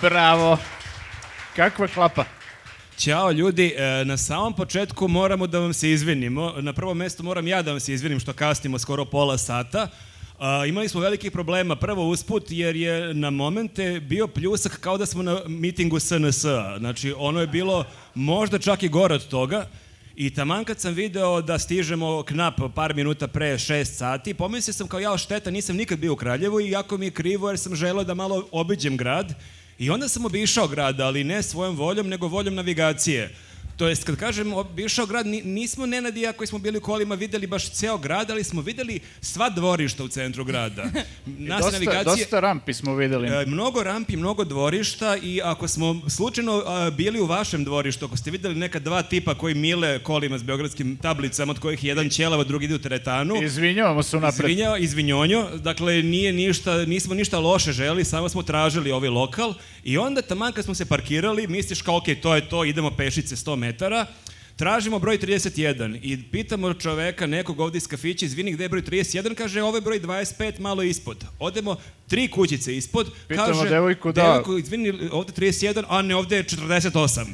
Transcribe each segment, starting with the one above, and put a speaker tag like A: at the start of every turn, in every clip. A: Bravo. Kakva klapa.
B: Ćao ljudi, E, na samom početku moramo da vam se izvinimo. Na prvo mesto moram ja da vam se izvinim što kasnimo skoro pola sata. A, imali smo velikih problema. Prvo usput jer je na momente bio pljusak kao da smo na mitingu SNS-a. Znači ono je bilo možda čak i gore od toga. I taman kad sam video da stižemo knap par minuta pre šest sati, pomislio sam kao jao šteta, nisam nikad bio u Kraljevu i jako mi je krivo jer sam želeo da malo obiđem grad. I onda sam obišao grad, ali ne svojom voljom, nego voljom navigacije. To jest, kad kažem obišao grad, ni- nismo Nenad i ja koji smo bili u kolima videli baš ceo grad, ali smo videli sva dvorišta u centru grada. Nas
A: dosta,
B: navigacije...
A: dosta rampi smo videli.
B: E, mnogo rampi, mnogo dvorišta i ako smo slučajno a, bili u vašem dvorištu, ako ste videli neka dva tipa koji mile kolima s beogradskim tablicama, od kojih je jedan ćelava, drugi ide u teretanu,
A: Izvinjavamo se unapred.
B: Izvinjao, izvinjonjo, dakle nije ništa, nismo ništa loše želi, samo smo tražili ovaj lokal i onda taman kad smo se parkirali, misliš kao ok, to je to, idemo pešice 100 metara, tražimo broj 31 i pitamo čoveka nekog ovde iz kafića, izvini gde je broj 31, kaže ovo je broj 25 malo ispod. Odemo tri kućice ispod,
A: Pitamo
B: kaže
A: devojku, da.
B: devojku, izvini ovde 31, a ne ovde je 48.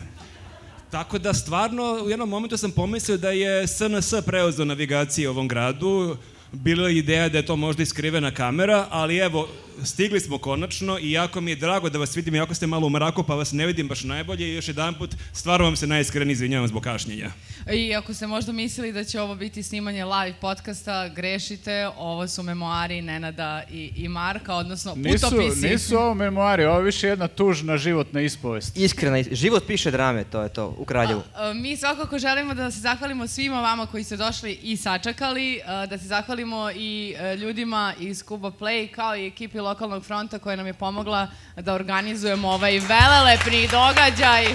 B: Tako da stvarno u jednom momentu sam pomislio da je SNS preuzeo navigacije u ovom gradu. Bila je ideja da je to možda iskrivena kamera, ali evo, stigli smo konačno i jako mi je drago da vas vidim, jako ste malo u mraku pa vas ne vidim baš najbolje i još jedan put stvarno vam se najiskrenije izvinjavam zbog kašnjenja.
C: I ako ste možda mislili da će ovo biti snimanje live podcasta, grešite, ovo su memoari Nenada i, i Marka, odnosno
A: Nisu,
C: putopisi.
A: nisu ovo memoari, ovo je više jedna tužna životna ispovest.
D: Iskrena, is- život piše drame, to je to, u Kraljevu.
C: A, E, Mi svakako želimo da se zahvalimo svima vama koji ste došli i sačekali, a, da se zahvalimo i e, ljudima iz Kuba Play kao i ekipi Lokalnog fronta koja nam je pomogla da organizujemo ovaj velelepni događaj.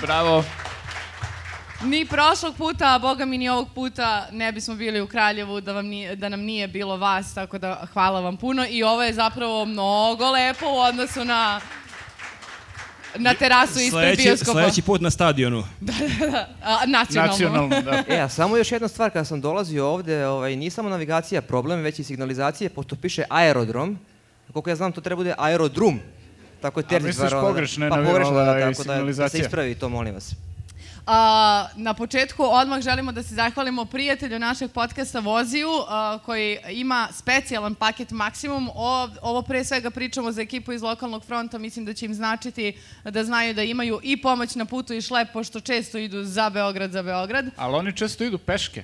A: Bravo.
C: Ni prošlog puta, a boga mi ni ovog puta ne bismo bili u Kraljevu da, vam nije, da nam nije bilo vas, tako da hvala vam puno i ovo je zapravo mnogo lepo u odnosu na na terasu ispred
B: Sledeći,
C: bioskopa.
B: sledeći put na stadionu.
C: A, nacionalno.
A: Nacionalno, da.
D: E, a samo još jedna stvar, kada sam dolazio ovde, ovaj, nije samo navigacija problem, već i signalizacija, pošto piše aerodrom, koliko ja znam, to treba bude aerodrum. Tako je termin.
A: misliš
D: stvarno,
A: pogrešno je
D: Pa
A: navi-
D: pogrešno, da,
A: ovaj,
D: tako da, da se
A: signalizacija?
D: ispravi to, molim vas.
C: A, na početku odmah želimo da se zahvalimo prijatelju našeg podcasta Voziju a, koji ima specijalan paket Maksimum. O, ovo pre svega pričamo za ekipu iz lokalnog fronta, mislim da će im značiti da znaju da imaju i pomoć na putu i šlep, pošto često idu za Beograd, za Beograd.
A: Ali oni često idu peške.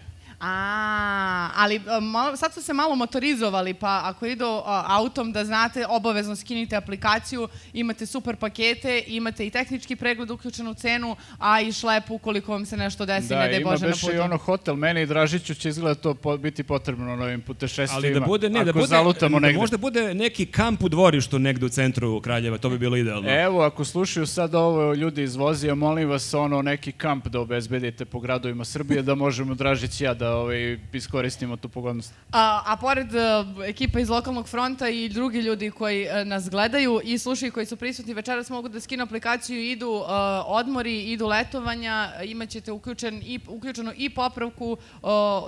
C: A, ali a, malo, sad su se malo motorizovali, pa ako idu a, autom da znate, obavezno skinite aplikaciju, imate super pakete, imate i tehnički pregled uključen u cenu, a i šlep ukoliko vam se nešto desi,
A: Da,
C: ne daj
A: ima
C: Bože na
A: beše i
C: putu.
A: ono hotel. Meni i Dražiću će izgleda to po, biti potrebno na ovim putešestvima.
B: Ali da bude, ne,
A: Pa ako
B: da bude,
A: zalutamo
B: da
A: negde.
B: možda bude neki kamp u dvorištu negde u centru Kraljeva, to bi bilo idealno.
A: Evo, ako slušaju sad ovo ljudi iz Vozija, molim vas ono neki kamp da obezbedite po gradovima Srbije, da možemo Dražić i ja da ovaj, iskoristimo tu pogodnost.
C: A, a pored e, ekipa iz lokalnog fronta i drugi ljudi koji e, nas gledaju i slušaju koji su prisutni večeras mogu da skinu aplikaciju, idu e, odmori, idu letovanja, e, imaćete uključen i, uključenu i popravku e,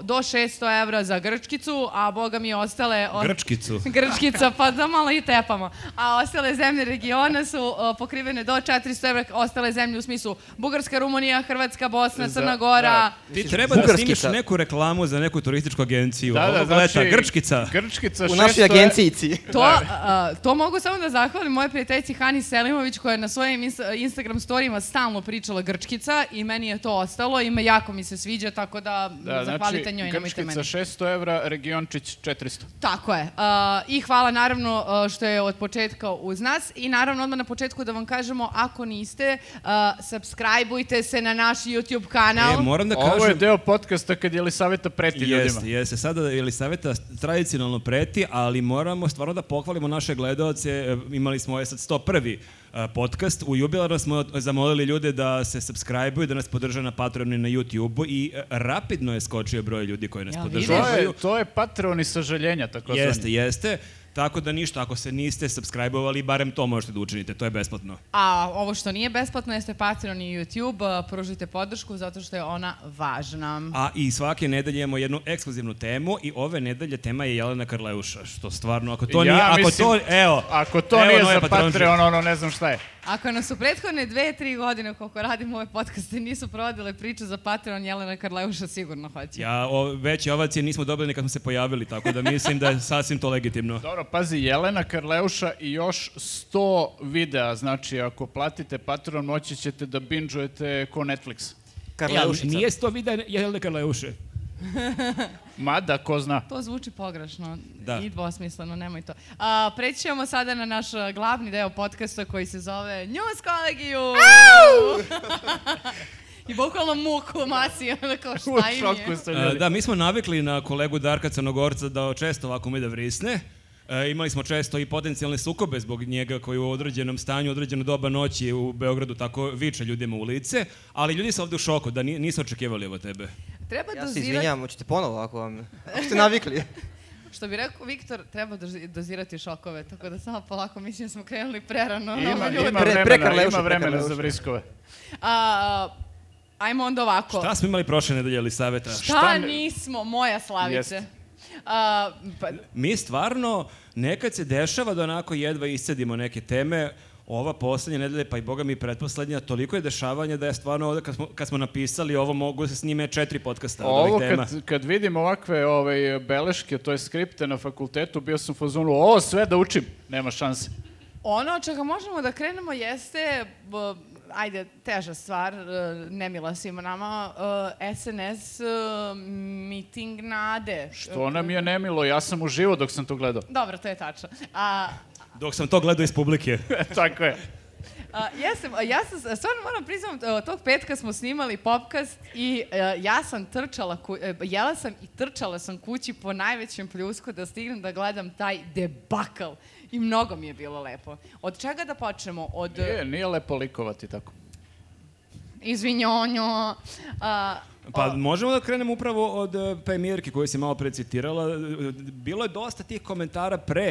C: do 600 evra za Grčkicu, a boga mi ostale... o-
B: Grčkicu.
C: Grčkica, pa da malo i tepamo. A ostale zemlje regiona su e, pokrivene do 400 evra, ostale zemlje u smislu Bugarska, Rumunija, Hrvatska, Bosna,
A: Za-
C: Crna Gora...
B: Ti treba da
D: Bugarski
B: snimiš
D: ta-
B: neku reklamu za neku turističku agenciju.
A: Da,
B: Ovog leta, Grčkica.
A: znači Grčkica e-
D: U
A: 600
D: našoj
A: Da, je-
D: agencijici.
C: To,
A: Da.
C: a, to mogu samo da zahvalim moje prijateljici Hani Selimović koja je na svojim insta, Instagram storijima stalno pričala grčkica i meni je to ostalo i me jako mi se sviđa, tako da,
A: Da,
C: zahvalite
A: znači,
C: njoj, nemojte meni.
A: Grčkica 600 evra, regiončić 400.
C: Tako je. A, I hvala naravno a, što je od početka uz nas i naravno odmah na početku da vam kažemo ako niste, a, subscribeujte se na naš YouTube kanal.
B: E, moram da
A: Ovo je
B: kažem...
A: deo podcasta kad je Elisaveta preti ljudima.
B: Jeste, jeste. Sada Jelisaveta tradicionalno preti, ali moramo stvarno da pohvalimo naše gledalce. E, Imali smo ovaj sad 101. e, podcast. U jubilarno smo zamolili ljude da se subscribe-uju, da nas podrže na Patreonu i na YouTube-u i e, rapidno je skočio broj ljudi koji nas
C: Ja,
A: To
C: vidiš?
B: podržavaju.
A: je, to je Patreon i sažaljenja, tako
B: Jeste, jeste. Tako da ništa, ako se niste subscribe-ovali, barem to možete da učinite, to je besplatno.
C: A ovo što nije besplatno jeste Patreon i YouTube. a, Pružite podršku zato što je ona važna.
B: A i svake nedelje imamo jednu ekskluzivnu temu i ove nedelje tema je Jelena Karleuša, što stvarno, ako to
A: Ja
B: nije, ako
A: mislim-
B: to, evo,
A: Ako to
B: evo
A: nije
B: nove
A: za
B: patronže.
A: Patreon, ono ne znam šta šta je?
C: Ako nas u prethodne dve, tri godine koliko radimo ove podcaste nisu provodile priče za Patreon, Jelena Karleuša sigurno hoće.
B: Ja o, veće ovacije nismo dobili nekad smo se pojavili, tako da mislim da je sasvim to legitimno.
A: Dobro, pazi, Jelena Karleuša i još 100 videa, znači ako platite Patreon moći ćete da binžujete ko Netflix.
D: Karleušica.
B: Ja, nije sto vida Jelena Karleuše.
A: Mada, ko zna.
C: To zvuči pogrešno
B: Da.
C: i dvosmisleno, nemoj to. A, preći ćemo sada na naš a, glavni deo podcasta koji se zove News Kolegiju! I bukvalno muku masi, ono kao
A: U
C: šta im
A: šoku
C: je.
A: ste
B: E,
A: ljudi.
B: Da, mi smo navikli na kolegu Darka Crnogorca da često ovako ume da vrisne. E, imali smo često i potencijalne sukobe zbog njega koji u određenom stanju, u određeno doba noći u Beogradu tako viče ljudima u lice, ali ljudi su ovde u šoku da ni- nisu očekivali ovo tebe.
C: Treba
D: Ja se
C: dozirati,
D: izvinjam, hoćete ponovo ako vam... Ako ste navikli.
C: što bi rekao Viktor, treba dozi- dozirati šokove, tako da samo polako, mislim da smo krenuli prerano. na ovo
A: E, Ima,
C: ljudi.
A: ima
D: Pre-
A: vremena,
D: prekarleuša,
A: ima vremena za
D: prekarleuša.
A: vriskove.
C: A, ajmo onda ovako.
B: Šta smo imali prošle nedelje ili saveta?
C: Šta
A: Šta ne-
C: nismo, moja slavice.
A: Jeste.
C: A, pa,
B: Mi stvarno, nekad se dešava da onako jedva iscedimo neke teme, ova poslednja nedelja, pa i boga mi pretposlednja, toliko je dešavanja da je stvarno ovde kad smo, kad smo napisali ovo mogu se snime četiri podcasta od
A: Ovo
B: ovih Da, tema.
A: kad, kad vidim ovakve ovaj, beleške, to je skripte na fakultetu, bio sam u fazonu, ovo sve da učim, nema šanse.
C: ono od čega možemo da krenemo jeste, b, ajde, teža stvar, e, nemila svima nama, e, SNS e, miting nade.
A: Što nam je nemilo, ja sam uživo dok sam to gledao.
C: Dobro, to je tačno. A,
B: Dok sam to gledao iz publike.
A: Tako je.
C: A, jesam, a, ja sam, stvarno moram priznam, e, tog petka smo snimali popkast i e, ja sam trčala, ku, e, jela sam i trčala sam kući po najvećem pljusku da stignem da gledam taj debakal. I mnogo mi je bilo lepo. Od čega da počnemo? Od
A: Nije, nije lepo likovati tako.
C: izvinjonjo. A,
B: Pa
C: o-
B: možemo da krenemo upravo od e, premijerke koju si malo precitirala. E, Bilo je dosta tih komentara pre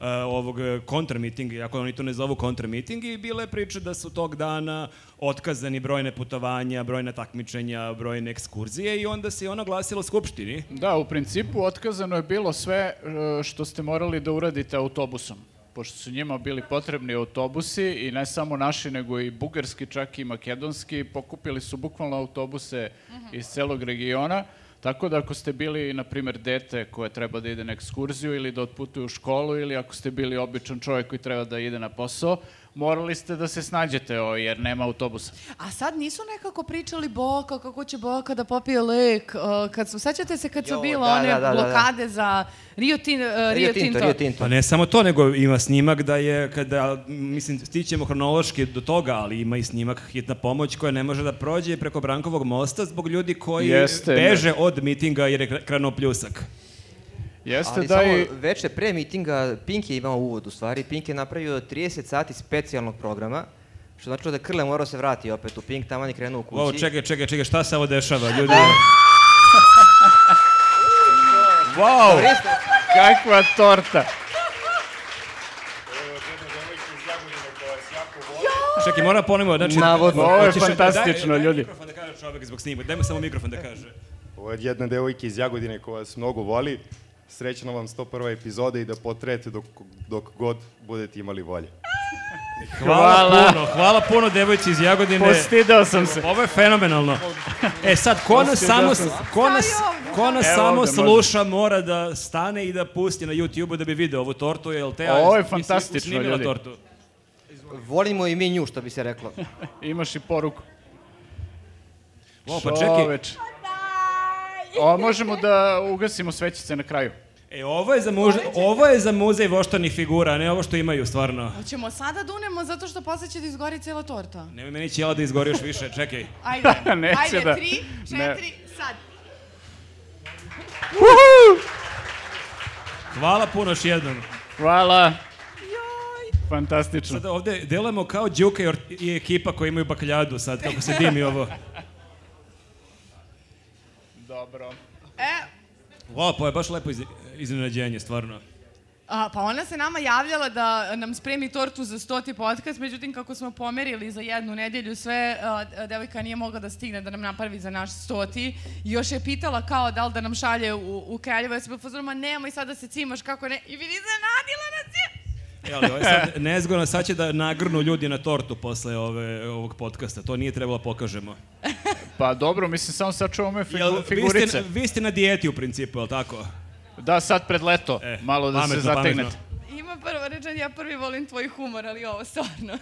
B: e, ovog e, kontramitinga, iako oni to ne zovu kontramiting, i bile priče da su tog dana otkazani brojne putovanja, brojna takmičenja, brojne ekskurzije i onda se i ono glasilo skupštini.
A: Da, u principu otkazano je bilo sve e, što ste morali da uradite autobusom. Pošto su njima bili potrebni autobusi i ne samo naši, nego i bugarski, čak i makedonski, pokupili su bukvalno autobuse iz celog regiona. Tako da ako ste bili, na primjer, dete koje treba da ide na ekskurziju ili da otputuje u školu ili ako ste bili običan čovjek koji treba da ide na posao, morali ste da se snađete o, jer nema autobusa.
C: a sad nisu nekako pričali Boka, kako će Boka da popije lek. e, kad su, sećate se kad su
D: Jo,
C: bile
D: da,
C: one
D: da, da, da, da.
C: blokade za Rio, Tin, e, Rio, Tinto.
D: Rio Tinto.
B: Pa ne samo to, nego ima snimak da je, kada, m, mislim, stićemo hronološki do toga, ali ima i snimak hitna pomoć koja ne može da prođe preko Brankovog mosta zbog ljudi koji
A: Jeste,
B: beže od mitinga jer je krenuo pljusak.
A: Jeste
D: Ali
A: da
D: samo
A: i...
D: veče pre mitinga Pink je imao uvod u stvari. Pink je napravio 30 sati specijalnog programa, što znači da Krle morao se vrati opet u Pink, tamo je krenuo u kući.
B: Wow, čekaj, čekaj, čekaj, šta se ovo dešava, ljudi?
A: Wow! Kakva torta!
B: čekaj, mora ponovno, znači...
D: Navodno.
A: Ovo je
B: hoćeš- da
A: fantastično,
B: daj, daj
A: ljudi.
B: mikrofon da kaže čovek zbog snima, daj mu samo mikrofon da kaže.
E: Ovo je od jedne devojke iz Jagodine koja vas mnogo voli. Srećna vam 101. epizoda i da potrajete dok, dok god budete imali volje.
B: Hvala,
A: Hvala.
B: puno, hvala puno devojci iz Jagodine.
A: Postidao sam se.
B: Ovo je fenomenalno. E sad, ko nas samo, ko nas, ko nas
A: da Evo
B: samo
A: ovde može.
B: sluša mora da stane i da pusti na YouTube-u da bi video ovu tortu, jel te?
A: Ovo je
B: jesi
A: fantastično,
B: snimila
A: ljudi.
B: Tortu.
D: Volimo i mi nju, što bi se reklo.
A: Da. Imaš i poruku.
B: Wow, pa čekaj,
A: Čoveč. O, možemo da ugasimo svećice na kraju.
B: e, ovo je za, muž, ovo je za muzej voštanih figura, a ne ovo što imaju stvarno.
C: Hoćemo sada da unemo zato što posle će da izgori cijela torta.
B: Nemoj meni ćela da izgori još više, čekaj.
C: Ajde,
A: Neće
C: ajde,
A: da.
C: tri, četiri, sad.
B: Hvala puno još jednom.
A: Hvala.
C: Joj.
A: Fantastično.
B: Sada ovde delujemo kao Đuka i Or- i ekipa koji imaju bakljadu sad, kako se dimi ovo.
A: Dobro.
C: E,
B: Wow, pa je baš lepo iz, iznenađenje, stvarno.
C: a, pa ona se nama javljala da nam spremi tortu za stoti podcast, međutim kako smo pomerili za jednu nedelju sve, a, a, devojka nije mogla da stigne da nam napravi za naš stoti. I Još je pitala kao da li da nam šalje u, u Kraljevo, ja sam bila u fazonu, ma nemoj sad da se cimaš, kako ne. I vidi, zanadila nas je!
B: E, ali ovo je sad nezgodno, sad će da nagrnu ljudi na tortu posle ove, ovog podcasta. To nije trebalo da pokažemo.
A: Pa dobro, mislim, samo sačuvamo me
B: Jel,
A: figu,
B: vi,
A: figurice.
B: ste, vi ste na dijeti u principu, je li tako?
A: Da, sad pred leto,
B: E,
A: malo da se
B: pametno,
A: zategnete.
B: pametno.
C: Ima prvo rečen, ja prvi volim tvoj humor, ali ovo stvarno.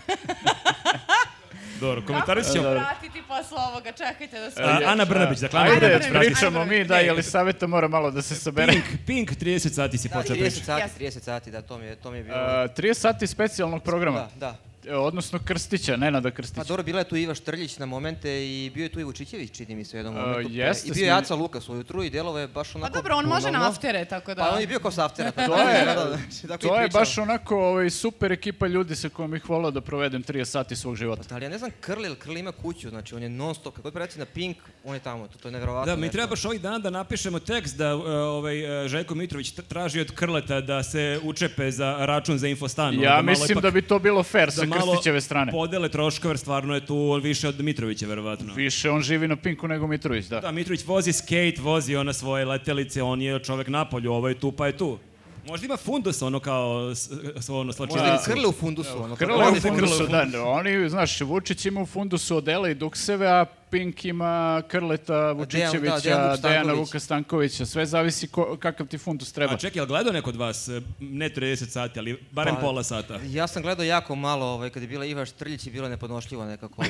B: Dobro, komentari
C: Kako ću
A: Da,
B: ćemo.
C: vratiti posle ovoga, čekajte da se...
B: A, Ana Brnabić, dakle, Ana
C: Ajde,
B: Brnabić.
C: Brnabić.
B: vrati se.
A: Pričamo mi, da, Jelisaveta mora malo da se sabere.
B: Pink, Pink, 30 sati si
D: Da,
B: počeo pričati.
D: 30 sati,
C: Jeste.
D: 30 sati, da, to mi je, to mi je bilo.
A: A, 30 E, sati specijalnog programa,
D: da, da.
A: E, odnosno Krstića, Nenada Krstića.
D: Pa dobro, bila je tu Iva Štrljić na momente i bio je tu i Vučićević, čini mi se, u jednom
A: A,
D: momentu.
A: E, jeste,
D: I bio je
A: snim-
D: Aca Lukas ujutru i delovo je baš
C: Pa
D: onako...
C: dobro, on može na
D: bunalno.
C: aftere, tako da...
D: Pa on je bio kao saftera. Pa
A: To je-
D: da, da, da, znači, tako i
A: To je
D: pričao.
A: baš onako ovaj, super ekipa ljudi sa kojom bih volao da provedem 30 sati svog života.
D: Ali Pa da ja ne znam Krli, ili Krli ima kuću, znači on je non stop, kako je preci na Pink, on je tamo, to, to je nevjerovatno.
B: Da, mi
D: nešto.
B: treba baš ovih dana da napišemo tekst da e, ovaj, e, Željko Mitrović tr- traži od Krleta da se učepe za račun za infostan. ono,
A: Ja
B: malo
A: mislim
B: ipak-
A: da bi to bilo fair sa
B: da malo
A: Krstićeve strane.
B: podele troškove, jer stvarno je tu više od Mitrovića, verovatno.
A: Više on živi na Pinku nego Mitrović, da.
B: Da, Mitrović vozi skate, vozi ona svoje letelice, on je čovek na polju, ovo je tu, pa je tu. Možda ima fundus, ono kao s- s- ono
D: Možda je
B: slačilice.
D: Krli u fundusu, ono.
A: Krle
B: Oni
A: u
B: su
A: fundusu,
B: Krle
A: da. Oni, znaš, Vučić ima u fundusu odela i dukseve, a Pink ima Krleta, Vučićevića,
D: da, Dejan Vuk
A: Dejana
D: Stanković.
A: Vuka Stankovića. Sve zavisi ko- kakav ti fundus treba.
B: A čekaj, jel gledao neko od vas, e, ne 30 sati, ali barem
D: Pa-
B: pola sata?
D: Ja sam gledao jako malo, ovaj, kad je bila Iva Štrljić i bilo je nepodnošljivo nekako.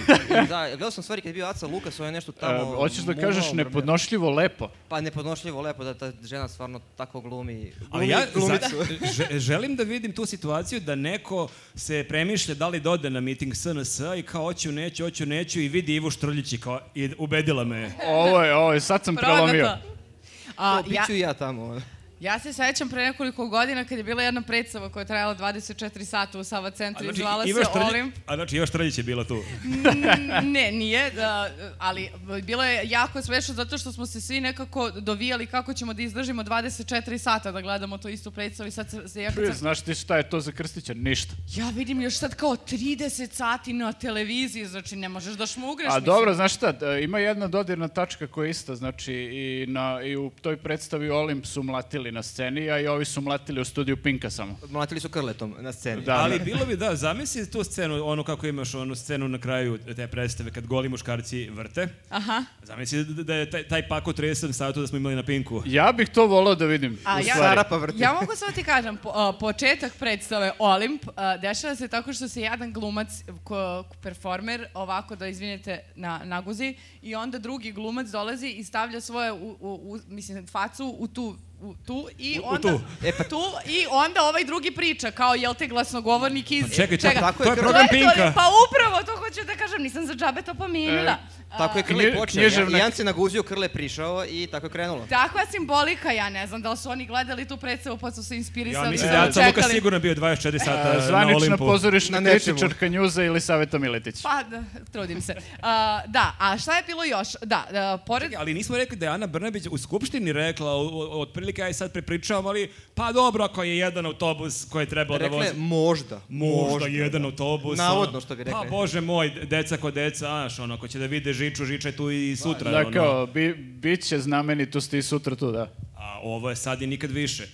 D: da, gledao sam stvari kad je bio Aca Lukas, on je nešto
A: E,
D: tamo...
A: hoćeš da
D: mumao,
A: kažeš
D: grmeo.
A: nepodnošljivo lepo.
D: Pa nepodnošljivo lepo da ta žena stvarno tako glumi.
B: Ali
D: glumi
B: ja
D: glumicu.
B: za- že- želim da vidim tu situaciju da neko se premišlja da li dode na miting SNS i kao hoću, neću, hoću, neću i vidi Ivu Štrljić i kao i ubedila me. je.
A: Ovo je, ovo je, sad sam prelomio.
C: Progata. A,
D: To,
C: ja,
D: Biću i ja tamo.
C: ja se sećam pre nekoliko godina kad je bila jedna predstava koja je trajala 24 sata u Sava centru
A: znači,
C: i zvala se
B: Iva znači, Štrljić-
C: Olimp.
B: A znači Iva Štrljić je bila tu.
C: N- ne, nije, da, ali bilo je jako smešno zato što smo se svi nekako dovijali kako ćemo da izdržimo 24 sata da gledamo to istu predstavu i sad se- se ja kad
A: Pri,
C: sam-
A: Znaš ti šta je to za Krstića? Ništa.
C: ja vidim još sad kao 30 sati na televiziji, znači ne možeš da šmugreš.
A: A
C: mislim.
A: dobro, znaš šta, d- ima jedna dodirna tačka koja je ista, znači i, na, i u toj predstavi Olimp su mlatili na sceni, a i ovi su mlatili u studiju Pinka samo.
D: Mlatili su krletom na sceni.
A: Da,
B: Ali
A: da.
B: bilo bi da, zamisli tu scenu, ono kako imaš onu scenu na kraju te predstave kad goli muškarci vrte.
C: Aha.
B: Zamisli da, da je taj, taj pak od 30 satu da smo imali na pinku.
A: Ja bih to volao da vidim.
C: A
A: u
C: ja,
A: stvari.
D: Sarapa vrti.
C: ja mogu samo ti kažem, po, a, početak predstave Olimp a, dešava se tako što se jedan glumac, ko, performer, ovako da izvinete, na, naguzi i onda drugi glumac dolazi i stavlja svoje, u, u, u, mislim, facu u tu u tu i
B: U- u
C: onda
B: tu.
D: E, pa-
C: tu i onda ovaj drugi priča kao jel te glasnogovornik iz
B: Pa Čekaj, to,
C: čega?
D: tako
B: to je
D: je krv-
B: program
C: To je to,
B: Pinka.
C: pa upravo to hoću da kažem, nisam za džabe to pomenula.
B: E,
D: Tako je Krle
A: knje-
D: počeo.
A: književna-
D: Ja, Jan se naguzio, Krle prišao i tako je krenulo.
C: Takva simbolika, ja ne znam da li su oni gledali tu predstavu pa su se inspirisali.
B: Ja mislim
C: pa
B: da je
C: su
B: Aca Luka
C: čekali.
B: sigurno bio 24 sata
A: A,
B: na
A: Zvanična
B: Olimpu.
A: e, pozorišna
D: Na nečemu.
A: kritičarka njuza ili Saveta Miletić.
C: Pa, da, trudim se. A, da, a šta je bilo još? Da, da, pored...
B: Ali nismo rekli da je Ana Brnabić u skupštini rekla, o- o- otprilike aj sad prepričavam, ali pa dobro ako je jedan autobus koji je trebao da
D: Rekla je
B: vozi.
D: možda. da.
B: Možda, jedan autobus.
D: Navodno
B: ono.
D: što bi rekla.
B: Pa bože moj, deca ko deca, znaš, ono, ako će da vide žiču, žiča je tu i sutra.
A: Da,
B: ono.
A: kao, bi, bit će znamenitosti i sutra tu, da.
B: a ovo je sad i nikad više.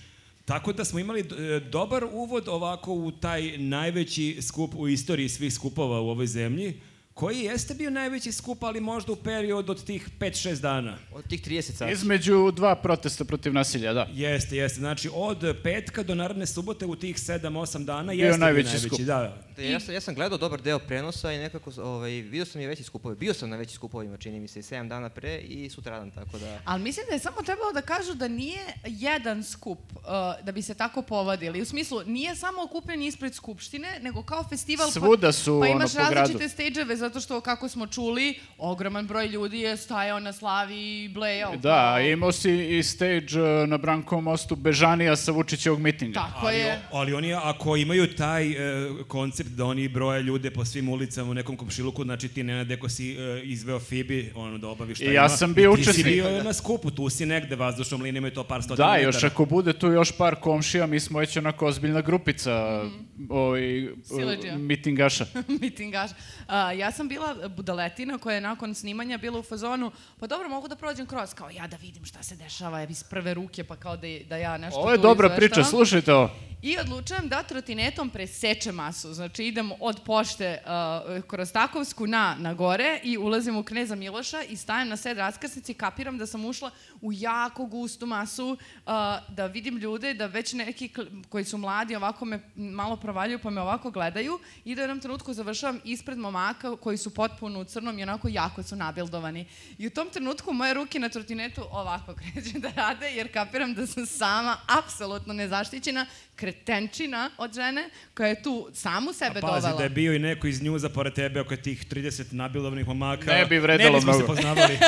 B: Tako da smo imali e, dobar uvod ovako u taj najveći skup u istoriji svih skupova u ovoj zemlji, koji jeste bio najveći skup, ali možda u period od tih 5-6 dana.
D: Od tih 30 sati.
A: Između dva protesta protiv nasilja, da.
B: Jeste, jeste. Znači, od petka do naredne subote u tih 7-8 dana
A: Bio
B: jeste bio
A: najveći
B: najveći,
A: skup.
B: Da.
D: Ja sam, ja sam gledao dobar deo prenosa i nekako, ovaj, vidio sam i veći skupove. Bio sam na većim skupovima, čini mi se, i 7 dana pre i sutradan, tako da...
C: Ali mislim da je samo trebalo da kažu da nije jedan skup uh, da bi se tako povadili. U smislu, nije samo okupljen ispred Skupštine, nego kao festival...
A: Svuda su,
C: pa
A: ono,
C: imaš
A: po gradu.
C: različite stage zato što, kako smo čuli, ogroman broj ljudi je stajao na slavi i blejao.
A: Da, imao si i stage e, na Brankovom mostu Bežanija sa Vučićevog mitinga.
C: Tako
B: Ali,
C: je.
B: ali oni ako imaju taj e, koncept koncept da oni broje ljude po svim ulicama u nekom komšiluku, znači ti Nenade ko si e, izveo Fibi, ono da obaviš šta
A: I ja
B: ima,
A: sam bio
B: i Ti
A: učesnik.
B: si bio na skupu, tu si negde vazdušnom linijom i to par stotina
A: Da,
B: metara.
A: još ako bude tu još par komšija, mi smo već onako ozbiljna grupica ovaj, e,
C: Mhm. Siledžija.
A: mitingaša.
C: mitingaš. A, ja sam bila budaletina koja je nakon snimanja bila u fazonu, pa dobro, mogu da prođem kroz, kao ja da vidim šta se dešava iz prve ruke, pa kao da, da ja nešto
A: Ovo je
C: tu
A: dobra
C: izveštavam.
A: priča, slušajte ovo.
C: I odlučujem da trotinetom preseče masu. Znači idem od pošte uh, kroz Takovsku na, na gore i ulazim u Kneza Miloša i stajem na sred raskrsnici i kapiram da sam ušla u jako gustu masu uh, da vidim ljude, da već neki kl- koji su mladi ovako me malo provaljuju pa me ovako gledaju i da u jednom trenutku završavam ispred momaka koji su potpuno u crnom i onako jako su nabildovani. I u tom trenutku moje ruke na trotinetu ovako kreću da rade jer kapiram da sam sama apsolutno nezaštićena kretenčina od žene koja je tu samu sebe
B: Pazi
C: dovela.
B: da je bio i neko iz njuza pored tebe oko tih 30 nabilovnih momaka.
A: Ne bi vredelo
B: Ne bismo se
A: mnogo.
B: poznavali.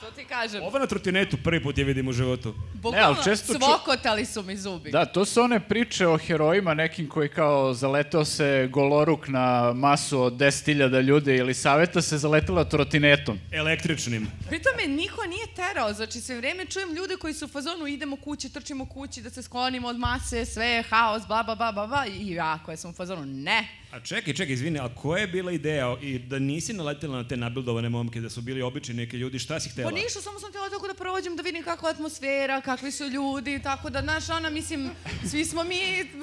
C: To ti kažem.
B: Ovo na trotinetu prvi put je vidim u životu.
C: Bukvalno
A: Ne, ali često ču-
C: svokotali su mi zubi.
A: Da, to su one priče o herojima nekim koji kao zaletao se goloruk na masu od 10.000 ljudi ili saveta se zaletela trotinetom.
B: Električnim.
C: Pritom me niko nije terao, znači sve vreme čujem ljude koji su u fazonu idemo kući, trčimo kući, da se sklonimo od mase, sve je haos, bla, bla, bla, bla, bla, i ja koja sam u fazonu, ne,
B: A čekaj, čekaj, izvini, a koja je bila ideja o- i da nisi naletela na te nabildovane momke, da su bili obični neki ljudi, šta si htela?
C: Pa ništa, samo sam htjela tako da prođem, da vidim kakva je atmosfera, kakvi su ljudi, tako da, znaš, ona, mislim, svi smo mi,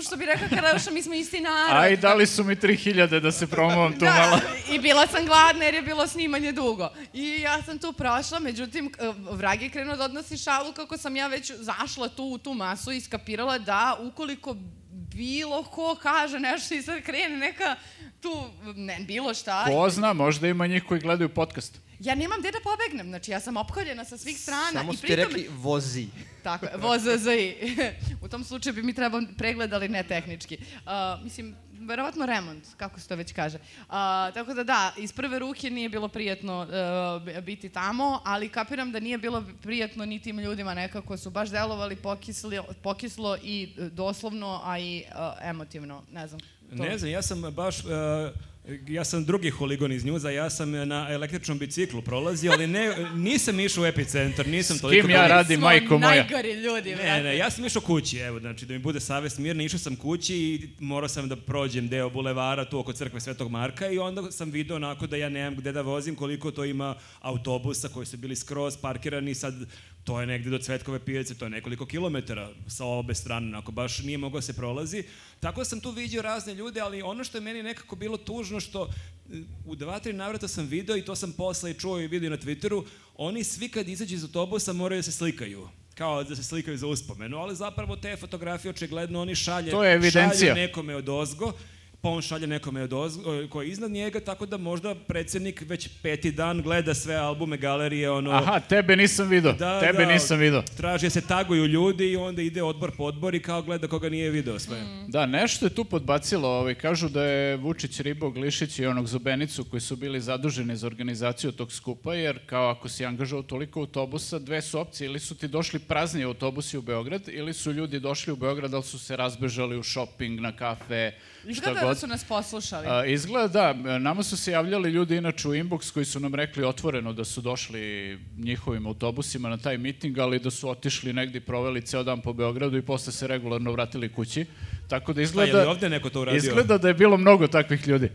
C: što bi rekla Karelša, mi smo isti narod.
A: Aj, dali su mi 3.000 da se promovam tu
C: Da,
A: malo.
C: i bila sam gladna jer je bilo snimanje dugo. I ja sam tu prošla, međutim, k- vrag je krenuo da odnosi šalu kako sam ja već zašla tu u tu masu i skapirala da ukoliko bilo ko kaže nešto i sad krene neka tu, ne, bilo šta.
A: Ko zna, možda ima njih koji gledaju podcast.
C: Ja nemam gde da pobegnem, znači ja sam opkoljena sa svih strana.
D: Samo
C: i
D: su ti
C: pritom-
D: rekli vozi.
C: Tako je, VZZI. U tom slučaju bi mi trebao pregled, ali ne tehnički. A, mislim, verovatno remont, kako se to već kaže. A, tako da da, iz prve ruke nije bilo prijetno e, biti tamo, ali kapiram da nije bilo prijetno ni tim ljudima nekako su baš delovali pokisli, pokislo i e, doslovno, a i e, emotivno, ne znam. to.
B: Ne znam, ja sam baš... e, ja sam drugi huligon iz njuza, ja sam e, na električnom biciklu prolazio, ali ne, nisam išao u epicentar, nisam toliko...
A: kim ja
B: daleko.
A: radim? Radi,
C: Smo
A: majko moja.
C: najgori ljudi,
B: Ne,
C: brate.
B: ne, ja sam išao kući, evo, znači da mi bude savest mirna, išao sam kući i morao sam da prođem deo bulevara tu oko crkve Svetog Marka i onda sam video onako da ja nemam gde da vozim koliko to ima autobusa koji su bili skroz parkirani, sad to je negde do Cvetkove pijace, to je nekoliko kilometara sa obe strane, onako baš nije mogao da se prolazi. Tako sam tu vidio razne ljude, ali ono što je meni nekako bilo tužno što e, u dva, tri navrata sam video i to sam posle i čuo i vidio na Twitteru, oni svi kad izađu iz autobusa moraju da se slikaju kao da se slikaju za uspomenu, ali zapravo te fotografije očigledno oni šalje,
A: To je evidencija.
B: šalju nekome od ozgo, pa on šalje nekome od ozgo, koji je iznad njega, tako da možda predsednik već peti dan gleda sve albume, galerije, ono...
A: Aha, tebe nisam vidio, tebe nisam vidio.
B: Traži da se taguju ljudi i onda ide odbor po odbor i kao gleda koga nije video sve.
A: Da, nešto je tu podbacilo. Ovaj, kažu da je Vučić, Ribo, Glišić i onog Zubenicu koji su bili zaduženi za organizaciju tog skupa, jer kao ako si angažao toliko autobusa, dve su opcije. Ili su ti došli prazni autobusi u Beograd, ili su ljudi došli u Beograd, ali su se razbežali u shopping, na kafe, šta
C: Izgleda da
A: god.
C: su nas poslušali.
A: A, izgleda da, nama su se javljali ljudi inače u inbox koji su nam rekli otvoreno da su došli njihovim autobusima na taj miting, ali da su otišli negdje i proveli ceo dan po Beogradu i posle se regularno vratili kući. Tako da
B: Pa je li
A: izgleda,
B: ovde neko to uradio?
A: izgleda da je bilo mnogo takvih ljudi.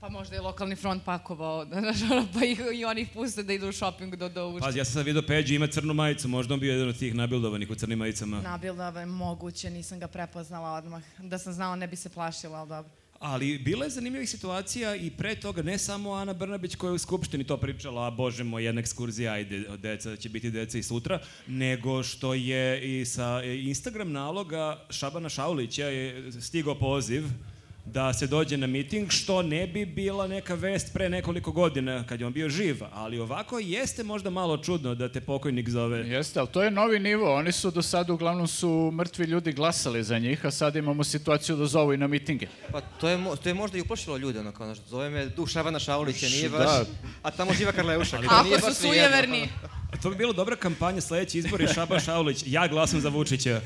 C: Pa možda je lokalni front pakovao, da, znaš, ono, pa ih, i oni ih puste da idu u shopping do, do ušta.
B: Pazi, ja sam sad vidio Peđu, ima crnu majicu, možda on bio jedan od tih nabildovanih u crnim majicama.
C: Nabilda da je moguće, nisam ga prepoznala odmah. Da sam znala ne bi se plašila, ali dobro.
B: Ali bila je zanimljivih situacija i pre toga, ne samo Ana Brnabić koja je u Skupštini to pričala, a bože moj, jedna ekskurzija, ajde, deca, će biti deca i sutra, nego što je i sa e, Instagram naloga Šabana Šaulića je stigao poziv da se dođe na miting, što ne bi bila neka vest pre nekoliko godina kad je on bio živ, ali ovako jeste možda malo čudno da te pokojnik zove.
A: Jeste, ali to je novi nivo. Oni su do sada uglavnom su mrtvi ljudi glasali za njih, a sad imamo situaciju da zovu i na mitinge.
D: Pa to je, mo- to je možda i uplašilo ljude, ono kao, znaš, zove me Duš Šabana Šaulića, nije
E: Da.
D: baš, a tamo živa Karleuša. Ali
C: Ako su sujeverni,
D: pa,
B: To bi bila dobra kampanja sledeći izbor je Šaban Šaulić, ja glasam za Vučića.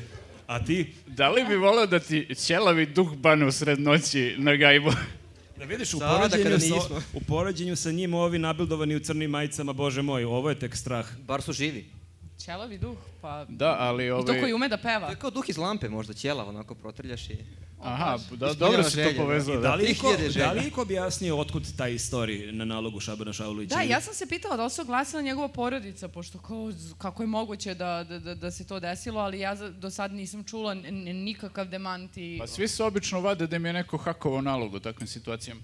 B: A ti?
A: Da li bi voleo da ti ćelavi duh bane u sred noći na gajbu?
B: Da vidiš, u
D: Sada kada
B: poređenju, sa,
D: nismo.
B: u poređenju sa njim ovi nabildovani u crnim majicama, bože moj, ovo je tek strah.
D: Bar su živi.
C: Ćelavi duh, pa...
A: Da, ali
C: I to
A: ovaj...
C: koji ume da peva.
D: To je kao duh iz lampe možda, ćelav, onako protrljaš i...
A: Aha, da,
D: Ispunjava
A: dobro si to
D: želje, da.
A: povezao.
B: I
A: da.
B: da li iko,
D: 3000 žena.
B: da li iko objasnio otkud taj story na nalogu Šabana Šaulića?
C: Da, ja sam se pitala da li se oglasila njegova porodica, pošto kao, z- kako je moguće da, da, da, da se to desilo, ali ja za- do sad nisam čula n- n- nikakav demanti.
A: Pa svi se obično vade da im je neko hakovao nalog u takvim situacijama.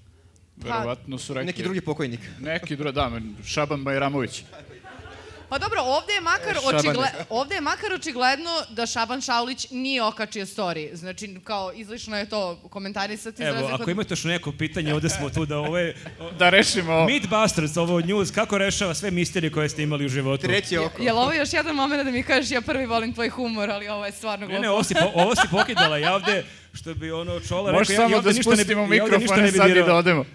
A: Verovatno su rekli...
D: Pa, Neki drugi pokojnik.
A: Neki drugi, da, men- Šaban Bajramović.
C: Pa dobro, ovde je makar,
D: E, Šabane.
C: očigle, ovde je makar očigledno da Šaban Šaulić nije okačio story. Znači, kao, izlično je to komentarisati. za
B: Evo,
C: razliku
B: ako
C: od-
B: imate još neko pitanje, ovde smo tu da ovo je...
A: Da rešimo ovo.
B: Meatbusters, ovo news, kako rešava sve misterije koje ste imali u životu?
D: Treće oko.
C: Jel ovo je još jedan moment da mi kažeš ja prvi volim tvoj humor, ali ovo je stvarno
B: Ne,
C: glupo.
B: ne, ovo si, po, ovo si pokidala, ja ovde, što bi ono čola
A: Možeš
B: rekao, ja, ja
A: samo
B: ovde
A: da
B: ništa ne bi,
A: spustimo
B: ja ovde ništa ne
A: mikrofone
B: bi
A: sad i
B: dirao.
A: da odemo.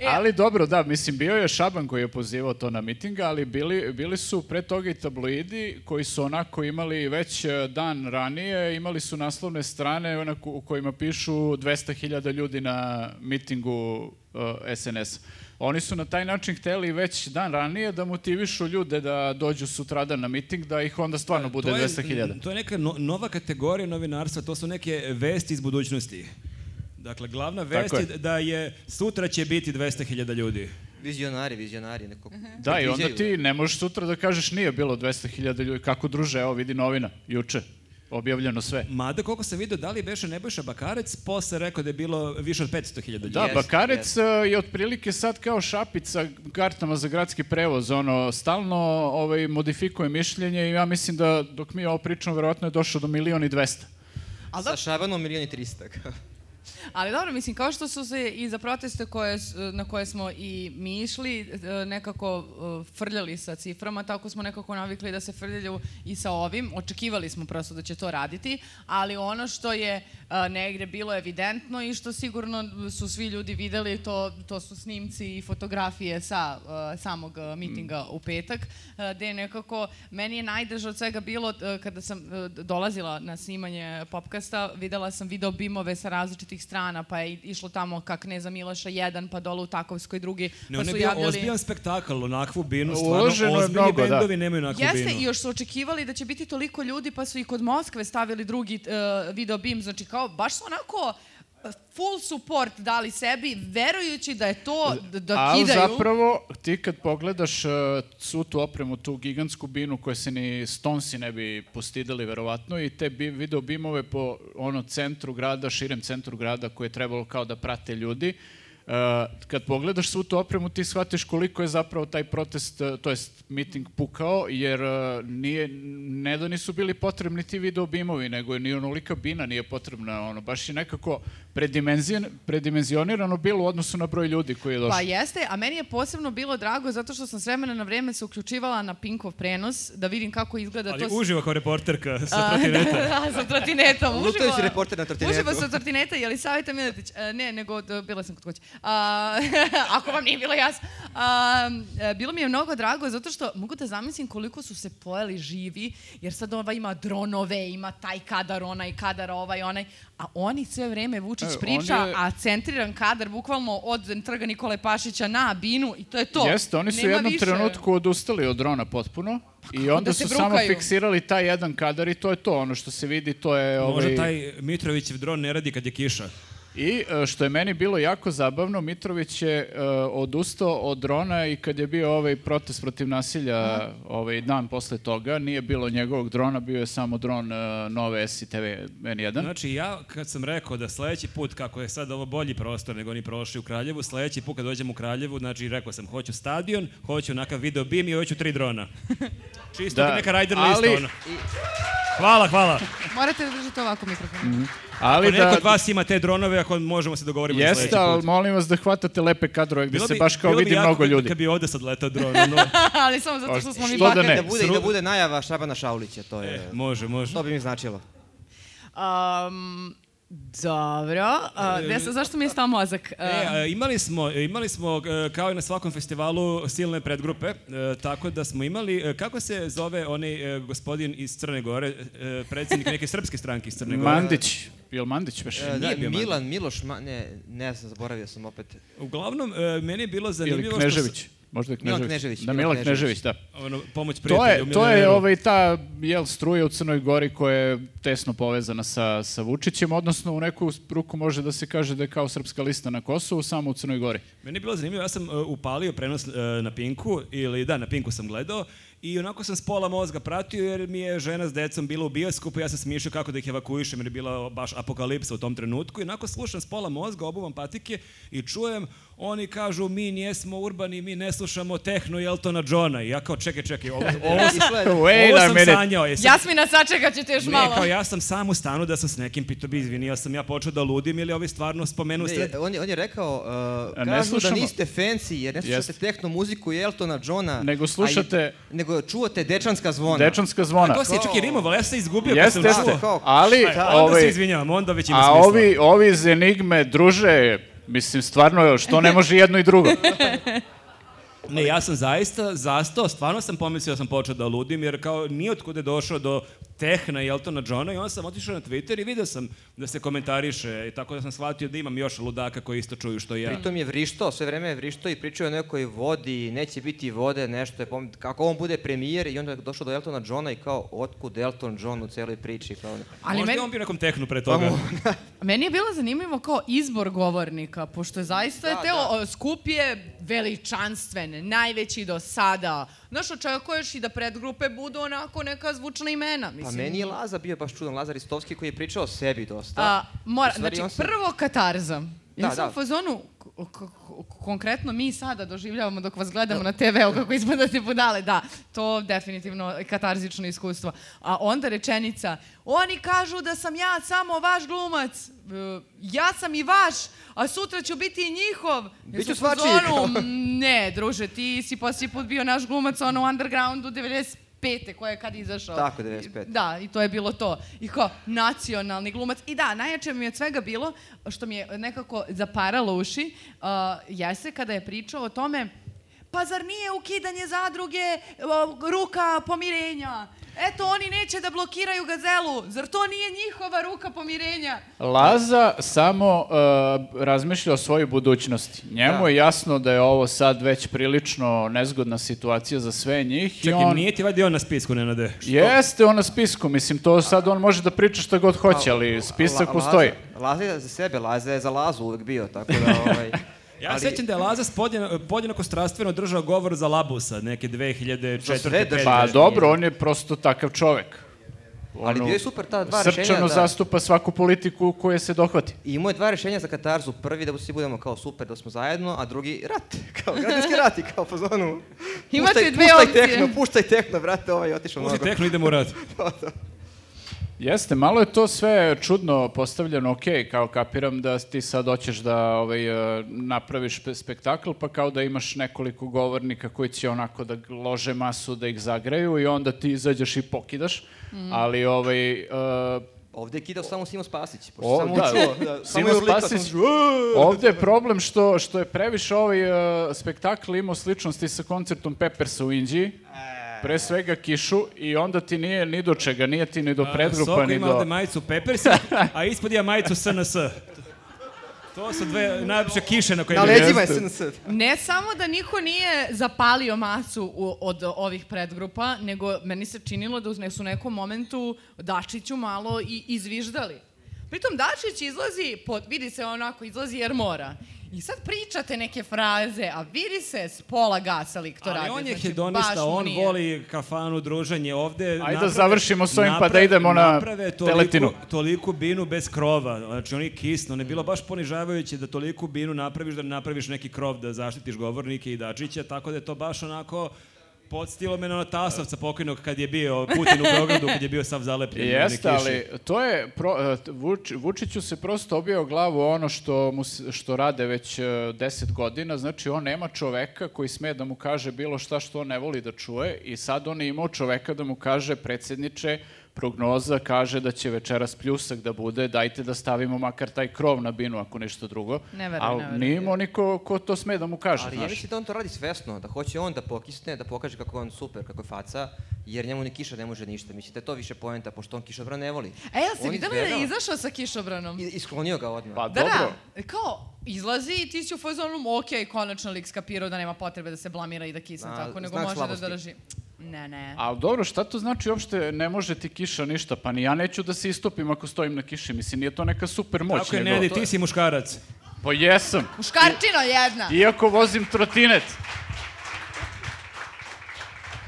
C: E,
A: Ali dobro, da, mislim, bio je Šaban koji je pozivao to na mitinga, ali bili, bili su pre toga i tabloidi koji su onako imali već e, dan ranije, imali su naslovne strane onako, u kojima pišu 200.000 ljudi na mitingu e, SNS. Oni su na taj način hteli već dan ranije da motivišu ljude da dođu sutradan na miting, da ih onda stvarno bude
B: Pa, To je-
A: 200.000.
B: To je neka no, nova kategorija novinarstva, to su neke vesti iz budućnosti. Dakle, glavna vest
A: Tako
B: je.
A: je.
B: da je sutra će biti 200.000 ljudi.
D: Vizionari, vizionari. Neko...
C: Mhm.
A: Da, i onda
D: predviđaju,
A: ti ne možeš sutra da kažeš nije bilo 200.000 ljudi. Kako druže, evo vidi novina, juče, objavljeno sve.
B: Mada, koliko sam vidio, da li beše Nebojša Bakarec, posle rekao da je bilo više od 500.000 ljudi.
A: Da,
D: Jeste,
A: Bakarec
D: jeste.
A: e, je otprilike sad kao šapic sa kartama za gradski prevoz, ono, stalno ovaj, modifikuje mišljenje i ja mislim da dok mi ovo pričamo, verovatno je došao do milion i dvesta.
C: ali
D: Sa Šabanom milijon i trista. kao.
C: Ali dobro, mislim, kao što su se i za proteste koje, s- na koje smo i mi išli e, nekako e, frljali sa ciframa, tako smo nekako navikli da se frljaju i sa ovim. Očekivali smo prosto da će to raditi, ali ono što je e, negde bilo evidentno i što sigurno su svi ljudi videli, to, to su snimci i fotografije sa e, samog e, mitinga
B: Mm.
C: u petak, e, gde je nekako, meni je najdraže od svega bilo e, kada sam e, dolazila na snimanje Popkasta, videla sam video bimove sa različitih strana, pa je išlo tamo ka Kneza Miloša 1, pa dole u Takovskoj drugi,
B: Ne,
C: pa
B: on je
C: su
B: bio
C: javljali...
B: ozbiljan spektakl, onakvu binu, stvarno
A: Uloženo je
B: ozbiljni
A: mnogo, da.
B: bendovi nemaju onakvu
C: Jeste,
B: binu.
C: i još su očekivali da će biti toliko ljudi, pa su i kod Moskve stavili drugi uh, video bim, znači kao, baš su onako e, full support dali sebi, verujući da je to, da, da
A: Ali
C: kidaju.
A: zapravo, ti kad pogledaš uh, svu tu opremu, tu gigantsku binu koje se ni Stonesi ne bi postidali verovatno i te bi, video bimove po ono centru grada, širem centru grada koje je trebalo kao da prate ljudi, Uh, kad pogledaš svu tu opremu, ti shvatiš koliko je zapravo taj protest, uh, to jest miting pukao, jer uh, nije, ne da nisu bili potrebni ti video bimovi, nego ni onolika bina nije potrebna, ono, baš je nekako predimenzion- predimenzionirano bilo u odnosu na broj ljudi koji je došao.
C: Pa jeste, a meni je posebno bilo drago zato što sam s vremena na vreme se uključivala na Pinkov prenos da vidim kako izgleda
B: Ali
C: to. s-
B: uživa kao reporterka sa
C: A,
B: trotineta.
C: da, sa trotinetom. uživo.
D: Lutajući reporter na trotinetu.
C: Uživo sa trotineta, je li Saveta Miletić? E, ne, nego d- bila sam kod kuće. A, ako vam nije bilo jasno. A, e, bilo mi je mnogo drago zato što mogu da zamislim koliko su se pojeli živi, jer sad ova ima dronove, ima taj kadar, onaj kadar, ovaj, onaj. A oni sve vreme Vučić
A: E, on
C: priča,
A: je-
C: a centriran kadar bukvalno od trga Nikole Pašića na Binu i to je to.
A: Jeste, oni su u
C: Nema
A: jednom
C: više.
A: trenutku odustali od drona potpuno i onda
C: da se
A: su samo
C: brukaju.
A: fiksirali taj jedan kadar i to je to, ono što se vidi, to je...
B: Možda
A: Ovaj...
B: taj Mitrovićev dron ne radi kad je kiša.
A: I e, što je meni bilo jako zabavno, Mitrović je e, odustao od drona i kad je bio ovaj protest protiv nasilja ovaj dan posle toga, nije bilo njegovog drona, bio je samo dron e, Nove S i TV N1.
B: Znači, ja kad sam rekao da sledeći put, kako je sad ovo bolji prostor nego oni prošli u Kraljevu, sledeći put kad dođem u Kraljevu, znači rekao sam, hoću stadion, hoću onakav video bim i hoću tri drona. Čisto
A: Da,
B: da, neka rider
A: ali-
B: lista, ono. Hvala, hvala.
C: Morate da držite ovako mikrofon.
A: ali
B: Ako neko
A: da,
B: od vas ima te dronove, ako možemo se dogovorimo za sledeći
A: jeste, ali
B: put.
A: molim vas da hvatate lepe kadrove gde
B: Bilo
A: se
B: bi-
A: baš kao
B: bilo bi
A: vidi
B: jako
A: mnogo
B: kad-
A: ljudi.
B: Kad bi ovde sad letao dron, ono.
C: Ali samo zato što smo mi
A: Što da
C: bakar.
A: ne? E.
D: Da bude, I da
B: Sru-
D: bude najava Šabana Šaulića, to je...
B: Može, može.
D: To bi mi značilo.
C: Um, Dobro. A, gde sam, zašto mi je stao mozak? A,
B: E, a, imali smo, imali smo e, kao i na svakom festivalu silne predgrupe, e, tako da smo imali, e, kako se zove onaj e, gospodin iz Crne Gore, e, predsjednik neke srpske stranke iz Crne Gore?
A: Mandić. Jel Mandić baš?
D: E,
B: nije bio
D: da, Milan, Miloš, ma, ne, ne znam, zaboravio sam opet.
B: Uglavnom, e, meni je bilo
A: Ili
B: zanimljivo... što
A: Knežević. Možda je
D: Milan
A: Knežević.
D: Knežević,
A: Da,
D: Milan
A: Milan
D: Knežević.
A: Knežević, da.
B: s- ono, pomoć
A: To
B: prijatelju.
A: je, to je
B: milioneru.
A: ovaj, ta jel, struja u Crnoj Gori koja je tesno povezana sa, sa Vučićem, odnosno u neku ruku može da se kaže da je kao srpska lista na Kosovu, samo u Crnoj Gori.
B: Meni je bilo zanimljivo, ja sam e, upalio prenos e, na Pinku, ili da, na Pinku sam gledao, i onako sam s pola mozga pratio jer mi je žena s decom bila u bioskopu, ja sam smišljao kako da ih evakuišem jer je bila baš apokalipsa u tom trenutku i onako slušam s pola mozga, obuvam patike i čujem, oni kažu mi njesmo urbani, mi ne slušamo tehno Jeltona Johna i ja kao čekaj, čekaj, ovo, ovo,
D: E, išlo je-
B: ovo sam sanjao. jesam-
C: Jasmina, sačekat ćete još
B: Ne,
C: malo.
B: kao ja sam sam u stanu da sam s nekim pitao bi izvini, ja sam ja počeo da ludim ili ovi stvarno spomenu sred...
D: Ne, on, je, on je rekao, uh,
A: A ne
D: kažu da
A: slušamo-
D: niste fancy jer ne slušate
A: Jeste.
D: tehno muziku Eltona Johna.
A: Nego
D: a i-
A: slušate-
D: nego čuvate dečanska zvona.
A: Dečanska zvona.
B: To si je čak i rimovalo, ja sam se izgubio kad
A: Jeste,
B: sam
A: jeste.
B: čuo.
D: Kao-
A: ali
D: šta je?
B: A Pa, onda se
A: ovaj,
B: izvinjavam, onda već ima
A: a
B: smisla.
A: ovi, ovi iz Enigme druže, mislim stvarno što ne može jedno i drugo.
B: Ne, ja sam zaista zastao, stvarno sam pomislio da sam počeo da ludim, jer kao nijotkud je došao do tehna i Eltona Johna i onda sam otišao na Twitter i video sam da se komentariše, i tako da sam shvatio da imam još ludaka koji isto čuju što i ja.
D: Pritom je vrištao, sve vreme je vrištao i pričao je o nekoj vodi, neće biti vode, nešto je pom... Kako on bude premijer i onda je došao do Eltona Johna i kao, otkud Elton John u celoj priči? Kao, ono.
C: Ali
B: Možda
C: meni,
B: je on bio nekom tehnu pre toga.
C: meni je bilo zanimljivo kao izbor govornika, pošto je
B: Da,
C: zaista je teo, o, skup je veličanstven, najveći do sada. Znaš, očekuješ i da predgrupe budu onako neka zvučna imena.
D: Pa
C: Mislim,
D: meni je Laza bio baš čudan, Lazar Istovski koji je pričao o sebi dosta.
C: A, mora,
D: U stvari,
C: znači,
D: on se-
C: prvo katarza. Ja
D: Da,
C: sam
D: da.
C: u fazonu, k- k- k- konkretno mi sada doživljavamo dok vas gledamo na TV-u kako ispadate budale, da, to definitivno je katarzično iskustvo. A onda rečenica, oni kažu da sam ja samo vaš glumac, E, ja sam i vaš, a sutra ću biti i njihov. Ja
D: Biću
C: sam u
D: svačiji.
C: fazonu, "Mm, ne, druže, ti si posljednji put bio naš glumac ono u undergroundu 95. koja je kad izašao.
D: Tako, 95..
C: Da, i to je bilo to. I kao nacionalni glumac. I da, najjače mi je od svega bilo, što mi je nekako zaparalo uši, uh, jeste kada je pričao o tome, pa zar nije ukidanje zadruge uh, ruka pomirenja? Eto, oni neće da blokiraju gazelu. Zar to nije njihova ruka pomirenja?
A: Laza samo uh, razmišlja o svojoj budućnosti. Njemu
D: Da.
A: je jasno da je ovo sad već prilično nezgodna situacija za sve njih. i
B: Čekaj,
A: on...
B: nije ti vadi on na spisku, Nenade?
A: Jeste on na spisku, mislim, to sad on može da priča šta god hoće, ali spisak
D: La-
A: postoji.
D: Laza, Laza je za sebe, Laza je za Lazu uvek bio, tako da ovaj...
B: Ja se sećam da je Lazas podjena- podjednako strastveno držao govor za Labusa, neke 2004.
D: Za sve
B: pete.
D: države.
A: Pa dobro, on je prosto takav čovek.
D: Ali
A: Ono,
D: bio je super ta dva rešenja.
A: Srčano
D: da.
A: zastupa svaku politiku koje se dohvati.
D: I imao je dva rešenja za Katarzu. Prvi da svi budemo kao super, da smo zajedno, a drugi rat. Kao građanski rat i kao po zonu.
C: Imate dve
D: puštaj
C: opcije.
D: Tehno, puštaj tehno, brate, ovaj je otišao
B: Pusti
D: mnogo.
B: Znači, tehnu, idemo u rat.
A: Jeste, malo je to sve čudno postavljeno, ok, kao kapiram da ti sad hoćeš da ovaj, e, napraviš spe- spektakl, pa kao da imaš nekoliko govornika koji će onako da g- lože masu, da ih zagreju i onda ti izađeš i pokidaš, ali ovaj, e,
D: Ovdje je kidao samo Simo Spasić. Pošto
A: O,
D: samo
A: da,
D: čuo, da, samo
A: Simo
D: je urlikao,
A: Spasić.
D: samo čuo, "Uuu".
A: ovde je problem što, što je previše ovaj e, spektakl imao sličnosti sa koncertom Peppersa u Indiji,
D: E.
A: pre svega kišu i onda ti nije ni do čega, nije ti ni do
B: Soko
A: predgrupa, ni
B: ima da ovde
A: do...
B: majicu Peppersa, a ispod ima majicu SNS. To su dve najlepše kiše na koje
D: Na leđima je SNS.
C: Ne samo da niko nije zapalio masu u, od ovih predgrupa, nego meni se činilo da uz ne- su u nekom momentu Dačiću malo i izviždali. Pritom Dačić izlazi, po, vidi se onako, izlazi jer mora. I sad pričate neke fraze, a vidi se s pola gasa lik to radi.
B: Ali on je
C: znači, baš
B: hedonista,
C: mu
B: on
C: nije.
B: voli kafanu, druženje ovde.
A: Ajde da završimo s ovim, pa da idemo na
B: naprave toliku-
A: teletinu.
B: toliku binu bez krova, znači oni kisno, ne bilo baš ponižavajuće da toliku binu napraviš, da napraviš neki krov, da zaštitiš govornike i dačića, tako da je to baš onako podstilo me na ono Tasovca pokojnog kad je bio Putin u Beogradu, kad je bio sav zalepljen. na one
A: Jeste,
B: kiše.
A: ali to je, pro, e, t- Vuč- Vučiću se prosto obio glavu ono što, mu, s- što rade već e, 10 godina, znači on nema čoveka koji sme da mu kaže bilo šta što on ne voli da čuje i sad on je imao čoveka da mu kaže predsjedniče, prognoza kaže da će večeras pljusak da bude, dajte da stavimo makar taj krov na binu, ako ništa drugo.
C: Ne verujem,
A: Ali
C: ne verujem.
A: nije imao niko ko to sme da mu kaže,
D: Ali ja
A: znaš.
D: mislim da on to radi svesno, da hoće on da pokisne, da pokaže kako je on super, kako je faca, jer njemu ni kiša ne može ništa. Mislite, to je više poenta, pošto on kišobran ne voli.
C: E, jel ste
D: On
C: videli da
D: izbegava.
C: je izašao sa kišobranom?
D: I, isklonio ga odmah.
E: Pa
C: Da,
E: dobro,
C: da, kao, izlazi i ti si u fazonu, ok, konačno lik skapirao da nema potrebe da se blamira i da kisne
D: Na,
C: tako, nego
D: znak
C: može
D: slabosti.
C: da drži. Ne, ne.
A: Ali dobro, šta to znači uopšte ne može ti kiša ništa? Pa ni ja neću da se istopim ako stojim na kiši. Mislim, nije to neka super moć.
B: Tako je,
A: nego-
B: Nedi, ti si muškarac.
A: Pa jesam.
C: Muškarčina jedna!
A: Iako vozim trotinet.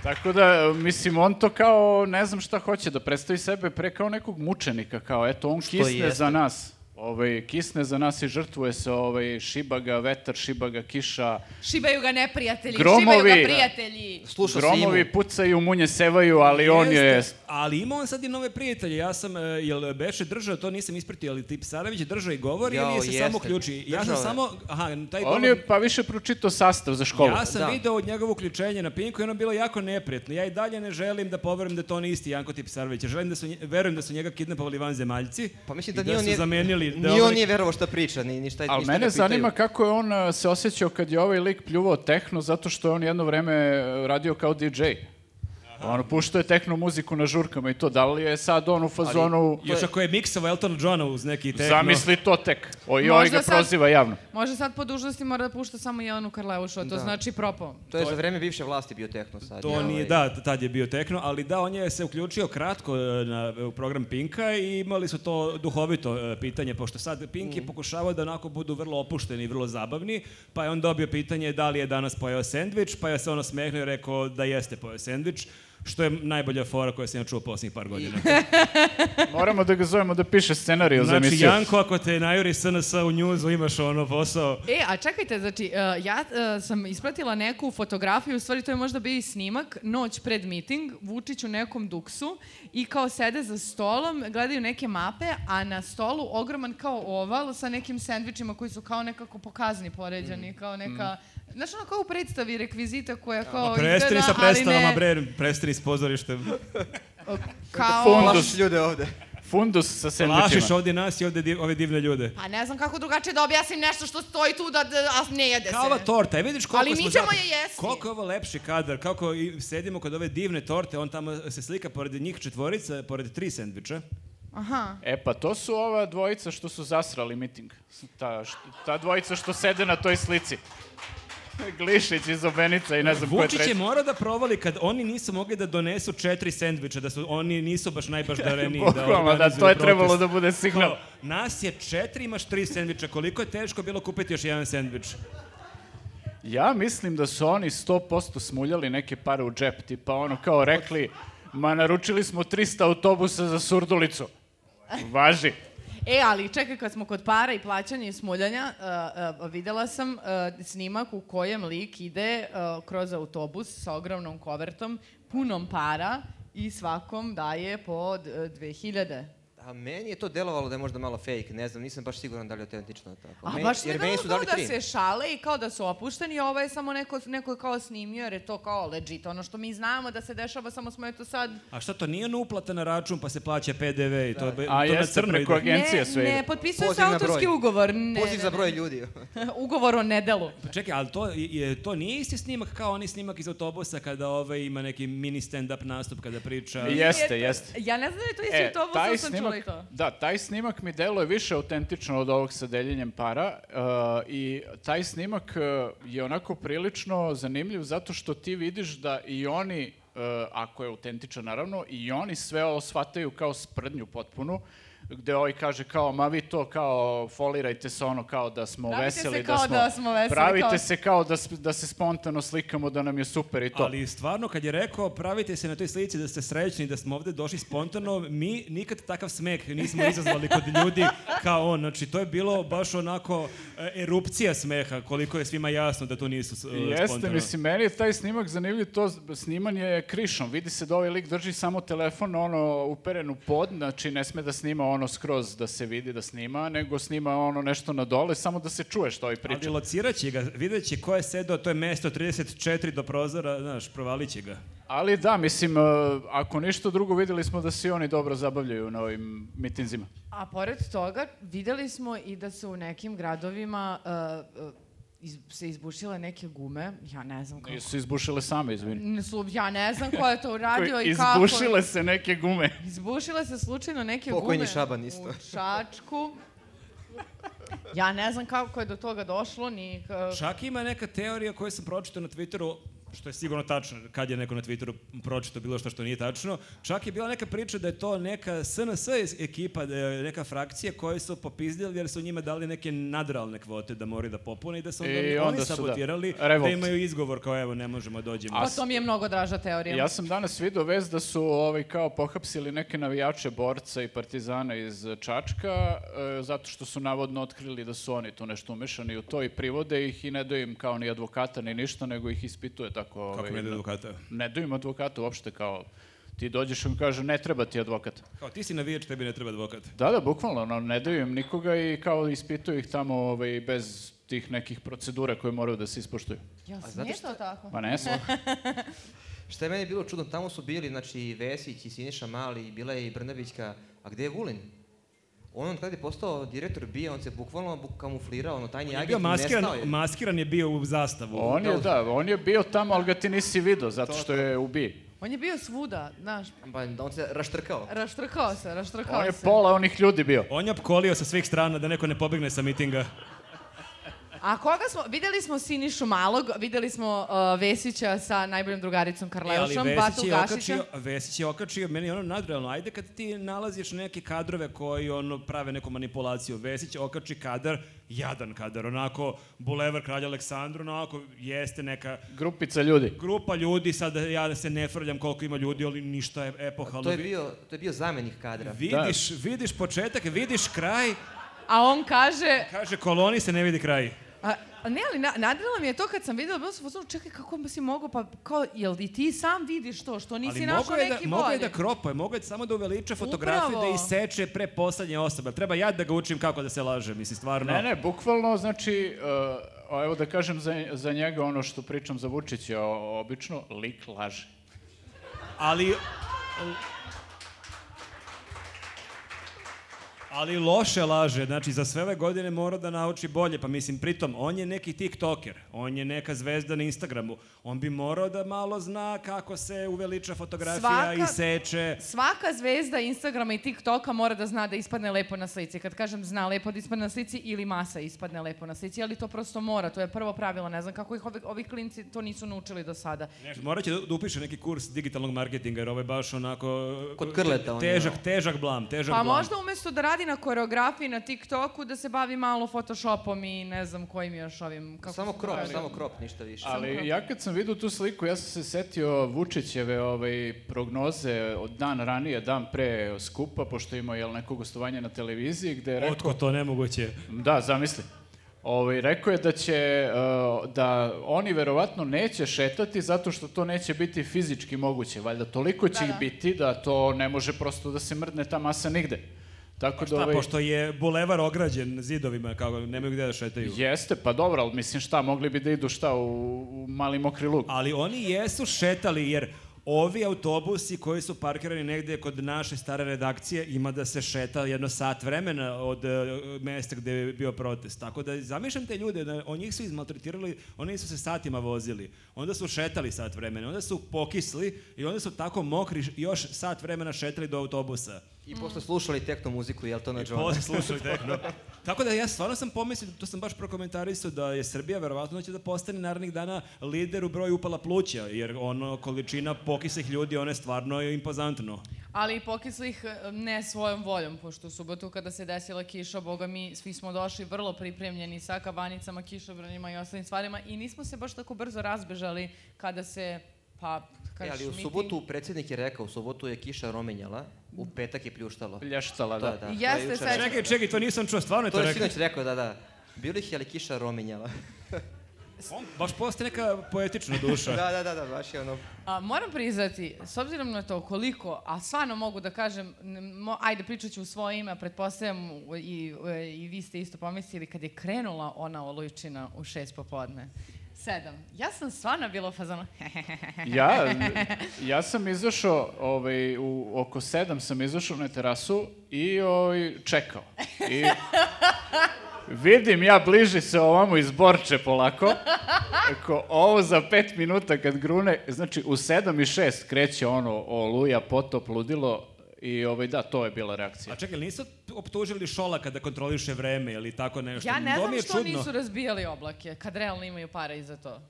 A: Tako da, mislim, on to kao, ne znam šta hoće, da predstavi sebe pre kao nekog mučenika, kao, eto, on kisne
D: jeste.
A: za nas. Ovaj, kisne za nas i žrtvuje se, ovaj, šiba ga vetar, šiba ga kiša,
C: Šibaju ga neprijatelji, šibaju
A: Gromovi.
C: ga prijatelji.
D: Slušao se imu.
A: gromovi pucaju, munje sevaju, ali on je...
B: Jeste, Ali ima on sad i nove prijatelje. Ja sam, e, jel Beše držao, to nisam ispratio, ali Tip Sarević držao i govori
D: Jao,
B: ili se
D: jeste.
B: samo ključi. Ja sam
D: Držao je.
B: samo, aha, taj
A: On
B: govor-
A: je pa više pročitao sastav za školu.
B: Ja sam
D: Da.
B: video od njegovo uključenje na Pinku i ono je bilo jako neprijatno. Ja i dalje ne želim da poverujem da to nije isti Janko Tipsarević. Ja Želim da su, nje- verujem da su njega kidnapovali vanzemaljci.
D: Pa mislim
B: i
D: da, ni on
B: su
D: nije,
B: zamenili. da
D: ni
B: ovaj-
D: on nije verovao šta priča, ni, ni šta,
A: Ali
D: ništa
A: mene
D: ga pitaju.
A: zanima kako je on a, se osjećao kad je ovaj lik pljuvao tehno, zato što je on jedno vreme e, radio kao DJ. On puštao je tehno muziku na žurkama i to. Da li je sad on u fazonu...
B: Još ako je miksova Elton Johna uz neki tehno.
A: Zamisli to tek. O, i ovaj
C: Možda
A: ga
C: sad-
A: proziva javno.
C: Može sad po dužnosti mora da pušta samo Jelenu Karleušu, a to
D: Da.
C: znači propao.
D: To je za vreme bivše vlasti bio tehno sad.
B: To
D: je,
B: nije,
D: ovaj,
B: da, tad je bio tekno, ali da, on je se uključio kratko e, na, u program Pinka i imali su to duhovito e, pitanje, pošto sad Pink
D: Mm.
B: je pokušavao da onako budu vrlo opušteni i vrlo zabavni, pa je on dobio pitanje da li je danas pojeo sendvič, pa je se ono smehnuo i rekao da jeste pojeo sendvič, što je najbolja fora koju sam ja čuo posljednjih par godina.
A: Moramo da ga zovemo da piše scenariju za
B: Znači,
A: emisiju.
B: Janko, ako te najuri SNS u njuzu, imaš ono posao.
C: E, a čekajte, znači, uh, ja uh, sam ispratila neku fotografiju, u stvari to je možda bio i snimak, noć pred miting, Vučić u nekom duksu i kao sede za stolom, gledaju neke mape, a na stolu ogroman kao oval sa nekim sendvičima koji su kao nekako pokazni poređani, kao neka... Znaš, ono kao u predstavi rekvizita koja kao
B: Prestani sa
C: ali
B: predstavama,
C: ne,
B: bre, prestani s pozorištem.
C: Kao...
A: Fondus.
D: Plašiš ljude ovde.
A: Fundus sa
B: Lašiš
A: sandvičima.
B: ovdje nas i ovdje div- ove divne ljude.
C: Pa ne znam kako drugačije da objasnim nešto što stoji tu da, da a ne jede
B: Kao
C: se.
B: ova torta, e, vidiš koliko
C: Ali mi
B: smo
C: ćemo
B: zapravo-
C: je jesti.
B: Koliko je ovo lepši kadar, kako i sedimo kod ove divne torte, on tamo se slika pored njih četvorica, pored tri sendviča.
C: Aha.
A: E pa to su ova dvojica što su zasrali miting. Ta, št- ta dvojica što sede na toj slici. Glišić iz Obenica i ne znam ko je
B: Vučić je
A: treći.
B: morao da provali kad oni nisu mogli da donesu četiri sendviča, da su oni nisu baš najbaždareniji da
A: Bukvalno, da, to je
B: organizuju
A: trebalo
B: protest.
A: da bude signal.
B: Kao, nas je četiri, imaš tri sendviča, koliko je teško bilo kupiti još jedan sendvič.
A: Ja mislim da su oni 100% smuljali neke pare u džep, tipa ono kao rekli, ma naručili smo 300 autobusa za surdulicu. Važi.
C: E, ali čekaj, kad smo kod para i plaćanja i smuljanja, uh, uh, videla sam uh, snimak u kojem lik ide uh, kroz autobus sa ogromnom kovertom, punom para i svakom daje uh, po d- 2000.
D: A meni je to delovalo da je možda malo fake, ne znam, nisam baš siguran da li je autentično tako.
C: A
D: Meni-
C: baš ne
D: jer meni
C: dalo
D: su
C: kao
D: dali
C: da
D: tri.
C: se šale i kao da su opušteni, a ovo je samo neko, neko je kao snimio jer je to kao legit, ono što mi znamo da se dešava, samo smo eto sad...
B: A šta to nije ono uplata na račun pa se plaća PDV i to, to
A: Da. A
B: na
A: jeste,
B: crno
A: preko
B: ide.
A: agencije
C: ne,
A: sve
C: ne,
A: ide.
C: potpisuje se
D: Poziv na
C: autorski
D: broj.
C: ugovor. Ne,
D: Poziv
C: ne,
D: za
C: ne.
D: broj ljudi.
C: ugovor o nedelu.
B: Pa Čekaj, ali to, je, to nije isti snimak kao onaj snimak iz autobusa kada ovaj ima neki mini stand-up nastup kada priča.
A: Jeste,
C: Nije to-
A: jeste.
C: Ja ne znam da je to isto, to ovo sam čula i to.
A: E, da, taj snimak mi deluje više autentično od ovog sa deljenjem para uh, i taj snimak uh, je onako prilično zanimljiv zato što ti vidiš da i oni, uh, ako je autentičan naravno, i oni sve ovo shvataju kao sprdnju potpunu, gde ovaj kaže kao, ma vi to kao folirajte se ono kao da smo
C: Pravite se
A: veseli,
C: kao
A: smo,
C: da smo veseli,
A: pravite
C: kao-
A: se kao da, sp- da se spontano slikamo, da nam je super i to.
B: Ali stvarno, kad je rekao, pravite se na toj slici da ste srećni, da smo ovde došli spontano, mi nikad takav smek nismo izazvali kod ljudi kao on. Znači, to je bilo baš onako e, erupcija smeha, koliko je svima jasno da to nisu e,
A: Jeste,
B: spontano.
A: mislim, meni je taj snimak zanimljiv, to z- snimanje je krišom, vidi se da ovaj lik drži samo telefon, ono, uperen u pod, znači ne sme da snima ono skroz da se vidi da snima, nego snima ono nešto na dole, samo da se čuje što ovaj
B: Ali
A: priča.
B: locirat će ga, vidjet će ko je sedao, to je mesto 34 do prozora, znaš, provalit će ga.
A: Ali da, mislim, e, ako ništa drugo, videli smo da se i oni dobro zabavljaju na ovim mitinzima.
C: A pored toga, videli smo i da su u nekim gradovima uh, uh, iz, se izbušile neke gume. Ja ne znam kako.
A: Nisu izbušile same, izvini.
C: N- Su, ja ne znam ko je to uradio i kako.
A: Izbušile se neke gume.
C: Izbušile se slučajno neke
D: Pokojni
C: gume
D: Šaban isto.
C: u Čačku. Ja ne znam kako je do toga došlo, ni... k-
B: Čak ima neka teorija koju sam pročitao na Twitteru, što je sigurno tačno, kad je neko na Twitteru pročitao bilo što što nije tačno, čak je bila neka priča da je to neka SNS iz- ekipa, da je neka frakcija koju su popizdili jer su njima dali neke nadrealne kvote da moraju da popune i da su onda,
A: I
B: oni
A: onda su, da.
B: sabotirali, da.
A: Revolt.
B: imaju izgovor kao evo ne možemo dođemo.
C: Pa to mi je mnogo draža teorija.
A: Ja sam danas vidio vez da su ovaj, kao pohapsili neke navijače borca i partizana iz Čačka, e, zato što su navodno otkrili da su oni tu nešto umešani u to i privode ih i ne daju im kao ni advokata ni ništa, nego ih ispituje tako.
B: Kako
A: ovaj,
B: ne da advokata?
A: Ne daju im advokata uopšte kao ti dođeš i on kaže ne treba ti advokat.
B: Kao ti si navijač, tebi ne treba advokat.
A: Da, da, bukvalno, ono, ne daju im nikoga i kao ispituju ih tamo ovaj, bez tih nekih procedura koje moraju da se ispoštuju.
C: Jel
D: znate
C: nije to tako?
A: Pa ne, sva-
D: Šta je meni bilo čudno, tamo su bili, znači, i Vesić i Siniša Mali, i bila je i Brnabićka, a gde je Vulin? On kad je postao direktor BIA, on se bukvalno bu- kamuflirao, ono, tajni
B: On je
D: agent,
B: bio maskiran,
D: nestao je.
B: maskiran je bio u zastavu.
A: on je, da, on je bio tamo, ali ga ti nisi video, zato što je ubiji.
C: On je bio svuda, znaš,
D: Pa, da on se raštrkao.
C: raštrkao se, raštrkao
A: On je
C: se.
A: pola onih ljudi bio.
B: On je opkolio sa svih strana da neko ne pobegne sa mitinga.
C: A koga smo, videli smo Sinišu Malog, videli smo uh, Vesića sa najboljom drugaricom Karleušom,
B: E, ali
C: Batu
B: Vesić je
C: Gašića.
B: okačio, Vesić je okačio, meni je ono nadrealno, ajde kad ti nalaziš neke kadrove koji ono prave neku manipulaciju, Vesić okači kadar, jadan kadar, onako Bulevar Kralja Aleksandru, onako jeste neka
A: Grupica ljudi.
B: grupa ljudi, sada ja se ne frljam koliko ima ljudi, ali ništa je epohalno.
D: To je
B: Vi-
D: bio, to je bio zamenik kadra.
B: Vidiš, vidiš početak, vidiš kraj,
C: A on kaže,
B: kaže koloni se ne vidi kraj.
C: a, a ne, ali na, nadrilo mi je to kad sam videla, bilo sam u fazonu, čekaj kako bi si mogao, pa kao, jel i ti sam vidiš to, što nisi našao
B: je
C: neki
B: da, mogao je
C: bolji?
B: da kropa, mogao je samo da uveliča fotografije, da
C: Upravo.
B: iseče pre poslednje osobe. Treba ja da ga učim kako da se laže, mislim, stvarno.
A: Ne, ne, bukvalno, znači, uh, evo da kažem za, za njega ono što pričam za Vučića, o- obično, lik laže.
B: Ali... Ali loše laže, znači za sve ove godine mora da nauči bolje, pa mislim, pritom, on je neki tiktoker, on je neka zvezda na Instagramu, on bi morao da malo zna kako se uveliča fotografija
C: Svaka-
B: i seče.
C: Svaka zvezda Instagrama i TikToka mora da zna da ispadne lepo na slici. Kad kažem zna lepo da ispadne na slici ili masa ispadne lepo na slici, ali to prosto mora, to je prvo pravilo, ne znam kako ih ovi, ovi klinci to nisu naučili do sada.
B: Nešto, morat će da, da upiše neki kurs digitalnog marketinga, jer ovo je baš onako...
D: Kod Krleta on je,
B: Težak,
D: da.
B: težak blam, težak
C: Pa
B: blam.
C: možda umesto da radi na koreografiji na TikToku, da se bavi malo Photoshopom i ne znam kojim još ovim... Kako
D: Samo
C: se
D: krop,
C: zove?
D: samo krop, ništa više.
A: Ali ja kad sam vidio tu sliku, ja sam se setio Vučićeve ovaj, prognoze od dan ranije, dan pre skupa, pošto je imao jel, neko gostovanje na televiziji, gde je rekao...
B: Otko to nemoguće.
A: Da, zamisli. Ovaj, rekao je da će, e, da oni verovatno neće šetati zato što to neće biti fizički moguće. Valjda toliko će
C: Da,
A: ih
C: da.
A: biti da to ne može prosto da se mrdne ta masa nigde. Tako da,
B: Da,
A: ovaj,
B: pošto je bulevar ograđen zidovima, kao nemaju gde da šetaju.
A: Jeste, pa dobro, ali mislim šta, mogli bi da idu šta u, u mali mokri lug.
B: Ali oni jesu šetali, jer ovi autobusi koji su parkirani negde kod naše stare redakcije ima da se šeta jedno sat vremena od e, mesta gde je bio protest. Tako da zamišljam te ljude, da on njih su izmaltretirali, oni su se satima vozili. Onda su šetali sat vremena, onda su pokisli i onda su tako mokri š- još sat vremena šetali do autobusa.
D: I posle slušali tekno muziku, jel to na Johna?
B: Posle slušali tehno. Tako da ja stvarno sam pomislio, to sam baš prokomentarisao, da je Srbija verovatno će da postane narednih dana lider u broju upala pluća, jer ono, količina pokislih ljudi, ono je stvarno impozantno.
C: Ali i pokislih e, ne svojom voljom, pošto u subotu kada se desila kiša, boga mi, svi smo došli vrlo pripremljeni sa kabanicama, kišobranima i ostalim stvarima i nismo se baš tako brzo razbežali kada se, pa,
D: E,
C: kažeš,
D: ali u
C: miting-
D: subotu predsjednik je rekao, u subotu je kiša romenjala, u petak je pljuštalo.
A: Plještala,
D: To je,
A: da.
D: da. to je
C: Jeste,
D: jučer
C: sećam
D: rekao.
B: Čekaj, čekaj, to nisam čuo, stvarno je to,
D: To je
B: rekao.
D: sinoć rekao, da, da. Bilo ih je, ali kiša romenjala.
B: On baš postaje neka poetična duša.
D: da, da, da, da, baš je ono...
C: A, moram priznati, s obzirom na to koliko, a stvarno mogu da kažem, n- mo, ajde pričat ću u svoje ime, pretpostavljam u- i, e, i vi ste isto pomislili kad je krenula ona olujčina u šest popodne. Sedam. Ja sam stvarno bila u fazonu.
A: Ja, ja sam izašao, ovaj, u, oko sedam sam izašao na terasu i ovaj, čekao. I vidim ja bliži se ovamo iz Borče polako. Ako ovo za pet minuta kad grune, znači u sedam i šest kreće ono oluja, potop, ludilo i ovaj, da, to je bila reakcija.
B: A čekaj, nisu optužili Šolaka da kontroliše vreme ili tako nešto?
C: ja ne
B: To
C: znam
B: mi je
C: što
B: čudno.
C: nisu razbijali oblake, kad realno imaju para i za to.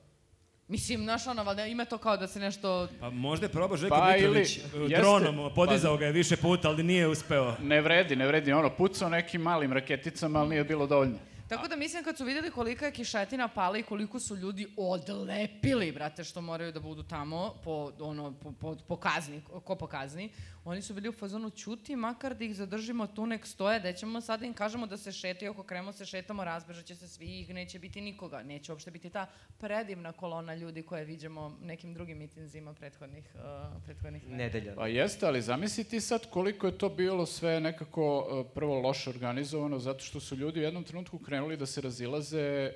C: Mislim, znaš ono, valjda ima to kao da se nešto...
B: Pa možda je probao Željko
A: Pa,
B: Mitrović
A: ili-
B: e,
A: jeste-
B: dronom, podizao ga je više puta, ali nije uspeo.
A: Ne vredi, ne vredi. Ono, pucao nekim malim raketicama, ali nije bilo dovoljno.
C: Tako da mislim kad su videli kolika je kišetina pala i koliko su ljudi odlepili, brate, što moraju da budu tamo po, ono, po, po, po kazni, ko po kazni, oni su bili u fazonu ćuti, makar da ih zadržimo tu nek stoje, da ćemo sada im kažemo da se šetaju, ako krenemo se šetamo, razbežat će se svi, neće biti nikoga, neće uopšte biti ta predivna kolona ljudi koje viđemo nekim drugim mitinzima prethodnih, uh, prethodnih
D: Nedelja.
A: Pa jeste, ali zamisli ti sad koliko je to bilo sve nekako e, prvo loše organizovano, zato što su ljudi u jednom trenutku krenuli da se razilaze e,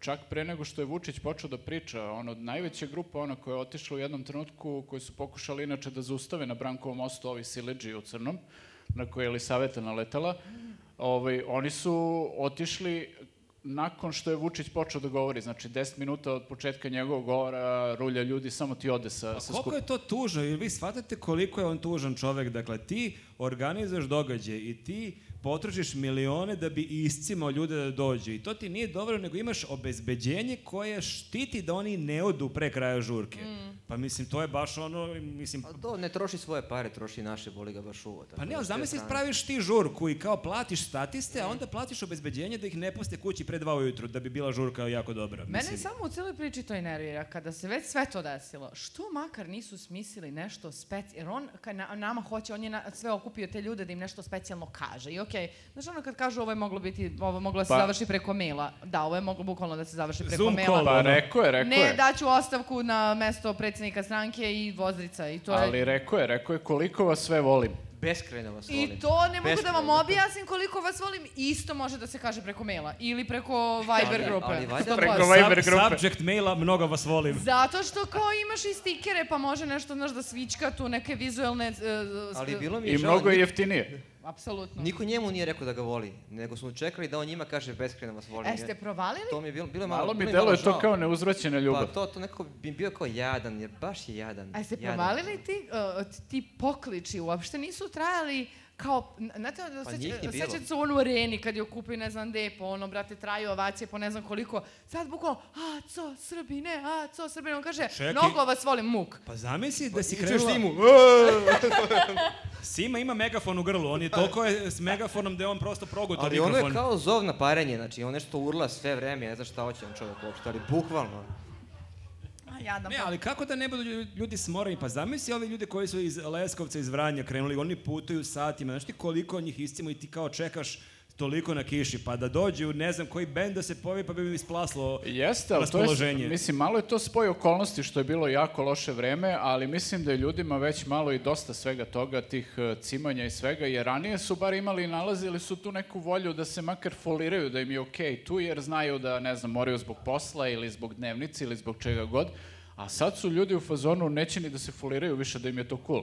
A: čak pre nego što je Vučić počeo da priča. Ono, najveća grupa, ona koja je otišla u jednom trenutku, koji su pokušali inače da zaustave na Brankovom mostu ovi Sileđi u Crnom, na koje je Elisaveta naletala, ovaj, oni su otišli nakon što je Vučić počeo da govori, znači 10 minuta od početka njegovog govora, rulja ljudi, samo ti ode sa, sa
B: Pa Koliko
A: skupa.
B: je to tužno? Ili vi shvatate koliko je on tužan čovek? Dakle, ti organizuješ događaj i ti potrošiš milione da bi iscimao ljude da dođu. I to ti nije dobro, nego imaš obezbeđenje koje štiti da oni ne odu pre kraja žurke. Pa mislim, to je baš ono, mislim,
D: A to ne troši svoje pare, troši naše, boli ga baš uvo. tako
B: Pa ne,
D: da
B: ali
D: s te
B: zamisli
D: strane-
B: praviš ti žurku i kao platiš statiste, a onda platiš obezbeđenje da ih ne puste kući pre dva ujutru, da bi bila žurka jako dobra.
C: Mene
B: mislim.
C: samo u cijeloj priči to i nervira, kada se već sve to desilo, što makar nisu smislili nešto specijalno, jer on ka, na, nama hoće, on je na, sve okupio te ljude da im nešto specijalno kaže i okej, znaš ono kad kažu ovo je moglo biti, ovo je moglo da se
A: Pa-
C: završi preko maila, da, ovo je moglo bukvalno da se završi preko
B: Zoom
C: maila.
B: call,
A: Pa
B: ono.
A: rekao je, rekao
C: Ne, da,
A: je.
C: daću ostavku na mesto predsjednika stranke i vozrica i to je...
A: Ali rekao je, rekao je koliko vas sve volim.
D: Beskrajno vas volim.
C: I to ne mogu da vam
D: Beskrajno.
C: objasnim koliko vas volim, isto može da se kaže preko maila ili preko Viber
D: Ali-
C: grupe.
D: ali valjda-
C: 100%.
A: Preko
B: Sub-
A: Viber grupe.
B: Subject maila, mnogo vas volim.
C: Zato što kao imaš i stikere, pa može nešto, znaš, da svička tu neke vizuelne... Uh,
D: Ali bilo mi je
A: I
D: žao,
A: mnogo je
D: nik-
A: jeftinije.
C: Apsolutno.
D: Niko njemu nije rekao da ga voli, nego smo čekali da on njima kaže beskreno vas volim.
C: E, ste provalili?
D: To mi je bilo, bilo je malo,
A: Malo mi
D: bilo je
A: deluje
D: žao.
A: to kao neuzvraćena ljubav.
D: Pa to, to nekako bi bio kao jadan, jer baš je jadan.
C: A ste
D: jadan.
C: provalili ti, uh, ti pokliči uopšte nisu trajali kao, n- znate, da
D: Pa
C: seća-
D: njih je bilo.
C: sećate se onu areni kad je okupi ne znam gde, po ono, brate, traju ovacije, po ne znam koliko. Sad bukvalno, a, co, Srbine, a, co, Srbine, on
D: Pa
C: kaže,
B: Čekaj.
C: mnogo vas volim, muk.
B: Pa zamisli da si
E: Čuješ
B: krenula...
E: timu?
B: Sima ima megafon u grlu, on je toliko je s megafonom da je on prosto progutao
D: Da. Ali
B: mikrofon.
D: ono je kao zov na parenje, znači on nešto urla sve vreme, ja ne znam šta hoće on čovjek uopšte, ali bukvalno.
C: A, jadan.
B: Ne,
C: pa-
B: ali kako da ne budu lju- ljudi smorani? Pa zamisli ove ljude koji su iz Leskovca, iz Vranja krenuli, oni putuju satima. Znaš ti koliko njih istimo i ti kao čekaš toliko na kiši, pa da dođu, ne znam koji bend da se pojavi, pa bi mi isplaslo
A: Jeste, ali to
B: raspoloženje.
A: je, mislim, malo je to spoj okolnosti što je bilo jako loše vreme, ali mislim da je ljudima već malo i dosta svega toga, tih e, cimanja i svega, jer ranije su bar imali i nalazili su tu neku volju da se makar foliraju, da im je okej tu, jer znaju da, ne znam, moraju zbog posla ili zbog dnevnice ili zbog čega god, A sad su ljudi u fazonu neće ni da se foliraju više da im je to cool.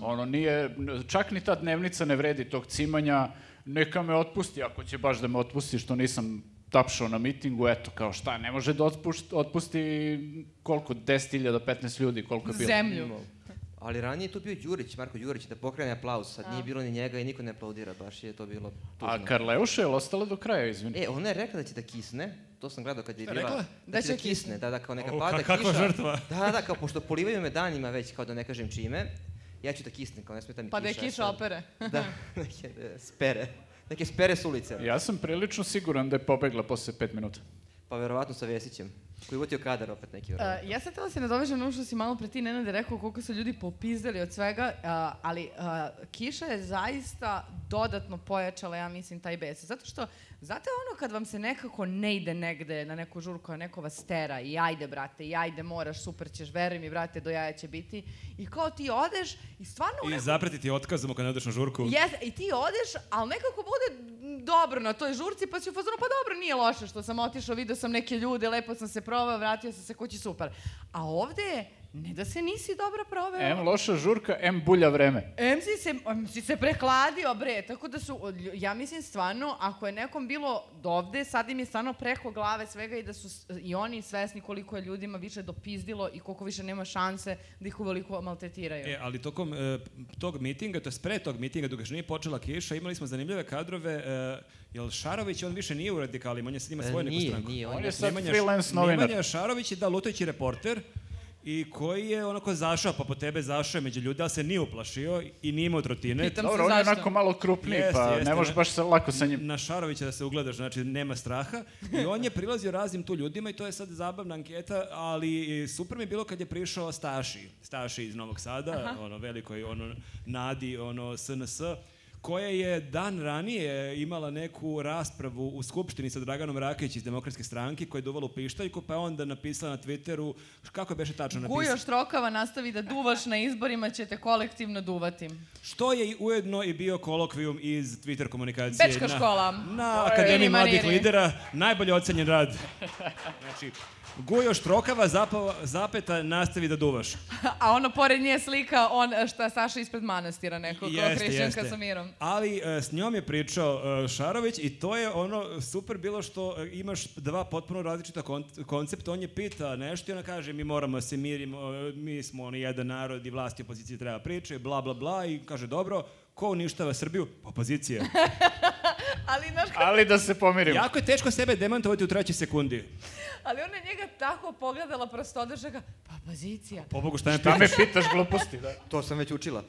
A: Ono nije, n- čak ni ta dnevnica ne vredi tog cimanja, neka me otpusti ako će baš da me otpusti što nisam tapšao na mitingu, eto kao šta, ne može da otpušt, otpusti koliko, 10.000, 15 ljudi, koliko je bilo.
C: Zemlju.
D: Ali ranije je tu bio Đurić, Marko Đurić, da pokrene aplauz, sad nije bilo ni njega i niko ne aplaudira, baš je to bilo tužno.
A: A Karleuša je ostala do kraja, izvini.
D: E, ona je rekla da će da kisne, to sam gledao kad je bila...
B: rekla?
D: Da će da
C: kisne.
D: kisne, da, da, kao neka
B: O,
D: pada
B: ka- kakva
D: kiša.
B: žrtva.
D: Da, da, kao pošto polivaju me danima već, kao da ne kažem čime, ja ću da kisnem, kao ne smeta mi
C: Pa
D: kiša.
C: da je kiša
D: sad.
C: opere.
D: Da, neke e, spere, neke spere s ulice.
A: Ja sam prilično siguran da je pobegla posle 5 minuta.
D: Pa verovatno sa Vesićem, koji je uvotio kadar opet neki verovatno.
C: Uh, ja sam htela da se nadovežem na ono što si malo pre ti Nenade rekao koliko su ljudi popizdali od svega, uh, ali uh, kiša je zaista dodatno pojačala, ja mislim, taj bes. Zato što, znate ono kad vam se nekako ne ide negde na neku žurku, a neko vas tera i ajde, brate, i ajde, moraš, super ćeš, veruj mi, brate, do jaja će biti. I kao ti odeš i stvarno...
B: i zapretiti otkazom kad ne odeš na žurku.
C: Jes, i ti odeš, ali nekako bude dobro na toj žurci, pa si u fazonu, pa dobro, nije loše što sam otišao, video sam neke ljude, lepo sam se probao, vratio sam se kući, super. A ovde je, ne da se nisi dobro proveo.
A: M loša žurka, M bulja vreme.
C: Em si se, em si se prehladio, bre, tako da su, od lju- ja mislim stvarno, ako je nekom bilo dovde, sad im je stvarno preko glave svega i da su s- i oni svesni koliko je ljudima više dopizdilo i koliko više nema šanse da ih uveliko maltretiraju.
B: E, ali tokom e, tog mitinga, to je pre tog mitinga, dok još nije počela kiša, imali smo zanimljive kadrove. E, jel Šarović, on više nije u radikalima, on je sad ima
D: E,
B: svoju neku
D: nije,
B: stranku.
D: nije, on
A: On
D: je
A: je sad
B: Nemanja Š-
A: freelance novinar.
B: Nemanja Šarović je da lutajući reporter i koji je onako zašao, pa po tebe zašao je među ljudi, ali se nije uplašio i nije imao trotine.
C: Pitam
A: Dobro,
C: se
A: on je
C: zašto.
A: onako malo krupniji,
B: Jeste,
A: pa
B: jeste, da.
A: ne možeš
B: ne-
A: baš sa- lako sa njim.
B: Na Šarovića da se ugledaš, znači nema straha. I on je prilazio raznim tu ljudima i to je sad zabavna anketa, ali e, super mi je bilo kad je prišao Staši. Staši iz Novog Sada, ono veliko je ono Nadi, ono SNS koja je dan ranije imala neku raspravu u Skupštini sa Draganom Rakić iz Demokratske stranke koja je duvala u pištaljku, pa je onda napisala na Twitteru, kako je beše tačno napisala?
C: Gujoš Trokava nastavi da duvaš na izborima, ćete kolektivno duvati.
B: Što je i ujedno i bio kolokvijum iz Twitter komunikacije.
C: Bečka
B: na-
C: škola.
B: Na
C: je
B: Akademiji
C: Mini
B: mladih
C: Mariri.
B: lidera, najbolje ocenjen rad. Znači, Gujoš Trokava, zapava, zapeta, nastavi da duvaš.
C: A ono, pored nje slika, on, šta Saša ispred manastira nekog, kao Hrišćan Kasamirom.
B: Ali e, s njom je pričao e, Šarović i to je ono super bilo što e, imaš dva potpuno različita kon- koncepta. On je pita nešto i ona kaže mi moramo da se mirimo, e, mi smo ono jedan narod i vlast i opozicija treba priče, bla bla bla i kaže dobro, ko uništava Srbiju? Pa Opozicija.
C: Ali, znaš, ka-
A: Ali da se pomirimo.
B: Jako je teško sebe demantovati u trećoj sekundi.
C: ali ona je njega tako pogledala prostodrža ga, pa pozicija.
B: Pobogu, šta me
A: Šta Da me
B: pitaš?
A: pitaš gluposti, da?
D: To sam već učila.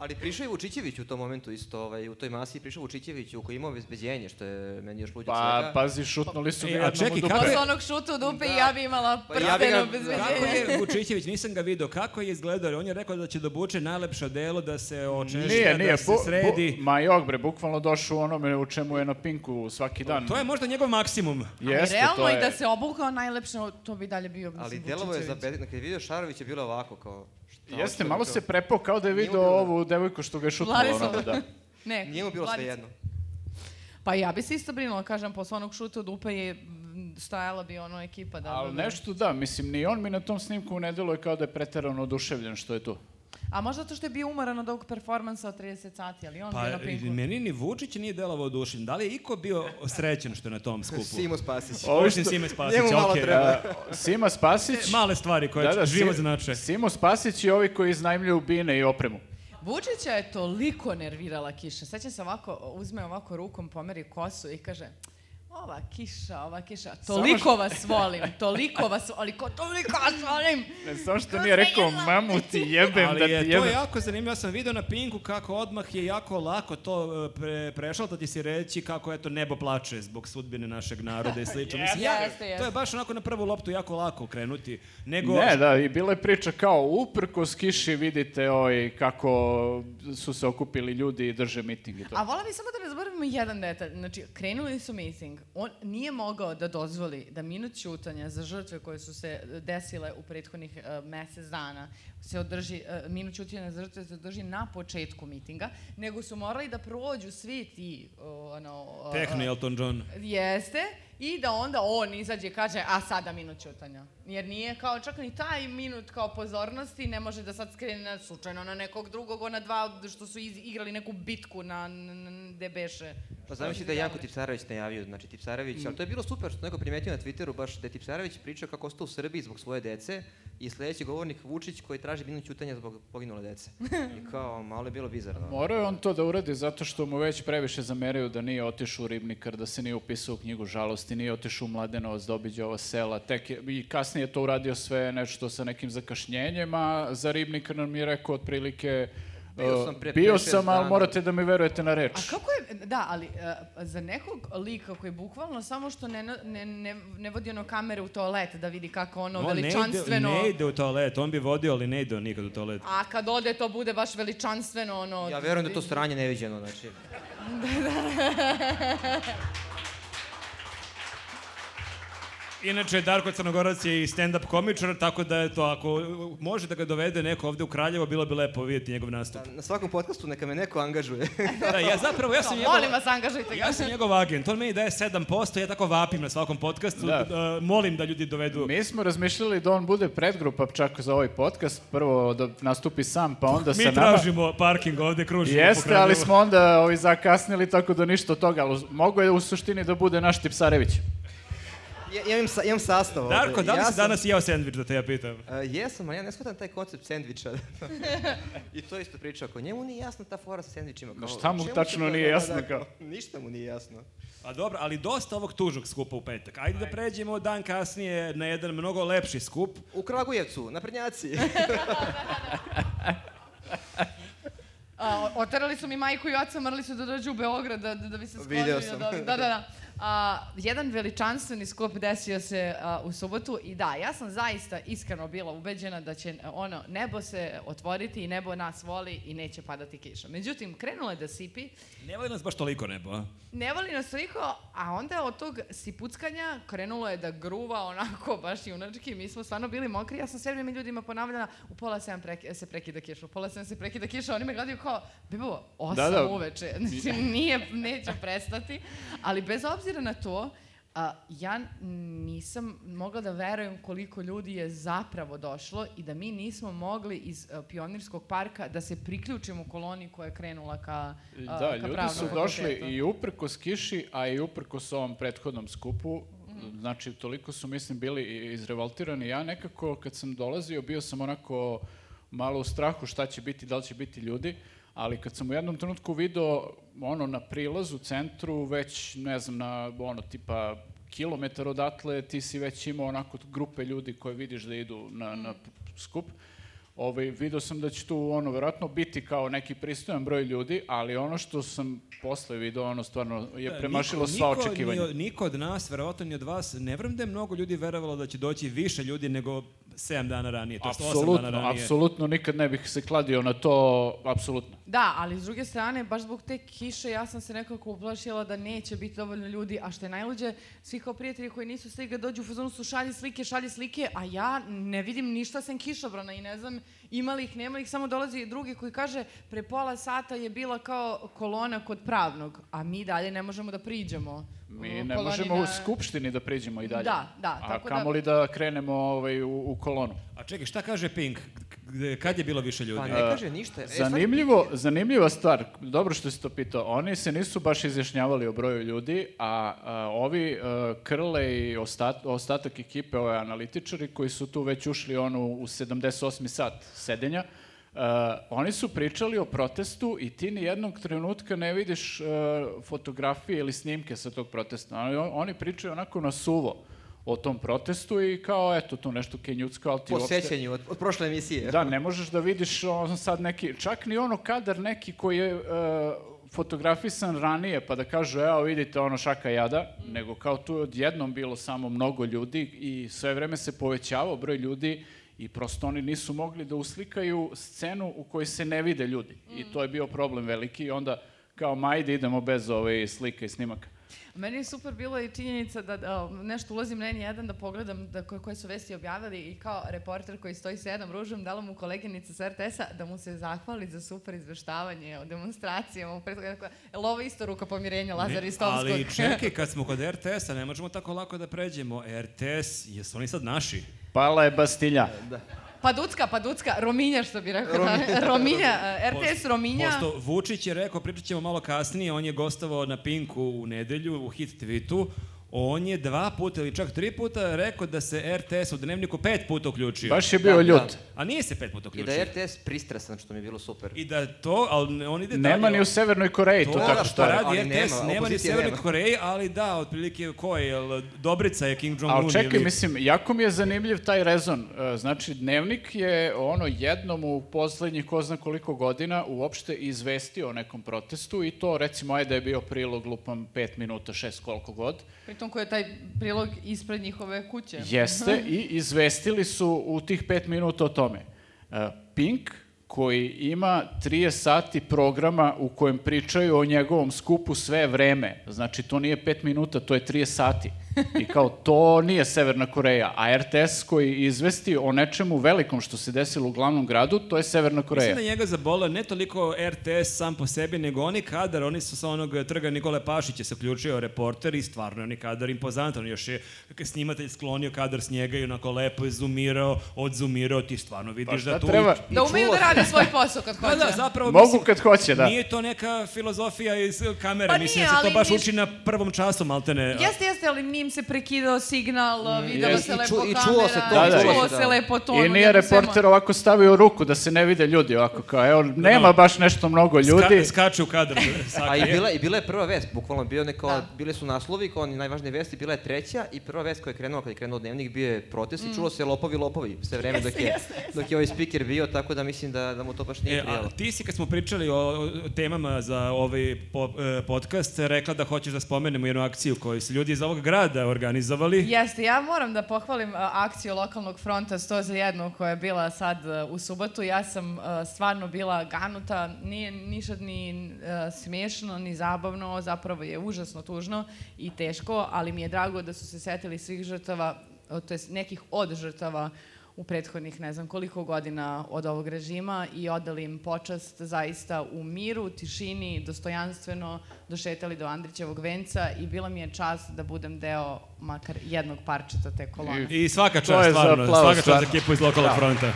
D: Ali prišao je Vučićević u tom momentu isto, ovaj, u toj masi prišao Vučićević u koji ima obezbeđenje, što je meni još luđe od
A: Pa,
D: svega.
A: pazi, šutnuli su ga
B: E, a
A: jednom
B: čekaj,
A: u dupe.
B: kako je-
C: Posle Pa onog šuta u dupe i ja bi imala
D: Pa ja bi
C: prsteno
B: Kako
D: ga-
C: bezveđenje.
B: je Vučićević, nisam ga video, kako je izgledao? On je rekao da će da obuče najlepša delo, da se očešlja,
A: Nije, nije,
B: da se
A: bu, bu,
B: sredi.
A: ma jog bre, bukvalno došao u onome u čemu je na Pinku svaki dan.
B: Pa, To je možda njegov maksimum.
A: Jeste,
C: Realno
A: to je.
C: i da se obukao najlepše, to bi dalje bio, mislim,
D: Ali delovo je za
C: Vučićević.
D: bedek, kad je vidio Šarović je bilo ovako kao... Šta,
A: Jeste,
D: hoćete,
A: malo
D: kao-
A: se prepao kao da je video
D: bilo-
A: ovu devojku što ga je šutnula.
C: Vladislav.
A: Ono, da.
C: Ne,
D: Nije mu bilo
C: Vladica.
D: sve jedno.
C: Pa ja bi se isto brinula, kažem, posle onog šuta u dupe je m, stajala bi ono ekipa da...
A: Ali
C: da-
A: nešto da, mislim, ni on mi na tom snimku ne deluje kao da je preterano oduševljen što je tu.
B: E,
C: A možda zato što je bio umoran od ovog performansa od 30 sati, ali on bio
B: Pa,
C: na pinku.
B: meni ni Vučić nije delovao dušin. Da li je iko bio srećen što je na tom skupu?
D: Simo Spasić.
A: Ovo
B: Osim
A: što-
B: Sime Spasića,
D: njemu malo
B: okej.
D: treba.
A: A, Sima Da, Spasić...
B: Male stvari koje da, život
A: Si-
B: znače.
A: Simo Spasić i ovi koji iznajmljuju bine i opremu.
C: Vučića je toliko nervirala kiša. Sećam se ovako, uzme ovako rukom, pomeri kosu i kaže ova kiša, ova kiša, toliko
A: što-
C: vas volim, toliko vas volim, ko- toliko vas volim.
A: Ne, samo što nije rekao, mamu ti jebem da
B: Ali
A: ti
B: je to
A: jebem.
B: jako zanimljivo, ja sam video na Pinku kako odmah je jako lako to e, pre, prešlo, da ti si reći kako eto nebo plače zbog sudbine našeg naroda i slično. Mislim, ja,
C: Jeste, jeste.
B: to je baš onako na prvu loptu jako lako krenuti. Nego,
A: Ne, da, i bila je priča kao uprkos kiši vidite ovaj, kako su se okupili ljudi i drže miting i to.
C: A vola bi samo da ne zaboravimo jedan detalj. Znači, krenuli su meeting. On nije mogao da dozvoli da minut ćutanja za žrtve koje su se e, desile u prethodnih e, mesec dana se održi, e, minut ćutanja za žrtve se održi na početku mitinga, nego su morali da prođu svi ti, o, ono...
A: da.
C: o,
B: Tehno Elton John.
C: Jeste. I da onda on izađe i kaže, a sada minut ćutanja. Jer nije kao čak ni taj minut kao pozornosti, ne može da sad skrene na slučajno na nekog drugog, ona dva što su iz, igrali neku bitku na n- n- n- gde beše.
D: Pa znam da je Janko Tipsarević najavio, znači Tipsarević, ali to je bilo super što neko primetio na Twitteru baš da je Tipsarević pričao kako ostao u Srbiji zbog svoje dece i sledeći govornik Vučić koji traži minut ćutanja zbog poginule dece. I kao, malo je bilo bizarno.
A: Morao je on to da uradi zato što mu već previše zameraju da nije otišao u Ribnikar, da se nije upisao u knjigu žalosti, nije otišao u Mladenovac da obiđe ova sela. Tek je, I kasnije je to uradio sve nešto sa nekim zakašnjenjem, a za Ribnikar nam je rekao otprilike
D: Bio
A: e,
D: sam pre
A: bio
D: pet, šest
A: sam, ali
D: dana."
A: morate da mi verujete na reč.
C: A kako je, da, ali e, za nekog lika koji je bukvalno samo što ne, na- ne, ne, ne vodi ono kamere u toalet da vidi kako ono
B: On ne ide,
C: veličanstveno...
B: ne ide u toalet, on bi vodio, ali ne ide on nikad u toalet.
C: A kad ode to bude baš veličanstveno ono...
D: Ja verujem da je to sranje neviđeno, znači.
B: Inače, Darko Crnogorac je i stand-up komičar, tako da, eto, ako može da ga dovede neko ovde u Kraljevo, bilo bi lepo vidjeti njegov nastup.
D: Na svakom podcastu neka me neko angažuje.
B: Da, ja zapravo, ja sam njegov...
C: Molim vas, angažujte ga.
B: Ja sam njegov agent, on meni daje 7%, ja tako vapim na svakom podcastu,
A: Da.
B: e, molim da ljudi dovedu...
A: Mi smo razmišljali da on bude predgrupa čak za ovaj podcast, prvo da nastupi sam, pa onda sa
B: Mi
A: nama.
B: tražimo parking ovde,
D: da
B: kružimo po
A: Jeste,
B: Kraljevu.
A: ali smo onda ovi zakasnili tako da ništa od toga, ali mogo je u suštini da bude naš Tipsarević.
D: Ja, ja imam, sa, imam sastav ovde.
B: Darko, da li
D: ja
B: si
D: sam-
B: danas jeo sandvič, da te ja pitam?
D: E, jesam, ali ja ne shvatam taj koncept sendviča. I to je isto priča ako njemu nije jasna ta fora sa sendvičima. Kao,
A: šta mu
D: čemu se
A: tačno
D: to- Da,
A: nije jasno, kao?
D: Ništa mu nije jasno.
B: A dobro, ali dosta ovog tužog skupa u petak. Ajde da pređemo dan kasnije na jedan mnogo lepši skup.
D: U Kragujevcu, naprednjaci.
C: A, o- oterali su mi majku i oca, morali su da dođu u Beograd da, da, da bi se skložili.
D: Video
C: od
D: sam.
C: ovih. Da, da, da. A, jedan veličanstveni skup desio se a, u subotu i da, ja sam zaista iskreno bila ubeđena da će a, ono, nebo se otvoriti i nebo nas voli i neće padati kiša. Međutim, krenulo je da sipi,
B: Ne voli nas baš toliko nebo, a?
C: ne voli nas toliko, a onda od tog sipuckanja krenulo je da gruva onako baš junački. Mi smo stvarno bili mokri, ja sam sve vreme ljudima ponavljala, u pola sedam preki- se prekida kiša, u pola sedam se prekida kiša, oni me gledaju kao, bebo, osam
A: da.
C: uveče, znači nije, neće prestati. Ali bez obzira na to, a, ja nisam mogla da verujem koliko ljudi je zapravo došlo i da mi nismo mogli iz a, Pionirskog parka da se priključimo koloni koja je krenula ka, a,
A: Da,
C: ka
A: ljudi
C: pravnom
A: su došli
C: fakultetu.
A: i uprkos kiši, a i uprkos ovom prethodnom skupu. Znači, toliko su, mislim, bili i- izrevoltirani. Ja nekako, kad sam dolazio, bio sam onako malo u strahu šta će biti, da li će biti ljudi, ali kad sam u jednom trenutku video ono na prilazu, centru, već, ne znam, na ono tipa kilometar odatle, ti si već imao onako grupe ljudi koje vidiš da idu na, na
C: Mm.
A: skup. Ovaj, video sam da će tu ono, verovatno biti kao neki pristojan broj ljudi, ali ono što sam posle video, ono stvarno je premašilo
B: Da, Niko-
A: sva
B: niko ni-
A: očekivanja.
B: Niko od nas, verovatno ni od vas, ne vrem da je mnogo ljudi verovalo da će doći više ljudi nego 7 dana ranije, to jest 8 dana
A: Apsolutno,
B: ranije.
A: apsolutno, nikad ne bih se kladio na to, apsolutno.
C: Da, ali s druge strane, baš zbog te kiše ja sam se nekako uplašila da neće biti dovoljno ljudi, a što je najluđe, svi kao prijatelji koji nisu stigli da dođu u fazonu su šalji slike, šalji slike, a ja ne vidim ništa sem kišobrana i ne znam ima li ih, nema li ih, samo dolazi drugi koji kaže pre pola sata je bila kao kolona kod pravnog, a mi dalje ne možemo da priđemo.
A: Mi
C: u
A: ne
C: koloni
A: možemo
C: na-
A: u skupštini da priđemo i dalje.
C: Mm, Da, da,
A: A
C: tako da-
A: kamoli da krenemo ovaj, u, u kolonu.
B: A čekaj, šta kaže Pink? Gde- Kad je bilo više ljudi?
D: Pa ne kaže ništa. E, stvarno,
A: Zanimljivo, zanimljiva stvar, dobro što si to pitao, oni se nisu baš izjašnjavali o broju ljudi, a, a, ovi a, Krle i ostat- ostatak ekipe, ove analitičari koji su tu već ušli ono, u 78. sat sedenja, a, oni su pričali o protestu i ti ni jednog trenutka ne vidiš a, fotografije ili snimke sa tog protesta. Oni, oni pričaju onako na suvo o tom protestu i kao, eto, tu nešto kenjucko, ali ti
D: po
A: uopšte-
D: sećanju od, od prošle emisije.
A: Da, ne možeš da vidiš on sad neki, čak ni ono kadar neki koji je e, fotografisan ranije, pa da kažu, evo vidite ono šaka jada, nego kao tu je odjednom bilo samo mnogo ljudi i sve vreme se povećavao broj ljudi i prosto oni nisu mogli da uslikaju scenu u kojoj se ne vide ljudi. I to je bio problem veliki i onda kao majde idemo bez ove slike i snimaka.
C: Meni je super bila i činjenica da, da nešto ulazim na N1 da pogledam da, koje, koje su vesti objavili i kao reporter koji stoji sa jednom ružom dala mu koleginica sa RTS-a da mu se zahvali za super izveštavanje o demonstracijama. U prethodnoj- dakle, jel ovo isto ruka pomirenja Lazara
B: Ne,
C: Istovskog?
B: Ali čekaj, kad smo kod RTS-a, ne možemo tako lako da pređemo. RTS, jesu oni sad naši?
A: Pala je Bastilja.
C: pa ducka, pa ducka, Rominja što bi rekao. Rominja, Rominja eh, RTS Rominja.
B: da, Pošto Vučić je rekao, pričat ćemo malo kasnije, on je gostovao na Pinku u nedelju, u hit tweetu, on je dva puta ili čak tri puta rekao da se RTS u dnevniku pet puta uključio.
A: Baš je bio
D: Da,
A: ljut.
D: da.
B: A nije se pet puta
D: I
B: uključio.
D: da je RTS pristrasan, što mi je bilo super.
B: I da to, ali ne- on ide
A: Nema
B: dalje.
A: ni u Severnoj Koreji to,
B: To
A: tako
B: da,
A: što
B: što
A: je.
B: radi
D: Ali
B: RTS,
D: nema,
B: nema, ni u
D: opozicije
B: Severnoj
D: nema.
B: Koreji, ali da, otprilike ko je, jel, Dobrica je Kim Jong-un
A: Ali čekaj,
B: ili-
A: mislim, jako mi je zanimljiv taj rezon. E, Znači, dnevnik je ono jednom u poslednjih ko zna koliko godina uopšte izvestio o nekom protestu i to, recimo, ajde je bio prilog lupam 5 minuta, 6, koliko god.
C: Pritom koji je taj prilog ispred njihove kuće.
A: Jeste, i izvestili su u tih 5 minuta o tome. E, Pink, koji ima 30 sati programa u kojem pričaju o njegovom skupu sve vreme. Znači, to nije 5 minuta, to je 30 sati. I kao, to nije Severna Koreja, a RTS koji izvesti o nečemu velikom što se desilo u glavnom gradu, to je Severna Koreja.
B: Mislim da njega zabola ne toliko RTS sam po sebi, nego oni kadar, oni su sa onog eh, trga Nikole Pašića se uključio reporter i stvarno je oni kadar impozantan. Još je snimatelj sklonio kadar s njega i onako lepo je zoomirao, odzumirao, ti stvarno vidiš
A: Pa šta
B: da tu...
A: treba?
C: Da umeju da rade svoj posao kad
B: Pa
C: hoće.
B: da, zapravo
A: Mogu
B: mislim,
A: kad hoće, da.
B: Nije to neka filozofija iz kamere,
C: Pa
B: mislim
C: nije,
B: da se
C: ali
B: to baš
C: niš-
B: uči na prvom času, maltene.
C: Jeste, jeste, ali njim se prekidao signal, videlo
A: jeste.
C: se
D: Mm, I ču-
C: lepo
D: i
C: kamera,
D: čulo se to,
A: Da, da,
C: čulo
A: i-
C: se lepo ton.
A: I nije
C: ovaj-
A: reporter ovako stavio ruku da se ne vide ljudi, ovako kao, evo, nema baš nešto mnogo ljudi.
B: Da, Ska, skače u kadar.
D: A i
B: sakrije.
D: bila, i bila je prva vest, bukvalno bio neka,
C: Da.
D: bile su naslovi kao oni najvažnije vesti, bila je treća i prva vest koja je krenula kad je krenuo dnevnik bio je protest i čulo se lopovi, lopovi sve vreme dok, je, dok je ovaj speaker bio, tako da mislim da, da mu to baš nije
B: E,
D: prijelo.
B: a ti si kad smo pričali o, o temama za ovaj po, e, podcast rekla da hoćeš da spomenemo jednu akciju koju su ljudi iz ovog grada organizovali.
C: Jeste, ja moram da pohvalim a, akciju lokalnog fronta 100 za jednu koja je bila sad a, u subotu. Ja sam a, stvarno bila ganuta, nije ništa ni a, smiješno, ni zabavno, zapravo je užasno tužno i teško, ali mi je drago da su se setili svih žrtava, a, to jest nekih od žrtava u prethodnih ne znam koliko godina od ovog režima i odali im počast zaista u miru, tišini, dostojanstveno došetali do Andrićevog venca i bila mi je čast da budem deo makar jednog parčeta te kolone.
B: I svaka
A: To je
B: čast,
A: za
B: stvarno,
A: aplauz,
B: svaka čast
A: stvarno.
B: ekipu iz lokalnog fronta.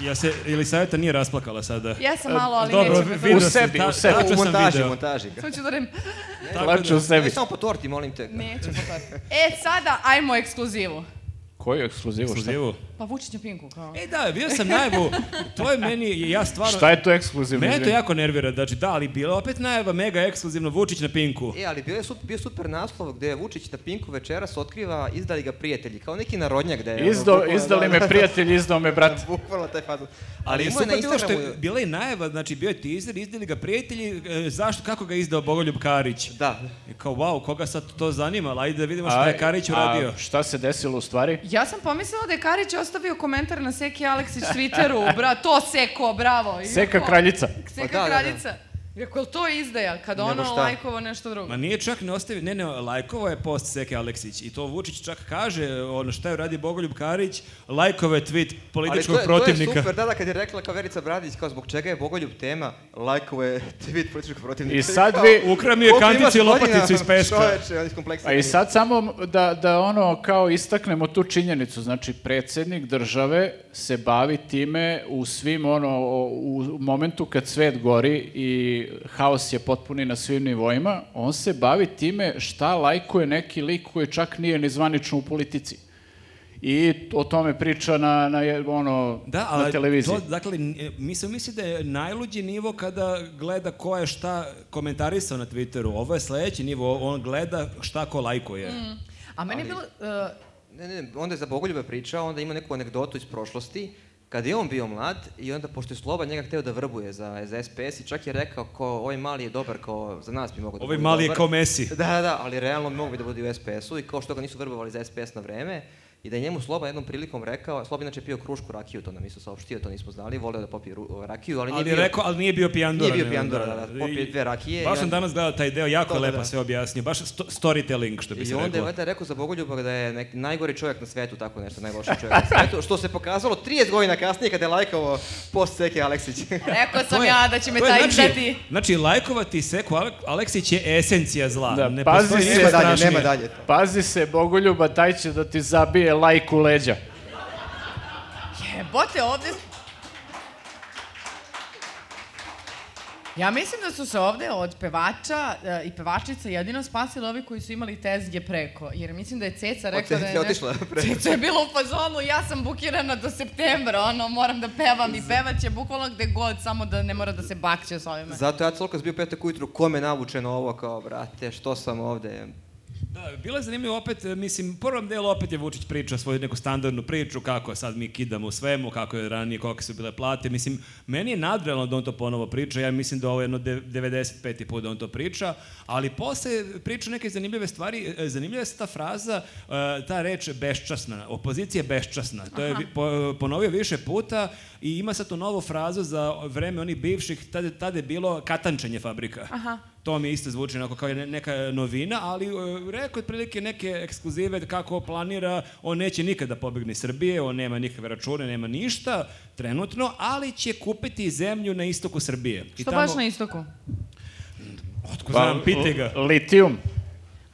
B: Ja se, ili savjeta nije rasplakala sada?
C: Ja sam malo, ali
B: E, Dobro,
C: nećemo to.
B: video
A: U
B: sam,
A: sebi,
B: ta-
A: u sebi.
B: tačno
D: u
B: sam
D: montaži,
B: video.
D: u montaži. ga.
C: Samo ću da rem...
B: Tako
A: Plače u
B: da-
D: Ne
A: sebi.
D: samo po torti, molim te.
C: Neću potati. E, sada ajmo ekskluzivu.
A: Koju ekskluzivu? Šta,
B: Ekskluzivu.
C: Pa Vučić na Pinku, kao.
B: E da, bio sam najavu, to je meni, ja stvarno...
A: šta je to ekskluzivno?
B: Mene to
A: izvini?
B: jako nervira, znači da, ali bila je opet najava mega ekskluzivno Vučić na Pinku.
D: E, ali bio je super, bio super naslov gde je Vučić na Pinku večeras otkriva izdali ga prijatelji, kao neki narodnjak da je... ono,
A: Izdo,
D: bukvalno-
A: izdali me prijatelj, izdao me brat.
D: Bukvalno taj fazon.
B: Ali
D: Ali,
B: je
D: imao je na
B: super bilo što
D: Instagramu...
B: je bila i najava, znači bio je teaser, izdali ga prijatelji, e, zašto, kako ga je izdao Bogoljub Karić?
D: Da,
B: I kao, wow, koga sad to zanima, ali ajde da vidimo šta je Karić
A: a
B: uradio.
A: šta se desilo u stvari?
C: Ja sam pomislila da je Karić ostavio komentar na Seki Aleksić Twitteru, bra, to Seko, bravo. I
A: Seka
C: kao-
A: kraljica.
C: Seka
D: Pa da, da, da.
C: kraljica. Rekao, je li to izdaja? Kad
D: Nego
C: ono
D: šta?
C: lajkovo nešto drugo.
B: Ma nije čak ne ostavi, ne, ne, lajkovo je post Seke Aleksić i to Vučić čak kaže, e, ono šta je radi Bogoljub Karić, lajkovo je tweet političkog
D: to je-
B: protivnika.
D: To je super, da, da, kad je rekla kao Verica Bradić, kao zbog čega je Bogoljub tema, lajkovo je tweet političkog protivnika.
A: I sad
D: Kao,
A: vi-
B: Ukrao mi je
D: koliko
B: kandicu i
D: imaš
B: lopaticu
D: godina,
B: iz peska.
D: Čoveče, on iz kompleksa.
A: A i sad samo da, da ono kao istaknemo tu činjenicu, znači predsednik države se bavi time u svim ono, o- u momentu kad svet gori i haos je potpuni na svim nivoima, on se bavi time šta lajkuje neki lik koji čak nije ni zvanično u politici. I o tome priča na, na, je- ono,
B: Da,
A: na
B: ali
A: televiziji.
B: to, dakle, n- e, mislim, misli da je najluđi nivo kada gleda ko je šta komentarisao na Twitteru. Ovo je sledeći nivo, on gleda šta ko lajkuje.
C: Mm. A meni je bilo... e,
D: Ne, ne, onda je za Bogoljuba pričao, onda ima neku anegdotu iz prošlosti, kad je on bio mlad i onda, pošto je Sloba njega hteo da vrbuje za, za SPS i čak je rekao kao, ovaj mali je dobar, kao, za nas bi mogao da
B: Ovaj
D: bude
B: mali je
D: dobar."
B: kao Messi.
D: Da, da, da, ali realno mogu bi da bude u SPS-u i kao što ga nisu vrbovali za SPS na vreme i da je njemu Sloba jednom prilikom rekao, Sloba inače je pio krušku rakiju, to nam isto saopštio, to nismo znali, voleo da popije ru- rakiju, ali nije
B: Ali, je
D: bio-
B: rekao, ali nije bio pijan
D: Nije
B: Duran,
D: bio
B: ne,
D: pijan Duran, da, da,
B: I-
D: popio dve rakije
B: Baš
D: i
B: sam
D: onda-
B: danas gledao taj deo, jako je
D: Da, da,
B: lepo
D: da.
B: sve objasnio, baš sto- storytelling, što bi
D: I
B: se
D: onda je
B: reklo.
D: valjda rekao za Bogoljuba da je nek, najgori čovjek na svetu, tako nešto, najlošiji čovjek na svetu, što se pokazalo 30 godina kasnije kada je lajkao post Seke Aleksić.
C: Rekao
B: To
C: sam
B: je-
C: ja da će me
B: to je
C: taj
B: znači,
C: izdati.
B: Znači, lajkovati Seku Ale- Aleksić je esencija zla.
A: Da,
B: ne
A: pazi
B: postoji
A: se-
B: ništa
D: nema dalje,
B: strašnije.
D: nema dalje. to.
A: Pazi se, Bogoljuba, taj će da ti zabije lajku leđa.
C: Jebote, ovde... Ja mislim da su se ovde od pevača e, i pevačica jedino spasili ovi koji su imali tezge preko. Jer mislim da je Ceca rekla da
D: Ceca
C: je...
D: je
C: ne-
D: otišla pre.
C: Ceca je bila u fazonu, ja sam bukirana do septembra, ono, moram da pevam i pevaće bukvalno gde god, samo da ne mora da se bakće s ovime.
D: Zato ja celokas bio petak ujutru, ko me navuče na ovo, kao, brate, što sam ovde?
B: Da, bilo je zanimljivo opet, e, mislim, u prvom delu opet je Vučić priča svoju neku standardnu priču, kako sad mi kidamo u svemu, kako je ranije, kolike su bile plate. Mislim, meni je nadrealno da on to ponovo priča, ja mislim da ovo je jedno de- 95. put da on to priča, ali posle priča neke zanimljive stvari, E, zanimljiva je ta fraza, e, ta reč beščasna, opozicija je beščasna, to je vi- po- ponovio više puta i ima sad tu novu frazu za vreme onih bivših, tada tad je bilo katančenje fabrika. To mi isto zvuči onako kao ne- neka novina, ali e, rekao je otprilike neke ekskluzive kako planira, on neće nikada pobegne iz Srbije, on nema nikakve račune, nema ništa trenutno, ali će kupiti zemlju na istoku Srbije. I
C: Što baš na istoku?
A: Pa,
B: Otko znam, pite ga.
A: Litijum.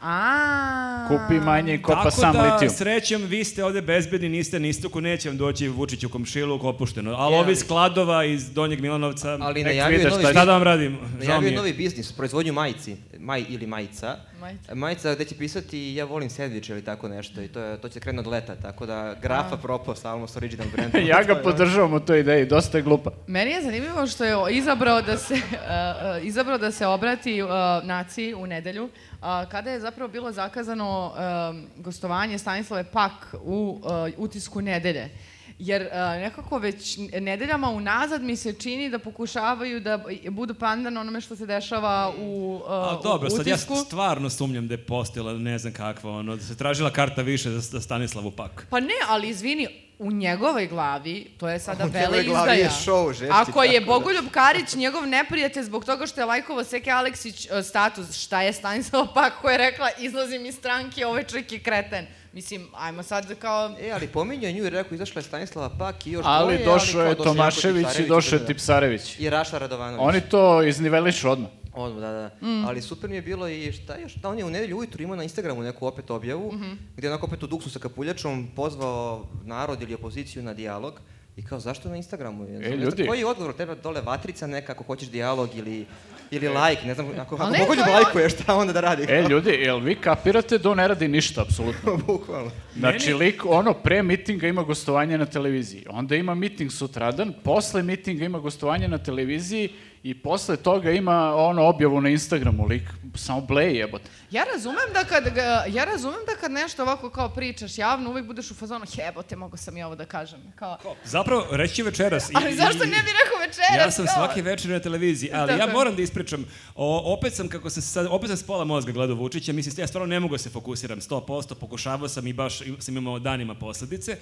C: A.
A: Kupi manje i kopa
B: Tako
A: sam
B: da,
A: litijum.
B: srećem, vi ste ovde bezbedni, niste na istoku, neće vam doći Vučić u komšiluk opušteno. Ali
D: Je,
B: ovi
D: ali-
B: iz Kladova, iz Donjeg Milanovca,
D: Ali
A: Nek
D: najavio je
A: vide šta
D: novi,
B: šta
D: biznis-
B: da vam radim? Žao
D: najavio
B: mi
D: je
B: je.
D: novi biznis, proizvodnju majici, maj ili majica.
C: Majica.
D: Majica gde će pisati ja volim sandviče ili tako nešto i to, je, to će krenuti od leta, tako da grafa propao stalno s original brandom.
A: ja ga podržavam u toj ideji, dosta je glupa.
C: Meni je zanimljivo što je izabrao da se, uh, uh, izabrao da se obrati uh, naciji u nedelju, uh, kada je zapravo bilo zakazano um, gostovanje Stanislave Pak u uh, utisku nedelje. Jer uh, nekako već n- nedeljama unazad mi se čini da pokušavaju da b- budu pandan onome što se dešava u, uh,
B: A dobro,
C: u
B: sad ja
C: utisku.
B: stvarno sumnjam da je postojala ne znam kakva, ono, da se tražila karta više za, za Stanislavu Pak.
C: Pa ne, ali izvini, u njegovoj glavi, to je sada
D: U njegovoj
C: vele
D: glavi
C: izdaja.
D: je show žešći,
C: Ako je
D: tako da.
C: Bogoljub Karić njegov neprijatelj zbog toga što je lajkovao Seke Aleksić e, status, šta je Stanislava Pak koja je rekla izlazim iz stranke, ovaj čovjek je kreten. Mislim, ajmo sad kao...
D: E, ali pominjao je nju i rekao, izašla je Stanislava Pak i još
A: Ali
D: dvoje,
A: došao
D: kao
A: je
D: došao Janko
A: Tomašević i
D: Tipsarević
A: došao je
D: da.
A: Tipsarević.
D: I Raša Radovanović.
A: Oni Mm. to iznivelišu odmah.
D: Odmah, da, da. Ali super mi je bilo i šta još, da on je u nedelju ujutru imao na Instagramu neku opet objavu,
A: Mhm.
D: gde je onako opet u duksu sa kapuljačom pozvao narod ili opoziciju na dijalog. I kao, zašto na Instagramu? Ja znam, ne znam,
A: E, ljudi.
D: Koji je odgovor? Treba dole vatrica neka ako hoćeš dijalog ili, ili like, ne znam, ako, ako
C: ne,
D: mogu
C: to je
D: lajkuje, šta onda da radi?
A: E, ljudi, jel vi kapirate da on ne radi ništa, apsolutno?
D: Bukvalno.
A: Znači, lik, ono, pre mitinga ima gostovanje na televiziji, onda ima miting sutradan, posle mitinga ima gostovanje na televiziji i posle toga ima, ono, objavu na Instagramu, lik, samo bleje jebote.
C: Ja razumem da kad, ga- ja razumem da kad nešto ovako kao pričaš javno, uvek budeš u fazonu, jebote, mogu sam i ovo da kažem. Kao,
B: Zapravo, reći ću večeras. i-
C: ali zašto ne
B: i-
C: bi rekao večeras?
B: Ja sam
C: kao?
B: svake večer na televiziji, ali
C: Tako
B: ja
C: je.
B: moram da ispričam. O, opet sam kako sam se sad opet sam s pola mozga gledao Vučića, mislim ja stvarno ne mogu da se fokusiram 100%, pokušavao sam i baš i- sam imao danima posledice.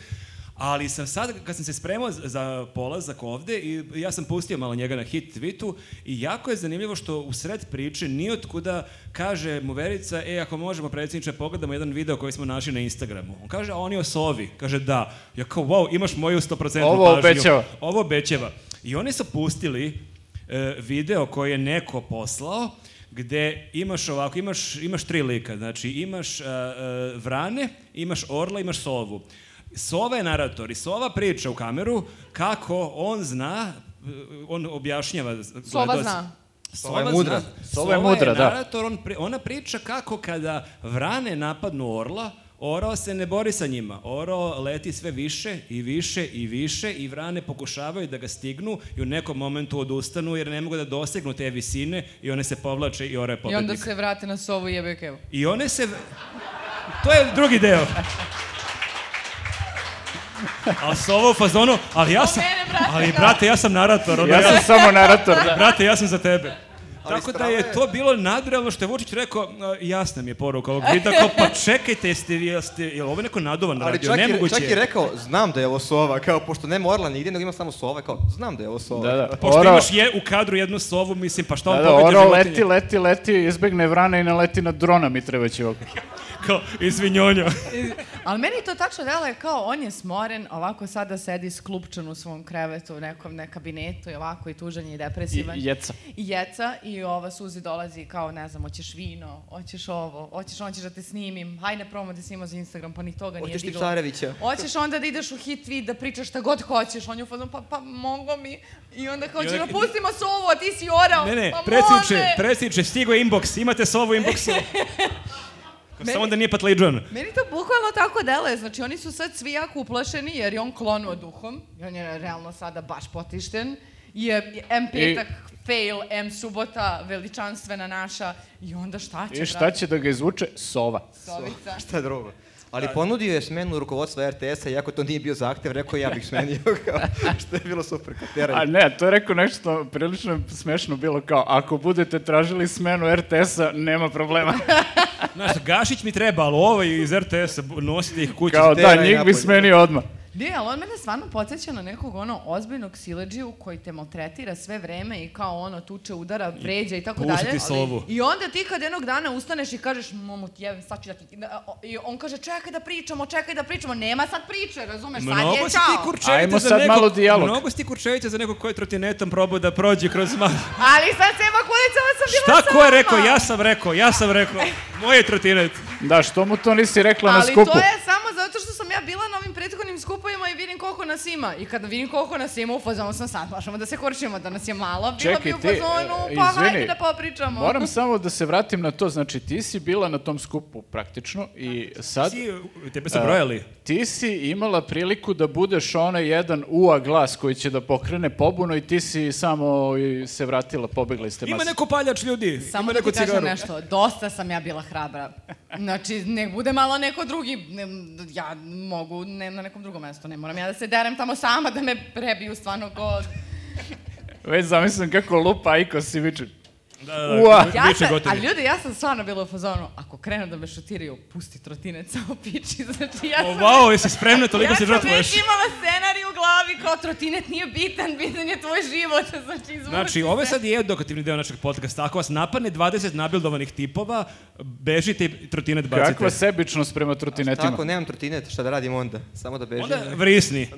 B: Ali sam sad, kad sam se spremao za- za polazak ovde, i ja sam pustio malo njega na hit tweetu i jako je zanimljivo što u sred priče nije otkuda kaže mu Verica, e, ako možemo, predsjedniče, pogledamo jedan video koji smo našli na Instagramu. On kaže, a on je o sovi. Kaže, da. Ja kao, wow, imaš moju 100%
A: Ovo
B: pažnju.
A: obećava.
B: Ovo obećava. I oni su pustili e, video koji je neko poslao gde imaš ovako, imaš, imaš tri lika, znači imaš e, e, vrane, imaš orla, imaš sovu. Sova je narator i sova priča u kameru kako on zna, e, on objašnjava
C: Sova
B: gledaoc-
C: zna.
B: Sova
D: je mudra.
B: zna-
A: Sova je mudra, da.
B: narator, on pri- ona priča kako kada vrane napadnu orla, orao se ne bori sa njima. Orao leti sve više i više i više i vrane pokušavaju da ga stignu i u nekom momentu odustanu jer ne mogu da dosegnu te visine i one se povlače i orao je
C: I
B: pobednik.
C: onda se vrate na sovu i jebe kevo.
B: I one se... To je drugi deo. A s ovo u fazonu, ali ja sam...
C: mene, brate,
B: ali,
C: kao-
B: brate, ja sam narator. ono,
A: Ja sam samo narator, da.
B: Brate, ja sam za tebe.
D: Ali
B: Tako da
D: strava
B: je
D: je-
B: to bilo nadrealno što je Vučić rekao, "A, jasna mi je poruka ovog videa, kao pa čekajte, jeste vi, jeste, jel ovo neko nadovan
D: Ali
B: radio,
D: čak i,
B: nemoguće.
D: čak i rekao, znam da je ovo sova, kao, pošto nema orla nigdje, nego ima samo sova, kao, znam da je ovo sova.
A: Da, da.
B: Pošto
A: Orao-
B: imaš je u kadru jednu sovu, mislim, pa šta on
A: Da,
B: da,
A: da,
B: pobedi
A: orao
B: životinje?
A: leti, leti, leti, izbegne vrana i naleti na drona Mitrevaćevog.
B: Kao, izvinjonjo.
C: Ali meni to tačno deluje kao on je smoren, ovako sada sedi sklupčan u svom krevetu, u nekom ne kabinetu i ovako i tužan je i
A: I
C: depresivan.
A: jeca.
C: I jeca i ova Suzi dolazi kao ne znam, hoćeš vino, hoćeš ovo, hoćeš, hoćeš da te snimim, hajde probamo da te snimamo za Instagram, pa ni toga nije
D: Hoćeš
C: digla.
D: Tipsarevića?
C: Hoćeš onda da ideš u hit tweet, da pričaš šta god hoćeš, on je u fazonu, pa, pa mogo mi. I onda kao,
B: I onda-
C: čega, pustimo se ovo, a ti si orao,
B: Ne, ne,
C: pa
B: predsjedniče,
C: može.
B: predsjedniče, stigo je inbox, imate sovu u inboxu. Kao, Samo da nije patliđan.
C: Meni to bukvalno tako deluje, znači oni su sad svi jako uplašeni jer je on klonuo duhom i on je realno sada baš potišten je M petak fail, M subota veličanstvena naša i onda šta će?
A: I šta će da ga izvuče? Sova.
C: Sovica.
D: Šta drugo? Ali ponudio je smenu rukovodstva RTS-a, iako to nije bio zahtev, rekao je, ja bih smenio, kao, što je bilo super
A: A
D: kateranje.
A: ne, to je rekao nešto prilično smešno bilo kao, ako budete tražili smenu RTS-a, nema problema.
B: Znaš, Gašić mi treba, ali ovaj iz RTS-a, bu- nosite ih kući.
A: Kao da,
D: Tera je
A: njih bi
D: napolje.
A: smenio odmah.
C: Ne, ali on mene stvarno podsjeća na nekog ono ozbiljnog sileđiju koji te maltretira sve vreme i kao ono tuče, udara, vređa i tako
B: pusti
C: dalje.
B: ti
C: ali-
B: sovu.
C: I onda ti kad jednog dana ustaneš i kažeš, momo ti jevim, sad ću da ti... da, o- I on kaže, čekaj da pričamo, čekaj da pričamo, nema sad priče, razumeš, sad
B: Mnogo
C: je
B: si ti
C: čao.
A: Ajmo
B: kurčevića za
A: sad
B: nekog...
A: malo dijalog.
B: Mnogo si ti kurčevića za nekog koji je trotinetom probao da prođe kroz malo...
C: Ali sad se ima kulicama sam bila
B: Šta ko
C: sama.
B: je rekao? Ja sam rekao, ja sam rekao. Moj je trotinet.
A: Da, što mu to nisi rekla na
C: Ali
A: skupu?
C: to je samo zato što sam ja bila na ovim prethodnim skupovima i vidim koliko nas ima. I kad vidim koliko nas ima, u fazonu sam sad, možemo da se kurčimo, da nas je malo. Bila
A: Čekaj,
C: bi u
A: ti, e,
C: fazonu, pa
A: izvini,
C: hajde da popričamo.
A: Moram samo da se vratim na to, znači ti si bila na tom skupu praktično i sad...
B: Si, tebe su brojali.
A: Ti si imala priliku da budeš onaj jedan ua glas koji će da pokrene pobunu i ti si samo i se vratila, pobegla iz te
B: Ima
A: mase.
B: neko paljač ljudi,
C: Samo
B: ima
C: da ti
B: neko
C: kažem
B: cigaru.
C: nešto, dosta sam ja bila hrabra. Znači, ne bude malo neko drugi, ne, ja mogu ne, na nekom drugom mestu, ne moram ja da se derem tamo sama da me prebiju stvarno ko...
A: Već zamislim kako lupa Aiko si viče.
B: Da, da,
A: Ua.
B: da,
C: Ja
B: biće
C: sam,
B: gotovi.
C: ali ljudi, ja sam stvarno bila u fazonu, ako krenu da me šutiraju, pusti trotinec samo piči, znači ja
B: O,
C: sam...
B: vau, jesi spremna, toliko
C: ja
B: se
C: sam
B: žrtvuješ.
C: već imala scenarij u glavi kao trotinet nije bitan, bitan je tvoj život, znači izvuči
B: Znači,
C: se.
B: ovo je sad i edukativni deo našeg podcasta. Ako vas napadne 20 nabildovanih tipova, bežite i trotinet bacite.
A: Kakva sebičnost prema trotinetima.
D: Tako, nemam trotinet, šta da radim onda? Samo da bežim.
B: Onda vrisni.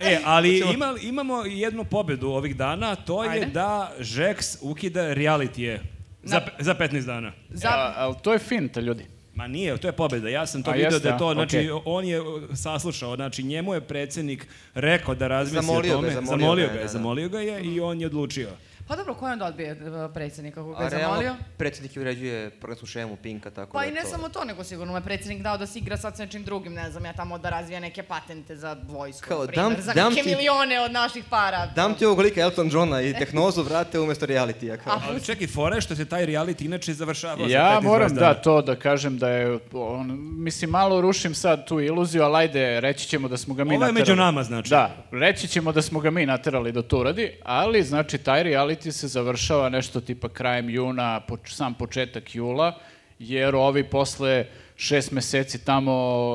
B: E, ali
D: Hoćemo-
B: ima, imamo jednu pobedu ovih dana, a to je
C: Ajde.
B: da Žeks ukida realitije za, pe- za 15 dana.
C: Za-
A: A, ali to je finta, ljudi.
B: Ma nije, to je pobeda. Ja sam to
A: A
B: vidio
A: jeste,
B: da je to,
A: a?
B: znači,
A: Okej.
B: on je uh, saslušao, znači, njemu je predsednik rekao da razmisli
D: Zamolio
B: o
D: ga,
B: tome.
D: zamolio
B: ga,
D: ga je,
B: je,
D: da, da.
B: zamolio ga je i on je odlučio.
C: Pa dobro, ko je onda odbije e, predsjednika kako ga
D: A
C: je zamolio?
D: realno, predsjednik je uređuje programsku šemu Pinka, tako
C: Pa
D: da
C: i ne
D: to-
C: samo to, nego sigurno me predsjednik dao da se igra sad s nečim drugim, ne znam, ja tamo da razvija neke patente za vojsku,
D: Kao,
C: na primer,
D: dam-
C: za
D: dam
C: neke
D: ti-
C: milione od naših para.
D: Dam ti ovog lika Elton Johna i tehnozu vrate umesto realitija. Kao.
C: A,
B: Ali čekaj, fora je što se taj reality inače završavao za 15
A: Ja moram
B: dana.
A: da to da kažem da je, on, mislim, malo rušim sad tu iluziju, ali ajde, reći ćemo da smo ga mi
B: Ovo je
A: naterali.
B: među nama, znači.
A: Da, reći ćemo da smo ga mi naterali da to uradi, ali znači taj reality se završava nešto tipa krajem juna, poč- sam početak jula, jer ovi posle šest meseci tamo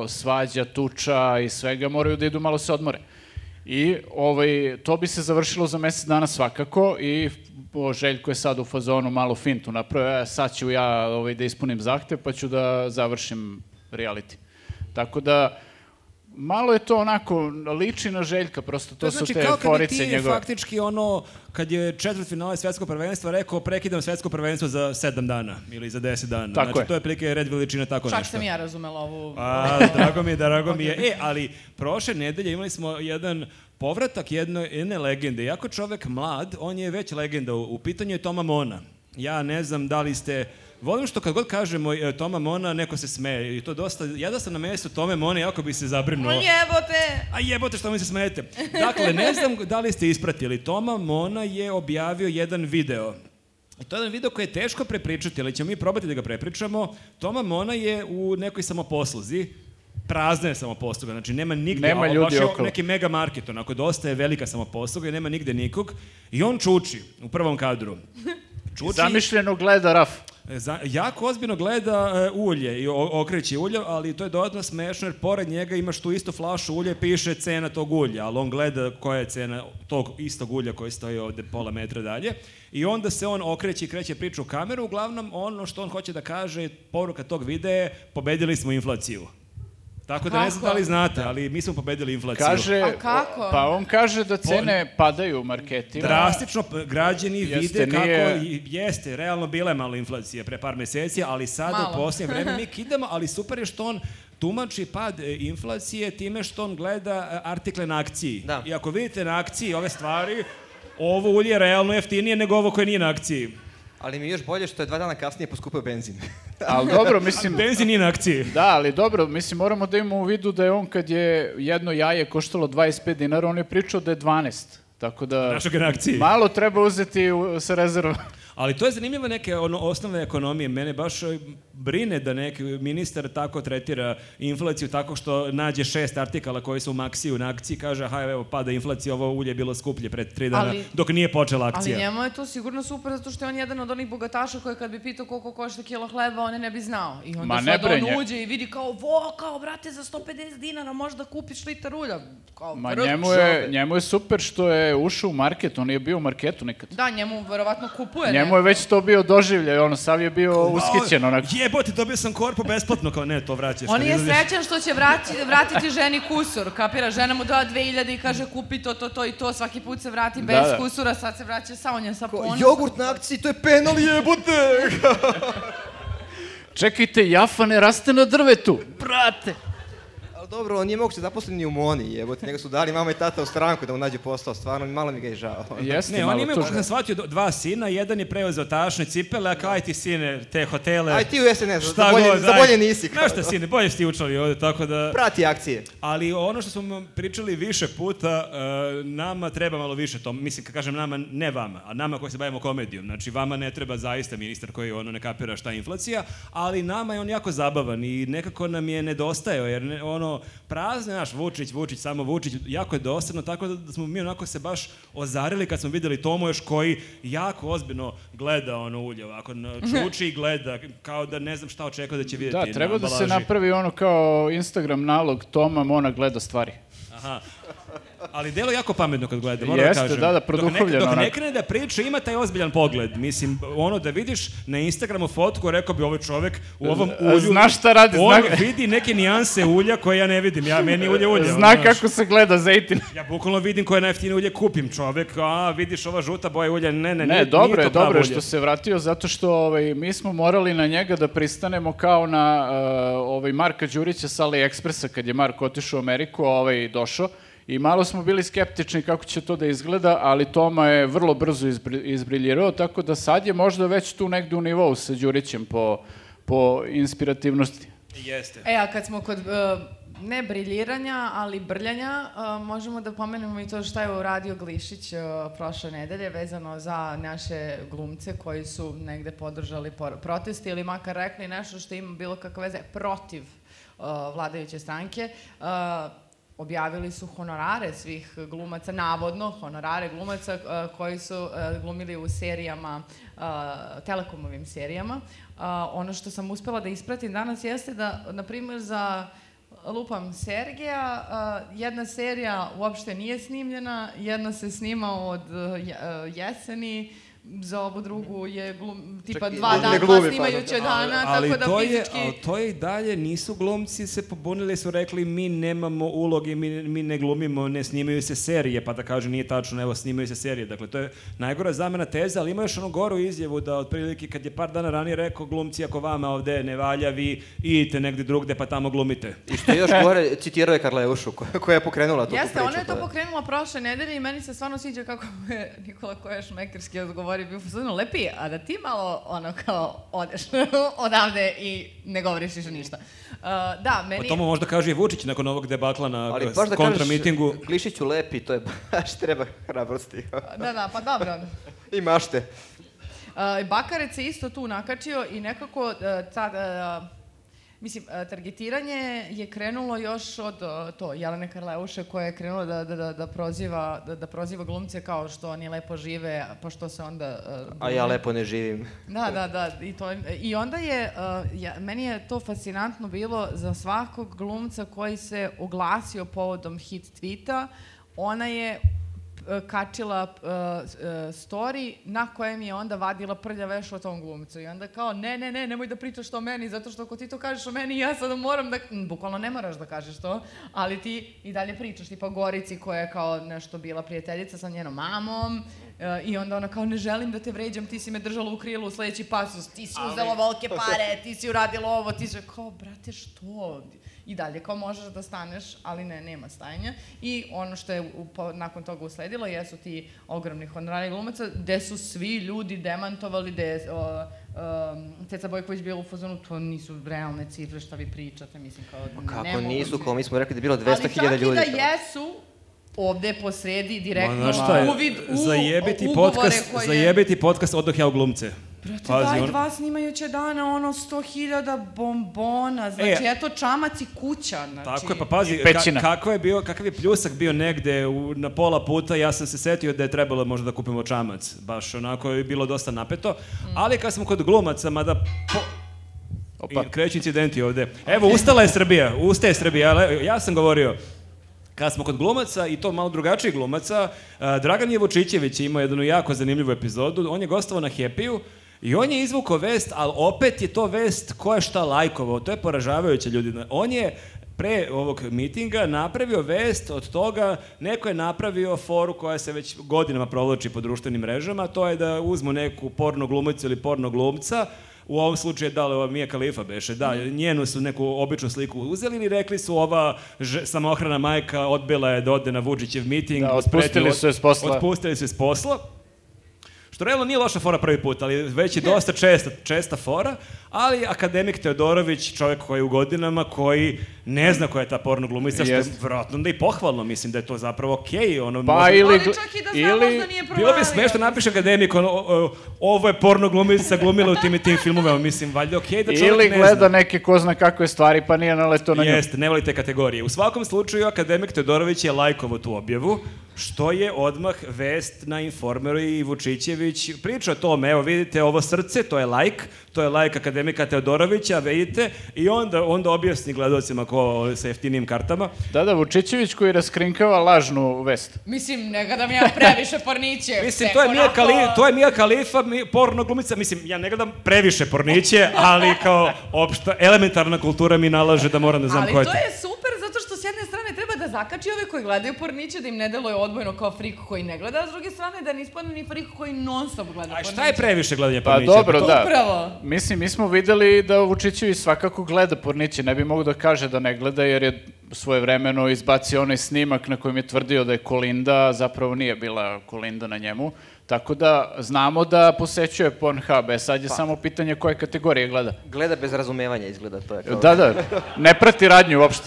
A: svađa, tuča i svega moraju da idu malo se odmore. I ovaj, to bi se završilo za mesec dana svakako i o, Željko je sad u fazonu malo fintu napravio, "E, sad ću ja ovaj, da ispunim zahtev pa ću da završim reality. Tako da, Malo je to onako, liči na Željka, prosto to, su te
B: kad je
A: forice
B: znači ti
A: njegove.
B: faktički ono, kad je četvrt finale svetskog prvenstva rekao prekidam svetsko prvenstvo za sedam dana ili za deset dana.
A: Tako
B: znači,
A: je.
B: to je prilike red veličina tako
C: Čak
B: nešto.
C: sam i ja razumela ovu...
B: A, drago mi je, drago mi je. E, ali prošle nedelje imali smo jedan povratak jedno, jedne legende. Jako čovek mlad, on je već legenda. U, u pitanju je Toma Mona. Ja ne znam da li ste... Volim što kad god kažemo e, Toma Mona, neko se smeje. I to dosta... Ja da sam na mestu Tome Mona, jako bi se zabrinuo.
C: Ma jebote!
B: A jebote što mi se smijete. Dakle, ne znam da li ste ispratili, Toma Mona je objavio jedan video. I to je jedan video koji je teško prepričati, ali ćemo mi probati da ga prepričamo. Toma Mona je u nekoj samoposluzi, prazna je samoposluga, znači nema nigde,
A: Nema
B: a ovo baš
A: ljudi
B: je
A: okolo.
B: neki mega market, onako dosta je velika samoposluga i nema nigde nikog. I on čuči u prvom kadru. Čuči,
A: Zamišljeno gleda Raf.
B: E, Za, jako ozbiljno gleda e, ulje i o- okreće ulje, ali to je dodatno smešno jer pored njega imaš tu istu flašu ulje, piše cena tog ulja, ali on gleda koja je cena tog istog ulja koji stoji ovde pola metra dalje. I onda se on okreće i kreće priču u kameru. Uglavnom, ono što on hoće da kaže, poruka tog videa je, pobedili smo inflaciju. Tako da ne znam da
C: Kako?
B: li znate, ali mi smo pobedili inflaciju.
A: Kaže,
C: A kako?
A: pa on kaže da cene padaju u marketima.
B: Drastično p- građani
A: Jeste,
B: vide kako
A: nije-
B: i- jeste, realno bila je malo inflacija pre par meseci, ali sad
C: Malo.
B: u posljednje vreme mi kidamo, ali super je što on tumači pad e, inflacije time što on gleda e, artikle na akciji.
D: Da.
B: I ako vidite na akciji ove stvari, ovo ulje je realno jeftinije nego ovo koje nije na akciji.
D: Ali mi je još bolje što je dva dana kasnije poskupio benzin.
A: Ali dobro, mislim,
B: Benzin nije na akciji.
A: da, ali dobro, mislim, moramo da imamo u vidu da je on kad je jedno jaje koštalo 25 dinara, on je pričao da je 12. Tako da...
B: Našoj reakciji.
A: Malo treba uzeti u- sa rezervom.
B: Ali to je zanimljivo neke ono, osnovne ekonomije. Mene baš e, brine da neki ministar tako tretira inflaciju tako što nađe šest artikala koji su u maksiju na akciji i kaže aha evo pada inflacija, ovo ulje je bilo skuplje pre tri dana
C: Ali-
B: dok nije počela akcija.
C: Ali njemu je to sigurno super zato što je on jedan od onih bogataša koji kad bi pitao koliko košta kilo hleba, on je ne bi znao. I onda
A: Ma ne
C: sad
A: bre,
C: on
A: nje-
C: uđe i vidi kao, vo, kao, brate, za 150 dinara možeš da kupiš litar ulja. Kao,
A: Ma
C: vrh
A: njemu je,
C: žabe.
A: njemu je super što je ušao u market, on nije bio u marketu nikad.
C: Da, njemu verovatno kupuje.
A: Njemu je već to bio doživljaj, ono, sav je bio ushićen, onako.
B: Jebote, dobio sam korpu besplatno, kao ne, to vraćaš.
C: On
B: kad
C: je
B: izlaziš.
C: srećan što će vrati, vratiti ženi kusur, kapira? Žena mu doda 2000 i kaže kupi to, to, to i to, svaki put se vrati bez
A: da.
C: kusura, sad se vraća sa onjem, sa
D: Ko,
C: ponosom.
D: jogurt na akciji, to je penal jebote!
A: Čekajte, jafa ne raste na drvetu.
D: Ali dobro, on nije moguće zaposlen ni u Moni, jebote, nego su dali mama i tata u stranku da mu nađe posao, stvarno malo mi ga je žao.
A: Pa Jeste,
B: Ne, on
A: malo
B: ima,
A: tužno.
B: kako sam shvatio, do- dva sina, jedan je preuzeo tašne cipele, a kao aj ti sine, te hotele.
D: Aj ti u SNS, za bolje, za
B: aj.
D: bolje nisi. kao
B: Znaš šta sine, bolje si ti učlani ovde, tako da...
D: Prati akcije.
B: Ali ono što smo vam pričali više puta, e, nama treba malo više to. Mislim, kad kažem nama, ne vama, a nama koji se bavimo komedijom. Znači, vama ne treba zaista ministar koji ono ne kapira šta je inflacija, ali nama je on jako zabavan i nekako nam je nedostajao, jer ne, ono, prazno, znaš, Vučić, Vučić, samo Vučić, jako je dosadno, tako da, da smo mi onako se baš ozarili kad smo videli Tomo još koji jako ozbiljno gleda ono ulje, ovako, na- čuči i gleda, kao da ne znam šta očekuje da će vidjeti
A: Mhm. Da,
B: na
A: treba da se
B: ambalaži.
A: napravi ono kao Instagram nalog Toma Mona gleda stvari.
B: Aha. Ali delo je jako pametno kad gleda, moram
A: Jeste,
B: da kažem.
A: da, da,
B: Dok ne,
A: produhovljeno
B: dok ne
A: onako.
B: krene da priča, ima taj ozbiljan pogled. Mislim, ono da vidiš na Instagramu fotku, rekao bi ovaj čovek u ovom
A: A
B: ulju...
A: znaš šta radi,
B: On
A: zna-
B: vidi neke nijanse ulja koje ja ne vidim. Ja, meni je ulje ulje. ono,
A: Zna
B: znaš.
A: kako se gleda Zejtin.
B: Ja bukvalno vidim koje najeftinije ulje kupim čovek. A, vidiš ova žuta boja ulja. Ne, ne,
A: Ne,
B: nije,
A: dobro
B: nije
A: je,
B: to pravo
A: dobro je
B: ulje.
A: što se vratio, zato što ovaj, mi smo morali na njega da pristanemo kao na eh, ovaj, Marka Đurića sa AliExpressa, kad je Mark otišao u Ameriku, a ovaj došao. I malo smo bili skeptični kako će to da izgleda, ali Toma je vrlo brzo izbri, izbriljirao, tako da sad je možda već tu negde u nivou sa Đurićem po, po inspirativnosti.
B: Jeste.
C: E, a kad smo kod e, ne briljiranja, ali brljanja, e, možemo da pomenemo i to šta je uradio Glišić e, prošle nedelje vezano za naše glumce koji su negde podržali por- protest ili makar rekli nešto što ima bilo kakve veze protiv e, vladajuće stranke. E, objavili su honorare svih glumaca, navodno honorare glumaca e, koji su e, glumili u serijama, e, telekomovim serijama. A, ono što sam uspela da ispratim danas jeste da, na primjer, za lupam Sergeja, a, jedna serija uopšte nije snimljena, jedna se snima od e, je- e, jeseni, za ovu drugu je glum, tipa
D: Čekaj,
C: dva
D: ne
C: dana, dva
D: glumi, pa
C: snimajuća
D: dobro.
C: dana,
B: ali
C: tako da
B: to je,
C: fizički...
B: ali to je i dalje, nisu glumci se pobunili, su rekli mi nemamo uloge, mi, mi ne glumimo, ne snimaju se serije, pa da kažu nije tačno, evo snimaju se serije. Dakle, to je najgora zamena teza, ali ima još ono goru izjavu da otprilike kad je par dana ranije rekao glumci ako vama ovde ne valja, vi idite negde drugde pa tamo glumite.
D: I što je još gore, citirao je Karleušu, koja, koja je pokrenula tu tu
C: Jeste,
D: priču,
C: ona je to
D: da.
C: pokrenula prošle nedelje i meni se stvarno sviđa kako mu je Nikola Koješ Mekerski odgovori, bio stvarno lepi, a da ti malo ono kao odeš odavde i ne govoriš više ništa. Uh, da,
B: Pa
C: meni...
B: to mu možda kaže i Vučić nakon ovog debakla na
D: Ali
B: eh,
D: baš da kažeš,
B: kontramitingu.
D: Glišiću lepi, to je baš treba hrabrosti.
C: Da, da, pa dobro.
D: I mašte.
C: Uh, Bakarec se isto tu nakačio i nekako uh, ta, uh, mislim, uh, targetiranje je krenulo još od uh, to, Jelene Karleuše koja je krenula da, da, da, da, proziva, da, da proziva glumce kao što oni lepo žive, pa što se onda... uh,
D: A ja lepo ne živim.
C: Da, da, da, i, to, je- i onda je, uh, ja, meni je to fascinantno bilo za svakog glumca koji se oglasio povodom hit tweeta, ona je uh, kačila uh, s- uh, story na kojem je onda vadila prlja veš o tom glumcu i onda kao ne, ne, ne, nemoj da pričaš o meni zato što ako ti to kažeš o meni ja sada moram da, Mm, bukvalno ne moraš da kažeš to, ali ti i dalje pričaš tipa Gorici koja je kao nešto bila prijateljica sa njenom mamom e, i onda ona kao ne želim da te vređam, ti si me držala u krilu u sledeći pasus, ti si uzela volke pare, ti si uradila ovo, ti si kao brate što? I dalje kao možeš da staneš, ali ne, nema stajanja. I ono što je u, po, nakon toga usledilo jesu ti ogromni honorari glumaca gde su svi ljudi demantovali gde je o, um, Ceca Bojković bila u fazonu, to nisu realne cifre šta vi pričate, mislim kao
D: Kako
C: nemoguće.
D: nisu, kao mi smo rekli da je bilo
C: Ali čak
D: 200.000 ljudi.
C: i da jesu, ovde po sredi direktno
B: Ma, Pa znaš šta je,
C: uvid E, u
B: zajebiti
C: ugovore
B: podcast,
C: koje...
B: zajebiti podcast odoh ja u glumce.
C: Brate,
B: Pazi,
C: daj
B: on-
C: dva snimajuća dana, ono, sto hiljada bombona, znači, eto, čamac i kuća, znači...
B: E. Tako je, pa pazi, ka,
A: pećina.
B: kako je bio, kakav je pljusak bio negde u, na pola puta, ja sam se setio da je trebalo možda da kupimo čamac, baš onako je bilo dosta napeto, ali kad smo kod glumaca, mada po,
A: Opa.
B: I kreću incidenti ovde. Evo, ustala je Srbija, ustaje Srbija, ali ja sam govorio, kad smo kod glumaca, i to malo drugačiji glumaca, a, Dragan Jevučićević je imao jednu jako zanimljivu epizodu, on je gostovao na Happy-u, I on je izvukao vest, ali opet je to vest ko je šta lajkovao. To je poražavajuće ljudi. Na- On je pre ovog mitinga napravio vest od toga, neko je napravio foru koja se već godinama provlači po društvenim mrežama, a to je da uzmu neku porno glumicu ili porno glumca, u ovom slučaju da li ova Mija Kalifa beše, da, njenu su neku običnu sliku uzeli ili rekli su ova ž, samohrana majka odbila je da ode na Vučićev miting.
A: Da,
B: uz pretnju
A: otpustili
B: od-
A: su je s posla.
B: Otpustili su je s posla. Što realno nije loša fora prvi put, ali već je dosta česta, česta fora, ali akademik Teodorović, čovjek koji je u godinama, koji ne zna koja je ta porno glumica, što je
A: Jest.
B: vjerojatno da i pohvalno, mislim da je to zapravo okej. ono,
A: Pa
B: možda-
A: ili...
C: Ali
A: gl-
C: čak i da zna, ili... možda nije provalio.
B: Bilo bi smešno da napiše akademik, ono, o, o, ovo je porno glumica glumila u tim i tim filmovima, mislim, valjda okej da čovjek
A: Ili
B: ne
A: gleda
B: zna.
A: neke ko zna kakve stvari, pa nije naletao na nju.
B: Jeste, ne volite kategorije. U svakom slučaju, akademik Todorović je lajkovo tu objavu, što je odmah vest na informeru i Vučićević priča o tome, evo vidite ovo srce, to je lajk, to je lajk akademika Teodorovića, vidite, i onda, onda objasni gledalcima ko sa jeftinim kartama.
A: Da, da, Vučićević koji raskrinkava lažnu vest.
C: Mislim, nekada mi ja previše porniće.
B: Mislim,
C: tek
B: to je Mija,
C: onako-
B: Kali, to je Mija Kalifa, mi, porno glumica. Mislim, ja ne gledam previše porniće, ali kao opšta, elementarna kultura mi nalaže da moram da znam
C: Ali
B: ko je
C: to
B: to.
C: je super zato što s jedne strane treba da zakači ove koji gledaju porniće da im ne deluje odbojno kao frik koji ne gleda, a s druge strane da ne ispadne ni frik koji non stop gleda
B: A
C: porniće.
B: šta je previše gledanje
A: Pa
B: pornića?
A: dobro,
B: To-
A: da.
C: Upravo.
A: Mislim, mi smo videli da Vučićević svakako gleda porniće, ne bi mogu da kaže da ne gleda jer je svoje vremeno izbacio onaj snimak na kojem je tvrdio da je Kolinda, a zapravo nije bila Kolinda na njemu. Tako da znamo da posećuje Pornhub, e sad je samo pitanje koje kategorije gleda.
D: Gleda bez razumevanja izgleda, to je kao...
A: Da, da, ne prati radnju uopšte.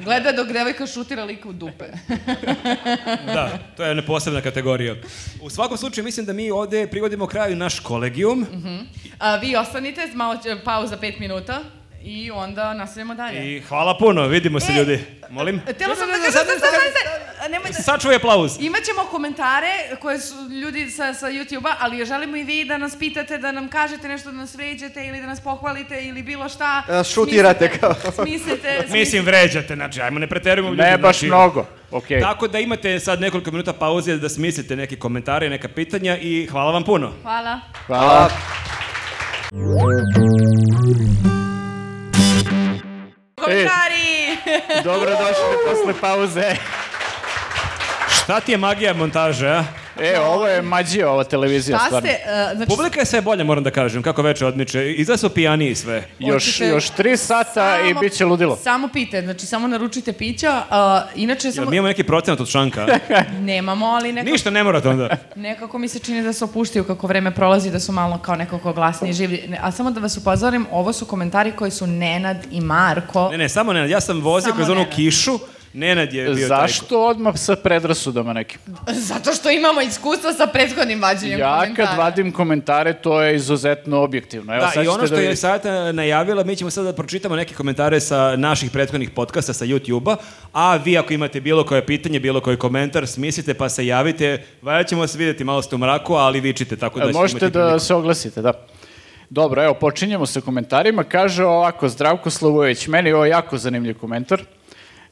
C: Gleda dok devojka šutira lika u dupe.
B: da, to je jedna posebna kategorija. U svakom slučaju, mislim da mi ovde privodimo kraju naš kolegijum
C: Mhm. A, vi ostanite, malo će- pauza pet minuta i onda nastavljamo dalje.
B: i hvala puno, vidimo
C: E.
B: se ljudi. Molim?
C: Htela sam
B: Ne,
C: da
B: ne, ne,
C: kažem,
B: sad-
C: sad, sad, sad, sad, nemoj da...
B: Sačuvaj aplauz.
C: Imaćemo komentare koje su ljudi sa, sa YouTube-a, ali želimo i vi da nas pitate, da nam kažete nešto, da nas vređate ili da nas pohvalite ili bilo šta.
A: E,
D: Da nas šutirate
C: Smislite-
D: kao.
C: Smislite,
B: Mislim, vređate, znači, ajmo, ne preterujemo ljudi.
A: Ne baš
B: znači-
A: mnogo. Okej.
B: Tako da imate sad nekoliko minuta pauze da smislite neke komentare, neka pitanja i hvala vam puno.
C: Hvala.
A: Hvala.
B: E.
C: Komentari!
A: Dobrodošli posle pauze.
B: Šta ti je magija montaže, a?
A: E, ovo je mađija ova televizija,
C: Šta
A: stvarno.
C: ste, uh, znači,
B: Publika je sve bolja, moram da kažem, kako veče odmiče. Iza su pijaniji sve.
A: Još,
C: Hoćete-
A: još tri sata i
C: samo-
A: bit će ludilo.
C: Samo pite, znači samo naručite pića, uh, inače
B: Jel
C: samo...
B: mi imamo neki procenat od šanka?
C: Nemamo, ali nekako,
B: Ništa ne morate onda.
C: nekako mi se čini da se opuštaju kako vreme prolazi, da su malo kao nekako glasniji življi. Ne, a samo da vas upozorim, ovo su komentari koji su Nenad i Marko.
B: Ne, ne, samo Nenad. Ja sam vozio
C: Samo
B: kroz onu
C: Nenad.
B: kišu. Nenad je bio taj.
A: Zašto odmah sa predrasudama nekim?
C: Zato što imamo iskustva sa prethodnim vađenjem
A: Ja
C: komentara.
A: kad vadim komentare, to je izuzetno objektivno. Evo,
B: Da,
A: sad
B: i ono
A: ćete
B: što
A: da
B: je
A: vidite.
B: Sajata najavila, mi ćemo sad da pročitamo neke komentare sa naših prethodnih podcasta, sa YouTube-a, a vi ako imate bilo koje pitanje, bilo koji komentar, smislite pa se javite, valjda ćemo se vidjeti malo ste u mraku, ali vičite, tako da ćete
A: Možete
B: imati
A: da se oglasite, da. Dobro, evo, počinjemo sa komentarima. Kaže ovako, Zdravko Slavojević, meni je ovo jako zanimljiv komentar.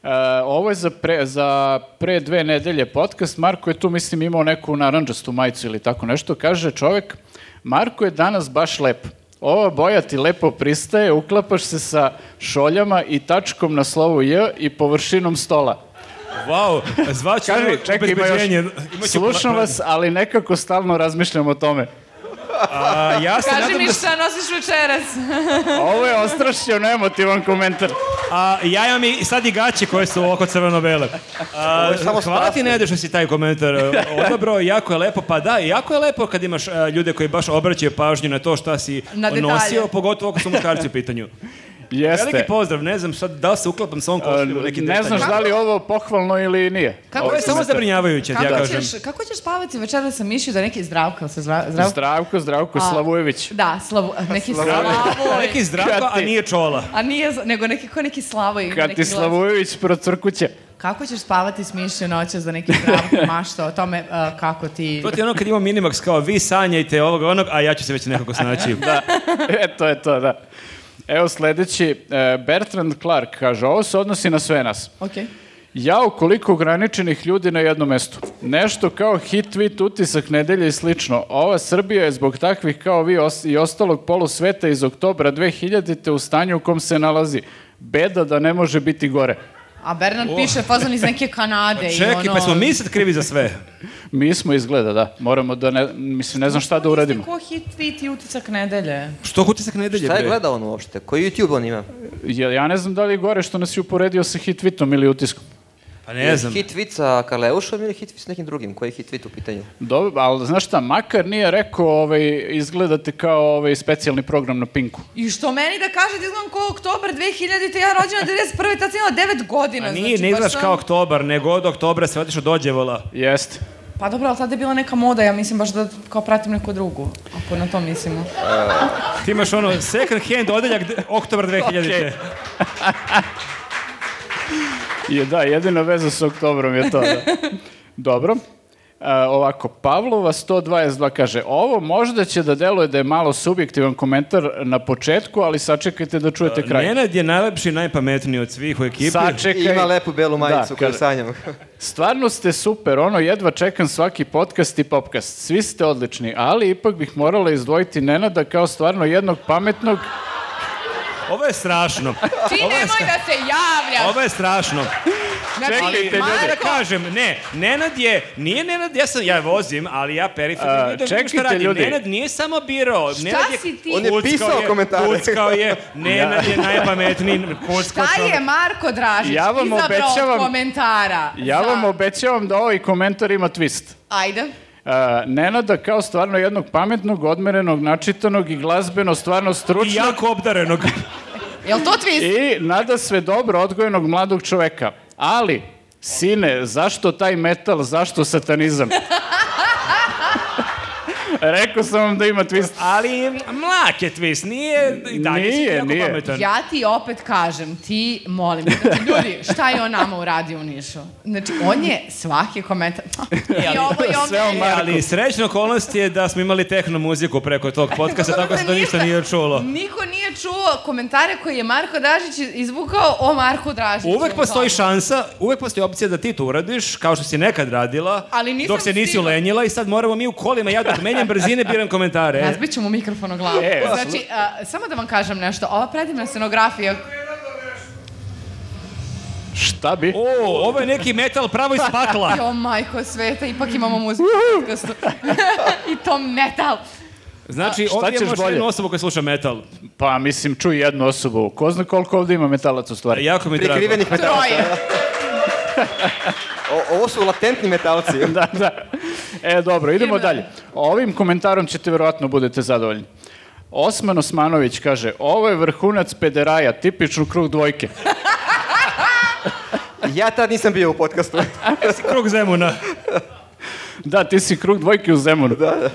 A: E, ovo je za pre, za pre dve nedelje podcast. Marko je tu, mislim, imao neku naranđastu majicu ili tako nešto. Kaže čovek, Marko je danas baš lep. Ova boja ti lepo pristaje, uklapaš se sa šoljama i tačkom na slovu J i površinom stola.
B: Wow, zvaću
A: Kaži, čekaj, ima još.
B: obezbeđenje. Imaću-
A: Slušam vas, ali nekako stalno razmišljam o tome.
B: A, ja se
C: Kaži
B: nadam
C: mi
B: da...
C: šta nosiš večeras.
A: Ovo je ostrašćeno emotivan komentar.
B: A, ja imam i sad i gaće koje su oko crveno-bele. A, hvala ti
D: samo strasti.
B: Nede što si taj komentar e, odobro, jako je lepo. Pa da, jako je lepo kad imaš e, ljude koji baš obraćaju pažnju na to šta si
C: Na detalje.
B: nosio, pogotovo ako su muškarci u pitanju.
A: Jeste. E,
B: Veliki pozdrav, ne znam sad da li se uklapam sa ovom košulju u neki
A: ne znaš da li je ovo pohvalno ili nije.
C: Kako
B: Ovo je
C: ćeš-
B: samo zabrinjavajuće, ja
C: Kako
B: kažem.
C: ćeš, kako ćeš spavati večera sa mišlju da je neki zdravka sa zdra, zdravka?
A: Zdravko, Zdravko Slavujević.
C: Da, slavu, neki slavoj.
B: Neki zdravko, a
A: Kad ti-
B: nije čola.
C: A nije, z- nego neki ko neki slavoj. ima
A: Kad
C: neki
A: ti
C: glas.
A: Slavujević procrkuće.
C: Kako ćeš spavati s mišlju noćas za neki zdravko mašta o tome uh, kako ti...
B: To ti je ono kad imamo minimax kao vi sanjajte ovog onog, a ja ću se već nekako snaći. da.
A: E, to je to, da. Evo sledeći, e, Bertrand Clark kaže, ovo se odnosi na sve nas.
C: Okej.
A: Jao, koliko ograničenih ljudi na jednom mestu. Nešto kao hit, tweet, utisak, nedelje i slično. Ova Srbija je zbog takvih kao vi os- i ostalog polusveta iz oktobra 2000-te u stanju u kom se nalazi. Beda da ne može biti gore.
C: A Bernard piše fazon iz neke Kanade i ono...
B: Čekaj, Oh. pa smo mi sad krivi za sve.
A: Mi smo izgleda, da. Moramo da ne, mislim, ne znam šta da uradimo.
C: Ko hit tweet i utisak nedelje?
B: Što utisak nedelje?
D: Šta je
B: bre?
D: gledao on uopšte? Koji YouTube on ima?
A: Jel ja ne znam da li je gore što nas je uporedio sa hit tweetom ili utiskom.
B: Pa ne znam.
D: Hit tweet sa Karleušom ili hit tweet s nekim drugim? Koji je hit tweet u pitanju?
A: Dobro, ali znaš šta, makar nije rekao, ovaj, izgledate kao ovaj specijalni program na Pinku.
C: I što meni da kaže da izgledam kao oktobar 2000-te, ja rođena 91. tad sam imala 9 godina.
B: A nije,
C: znači,
B: ne
C: baš
B: izgledaš
C: sam-
B: kao oktobar, nego od oktobra se otiš od ođevola.
A: Jeste.
C: Pa dobro, ali tada je bila neka moda, ja mislim baš da kao pratim neku drugu, ako na to mislimo.
B: Ti imaš ono second hand odeljak d- oktobar 2000.
A: Je, da, jedina veza sa oktobrom je to. Da. Dobro. A, ovako, Pavlova 122 kaže, ovo možda će da deluje da je malo subjektivan komentar na početku, ali sačekajte da čujete kraj.
B: Nenad je najlepši i najpametniji od svih u ekipi.
A: Sačekaj.
D: Ima lepu belu majicu
A: Da,
D: koju
A: kaže,
D: sanjam.
A: Stvarno ste super, ono, jedva čekam svaki podcast i popcast. Svi ste odlični, ali ipak bih morala izdvojiti Nenada kao stvarno jednog pametnog
B: Ovo je strašno.
C: Ti nemoj da se javljaš!
B: Ovo je strašno.
C: Znači,
A: Čekajte, ljudi.
B: Da
C: Marko,
B: kažem, ne, Nenad je, nije Nenad, ja, sam, ja vozim, ali ja periferno
A: A,
B: vidim šta
A: čekajte,
B: radim.
A: ljudi.
B: Nenad nije samo birao. Nenad
C: si ti?
D: On je
B: kuckao
D: pisao komentare.
B: Kuckao je, Nenad je najpametniji kuckao
C: Šta je
B: čovjek.
C: Marko Dražić
A: Ja vam
C: izabrao
A: obećavam-
C: komentara?
A: Ja
C: za-
A: vam obećavam da ovaj komentar ima twist.
C: Ajde.
A: Uh, Nenada kao stvarno jednog pametnog, odmerenog, načitanog i glazbeno stvarno
B: I
A: stručnog
B: jako obdarenog.
C: Jel to twist?
A: i nada sve dobro odgojenog mladog čoveka. Ali, sine, zašto taj metal, zašto satanizam? Rekao sam vam da ima twist.
B: Ali mlak je twist, nije i dalje nije, si
A: Nije,
B: ti jako
A: nije.
B: pametan.
C: Ja ti opet kažem, ti molim. te. Znači, ljudi, šta je on nama uradio u Nišu? Znači, on je svaki komentar... I ovo i ovo.
A: sve o
B: E,
A: Marku.
B: ali srećna okolnost je da smo imali tehno muziku preko tog podcasta, tako da se to ništa nije čulo.
C: Niko nije čuo komentare koje je Marko Dražić izvukao o Marku Dražiću.
B: Uvek postoji šansa, uvek postoji opcija da ti to uradiš, kao što si nekad radila,
C: Ali nisam
B: dok se nisi
C: stigla.
B: ulenjila i sad moramo mi u kolima, ja dok menjam brzine, biram komentare. E,
C: Razbit ćemo mikrofon o glavu.
A: E,
C: znači, a, samo da vam kažem nešto. Ova predivna scenografija...
A: Šta bi?
B: O, ovo je neki metal pravo iz pakla.
C: Jo, majko sveta, ipak imamo muziku u podcastu. I to metal.
B: Znači,
A: šta
B: ovdje
A: ćeš
B: imaš
A: bolje?
B: jednu osobu koja sluša metal.
A: Pa, mislim, čuj jednu osobu. Ko zna koliko ovde ima metalaca u stvari?
B: Jako mi je drago.
D: Prikrivenih metalaca.
C: Troje.
D: O- ovo su latentni metalci.
A: da, da. E, dobro, idemo
C: Idemo
A: dalje. Ovim komentarom ćete verovatno budete zadovoljni. Osman Osmanović kaže, ovo je vrhunac pederaja, tipičnu krug dvojke.
D: Ja tad nisam bio u podcastu.
B: Krug Zemuna.
A: Da, ti si krug dvojke u Zemunu.
B: Da.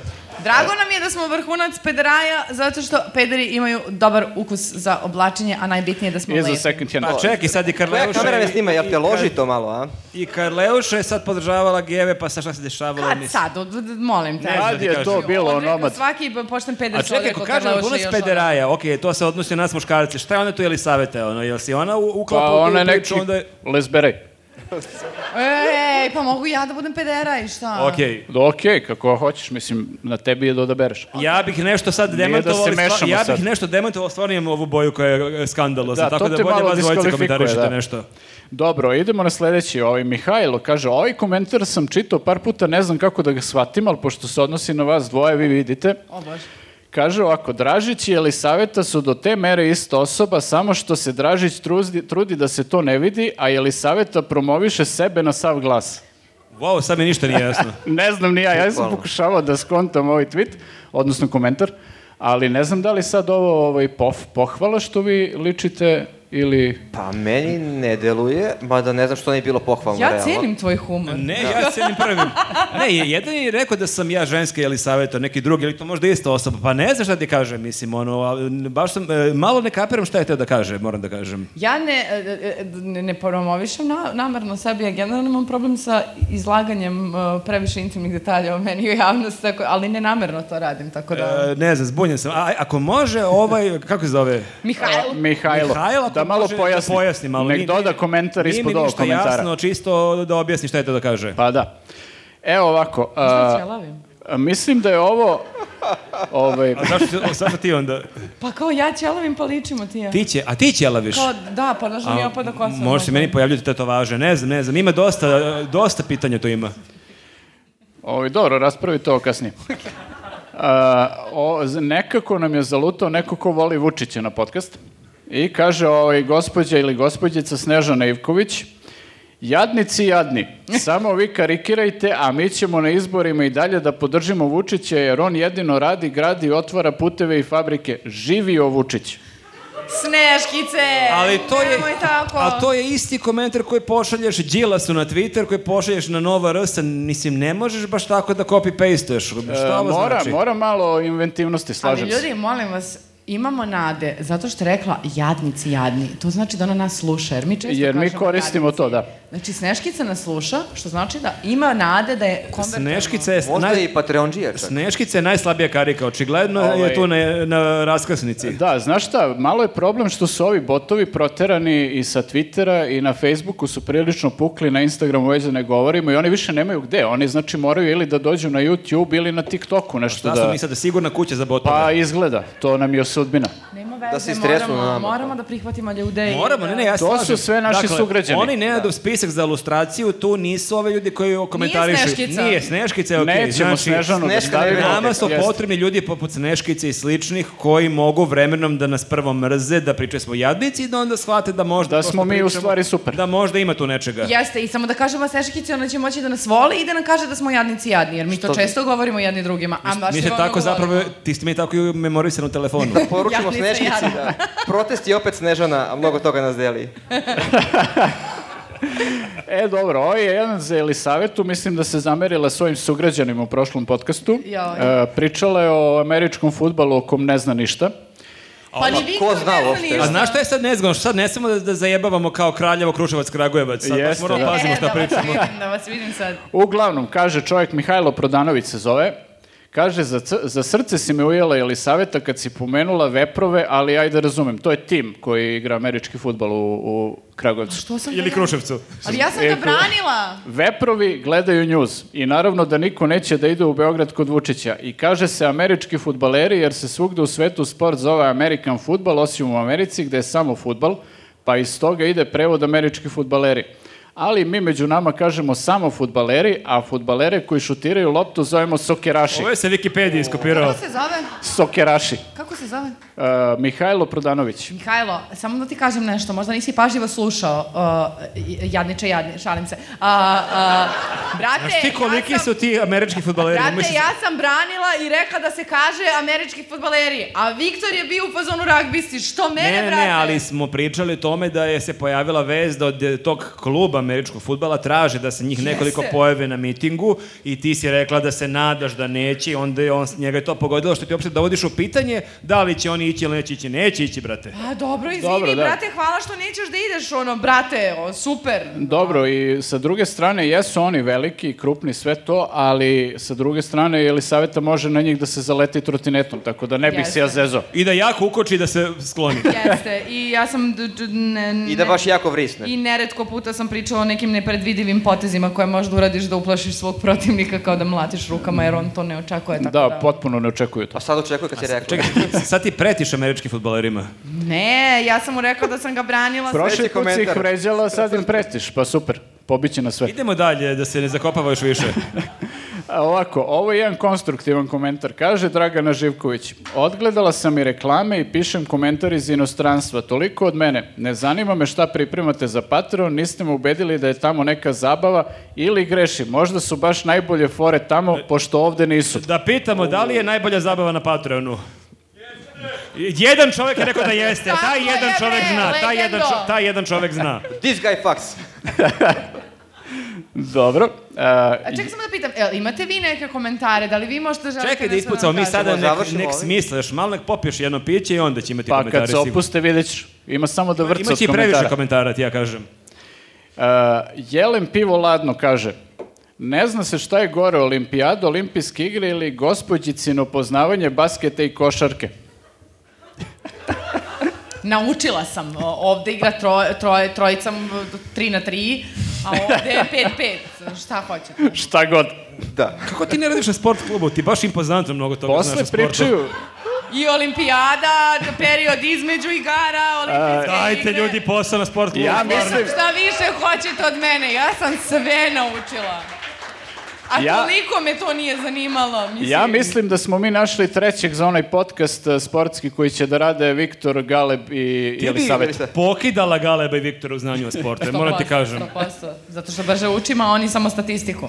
C: Drago nam je da smo vrhunac pederaja, zato što pederi imaju dobar ukus za oblačenje, a najbitnije je da smo
A: I za
C: lepi.
A: second hand.
B: Pa čekaj, sad i
D: Tvoja
B: Karleuša...
D: kamera ne
B: i-
D: snima, ja te
B: i-
D: loži to malo, a?
B: I Karleuša je sad podržavala Geve, pa sa šta se dešavalo?
C: Kad
B: nisam-
C: sad, od- od- molim te.
B: Ne znam
A: Kad
B: ti
A: je
B: kažem.
A: to bilo
C: On rekao,
A: onomad?
C: Svaki pošten peder
B: A
C: se
B: čekaj,
C: odrekao
B: ako kažemo
C: Karleuše
B: puno
C: i još
B: pederaja, okej, to se odnosi na nas muškarce, šta je ona tu Elisaveta, ono, jel si ona u- uklapa
A: Pa
B: u tu
A: ona je neki
B: priču, onda je...
A: lesberej.
C: ono. Ej, pa mogu ja da budem pederaj, šta?
B: Okej.
A: Da, okej, kako hoćeš, mislim, na tebi je da odabereš.
B: Ja bih nešto sad
A: Nije da se
B: demantovao, ali stvar-
A: mešamo
B: ja
A: sad.
B: bih nešto demantovao, stvarno imam ovu boju koja je e, skandalozna,
A: Da,
B: tako
A: to
B: da
A: te
B: bolje
A: malo
B: vas dvojice
A: diskvalifikuje,
B: komentarišete
A: da.
B: nešto.
A: Dobro, idemo na sledeći. Ovaj Mihajlo kaže, ovaj komentar sam čitao par puta, ne znam kako da ga shvatim, ali pošto se odnosi na vas dvoje, vi vidite.
C: O bože.
A: Kaže ovako, Dražić i Elisaveta su do te mere ista osoba, samo što se Dražić trudi, trudi da se to ne vidi, a Elisaveta promoviše sebe na sav glas.
B: Wow, sad mi ništa nije jasno.
A: Ne znam ni ja, ja sam
D: Bukvalno.
A: pokušavao da skontam ovaj tweet, odnosno komentar, Ali ne znam da li sad ovo ovaj, pof, pohvala što vi ličite ili...
D: Pa meni ne deluje, mada ne znam što nije bilo pohvalno.
C: Ja
D: realno.
C: cenim tvoj humor.
B: Ne, ja cenim prvi. Ne, je- jedan je rekao da sam ja ženska ili savjeta, neki drugi, ili to možda ista osoba, pa ne znam šta ti kažem, mislim, ono, a, n- baš sam, e, malo ne kapiram šta je teo da kaže, moram da kažem.
C: Ja ne, e, e, ne, ne promovišem na, namerno sebi, ja generalno imam problem sa izlaganjem e, previše intimnih detalja o meni u javnosti, tako, ali ne namerno to radim, tako da...
B: E, ne znam, zbunjen sam. A, ako može, ovaj, kako se zove?
C: Mihajlo,
A: Mihajlo,
B: Mihajlo, ako
A: da malo
B: može
A: pojasni.
B: Da pojasni malo.
A: Nek
B: Nije-
A: doda komentar
B: nije mi
A: ispod ovog
B: ništa
A: komentara.
B: jasno, čisto da objasni šta je to da kaže.
A: Pa da. Evo ovako,
C: šta
A: a,
C: ćelavim?
A: a, mislim da je ovo... Ovaj,
B: A zašto, ti- zašto ti onda?
C: Pa kao ja ćelavim, pa ličimo ti ja.
B: Ti će, a ti će laviš?
C: Kao, da, pa znaš da mi opada kosa.
B: Može se meni pojavljati tetovaže, ne znam, ne znam, ima dosta, e, dosta pitanja tu ima.
A: Ovaj, dobro, raspravi to kasnije. A, o, z- nekako nam je zalutao neko ko voli Vučića na podcast i kaže ovaj, gospođa ili gospođica Snežana Ivković, jadnici jadni, samo vi karikirajte, a mi ćemo na izborima i dalje da podržimo Vučića, jer on jedino radi, gradi, otvara puteve i fabrike. Živio Vučić.
C: Sneškice!
B: Ali to je,
C: E, Nemoj tako.
B: ali to je isti komentar koji pošalješ Đilasu na Twitter, koji pošalješ na Nova RS, mislim, ne možeš baš tako da copy-pasteš. Šta ovo
A: E, mora,
B: znači?
A: mora malo inventivnosti, slažem
C: Ali
A: se.
C: ljudi, molim vas, imamo nade, zato što je rekla jadnici, jadni. To znači da ona nas sluša, jer mi često
A: Jer mi
C: kažemo
A: koristimo
C: jadnici.
A: to, da.
C: Znači, Sneškica nas sluša, što znači da ima nade da je konvertovano.
B: Sneškica je,
D: Možda
B: naj,
D: i Patreonđija čak.
B: Sneškica je najslabija karika, očigledno je
A: Ovaj-
B: tu na, na raskrsnici.
A: Da, znaš šta, malo je problem što su ovi botovi proterani i sa Twittera i na Facebooku su prilično pukli, na Instagramu već da ne govorimo i oni više nemaju gde. Oni znači moraju ili da dođu na YouTube ili na TikToku nešto
B: Šta sam
A: da...
B: mi sada sigurna kuća za botove?
A: Pa izgleda, to nam je sudbina.
C: Nema veze,
D: Da se istresnu na
C: moramo,
D: nama.
C: moramo da prihvatimo ljude. i
B: Moramo,
C: da-
B: ne, ne, ja se
A: To su
B: slažem.
A: sve naši
B: dakle,
A: sugrađani. Da.
B: Oni Nenadov spisak za ilustraciju, tu nisu ove ljudi koji ovo komentarišu.
C: Sneškica.
B: Nije, Sneškica je okej.
A: Nećemo
B: znači,
A: Snežanu da
D: Sneška
A: stavimo.
D: ne bi
B: Nama
D: Nama
B: su
A: Jeste.
B: potrebni ljudi poput Sneškice i sličnih koji mogu vremenom da nas prvo mrze, da pričaju smo jadnici i da onda shvate da možda...
A: Da
B: to što
A: smo mi u
B: pričamo,
A: stvari super.
B: Da možda ima tu nečega.
C: Jeste, i samo da kažemo Sneškici, ona će moći da nas voli i da nam kaže da smo jadnici jadni, jer mi to
D: Što-
C: često govorimo jedni drugima. A baš
B: Mi
C: i
B: se
C: vama
B: tako
C: govorimo.
B: zapravo, ti ste mi tako i memorisan u telefonu.
D: Poručimo
C: Jadnica,
D: Sneškici
C: jadna.
D: da protest je opet Snežana, a mnogo toga nas deli.
A: E, dobro, ovo je jedan za Elisavetu, mislim da se zamerila svojim sugrađanima u prošlom podcastu.
C: Joj.
A: E, pričala je o američkom futbalu o kom ne zna ništa.
C: Pa ni vi
D: ko
C: koji
D: zna
C: ne
D: uopšte?
B: A
C: ništa.
B: znaš šta je sad nezgodno? Sad ne samo da, da zajebavamo kao Kraljevo, Kruševac, Kragujevac. Sad baš
A: Jeste,
B: moramo
A: da.
B: Pa pazimo
C: E,
B: šta
C: da vas
B: pričamo.
C: vidim, da vas vidim sad.
A: Uglavnom, kaže čovjek Mihajlo Prodanović se zove, kaže, za, c- za srce si me ujela ili saveta kad si pomenula veprove, ali ajde da razumem, to je tim koji igra američki futbal u, u Kragovcu.
C: Što sam
B: Ili
C: ga-
B: Kruševcu.
C: Ali ja sam ga
A: Eko.
C: branila.
A: Veprovi gledaju njuz i naravno da niko neće da ide u Beograd kod Vučića i kaže se američki futbaleri jer se svugde u svetu sport zove American futbal osim u Americi gde je samo futbal pa iz toga ide prevod američki futbaleri. Ali mi među nama kažemo samo futbaleri, a futbalere koji šutiraju loptu zovemo sokeraši.
B: Ovo je se Wikipedia iskopirao.
C: Kako se zove?
A: Sokeraši.
C: Kako se zove?
A: Uh, Mihajlo Prodanović.
C: Mihajlo, samo da ti kažem nešto, možda nisi pažljivo slušao, uh, jadniče, jadni, šalim se. Uh, uh, brate,
B: Znaš ti koliki
C: ja sam,
B: su ti američki futbaleri? Nemoj
C: Brate,
B: se-
C: ja sam branila i rekla da se kaže američki futbaleri, a Viktor je bio u fazonu ragbisti, što mene,
B: Ne,
C: brate?
B: ne, ali smo pričali o tome da je se pojavila vez da od eh, tog kluba američkog futbala traže da se njih nekoliko
C: Jeste.
B: pojave na mitingu i ti si rekla da se nadaš da neće i onda je on, njega je to pogodilo što ti uopšte dovodiš u pitanje da li će oni ići ili neće ići. Neće ići, brate.
C: Pa dobro, izvini,
A: Dobro, da.
C: brate, hvala što nećeš da ideš, ono, brate, o, super.
A: Dobro, i sa druge strane, jesu oni veliki, krupni, sve to, ali sa druge strane, Elisaveta može na njih da se zaleti trotinetom, tako da ne bih se ja
C: Jeste.
A: zezao.
B: I da jako ukoči da se skloni.
C: Jeste, i ja sam... d- d- ne-
D: I da
C: ne-
D: baš jako vrisne.
C: I neretko puta sam pričala o nekim nepredvidivim potezima koje možda uradiš da uplašiš svog protivnika kao da mlatiš rukama jer on to ne očekuje. Tako da,
A: Da, potpuno ne očekuju to.
D: A Pa sad očekuje kad si rekla.
B: Čekaj, sad ti pretiš američkim futbalerima.
C: Ne, ja sam mu rekla da sam ga branila.
A: Prošli put si ih
D: komentar.
A: vređala, sad im pretiš, pa super, pobiće na sve.
B: Idemo dalje, da se ne zakopava još više.
A: A Ovako, ovo je jedan konstruktivan komentar. Kaže Dragana Živković, odgledala sam i reklame i pišem komentar iz inostranstva. Toliko od mene. Ne zanima me šta pripremate za Patreon, niste me ubedili da je tamo neka zabava ili greši. Možda su baš najbolje fore tamo, pošto ovde nisu.
B: Da pitamo da li je najbolja zabava na Patreonu. Jedan čovek je rekao da jeste,
C: Tako
B: taj jedan
C: je,
B: čovek
C: bre,
B: zna, taj jedan,
C: legendo.
B: čo- taj jedan čovek zna.
D: This guy fucks.
A: Dobro.
C: A
A: A,
C: čekaj samo da pitam, el, imate vi neke komentare? Da li vi možda želite
B: Čekaj da
C: nešto
B: ispucamo mi
C: nam kažete?
B: sada nek,
D: završimo
B: nek
D: ovim.
B: smisla, još malo nek popiješ jedno piće i onda će imati
A: pa
B: komentare.
A: kad se
B: sigurno.
A: opuste vidjet ću. Ima samo da vrca od
B: Imaće i previše
A: komentara.
B: komentara, ti ja kažem.
A: A, Eh, Jelen pivo ladno kaže, ne zna se šta je gore, olimpijada, olimpijske igre ili gospođicino poznavanje basketa i košarke.
C: Naučila sam, o, ovde igra troje, troje, trojica, m, tri na tri, a ovde je pet, pet, šta hoćete?
A: Šta god.
D: Da.
B: Kako ti ne radiš na sport klubu? Ti baš impozantno mnogo toga znaš
A: Posle
B: o sportu.
A: pričaju,
C: I olimpijada, period između igara, olimpijske
B: Dajte
C: igre.
B: ljudi posao na sport klubu.
A: ja
B: stvarno.
A: mislim,
C: Šta više hoćete od mene? Ja sam sve naučila. A
A: Ja-
C: toliko me to nije zanimalo. Mislim,
A: ja mislim da smo mi našli trećeg za onaj podcast e, sportski koji će da rade Viktor Galeb i
B: Ti bi
A: Elisavet.
B: pokidala Galeba i Viktora u znanju o sportu, jer moram ti
C: 100%,
B: kažem.
C: 100%. Zato što brže učim, a oni samo statistiku.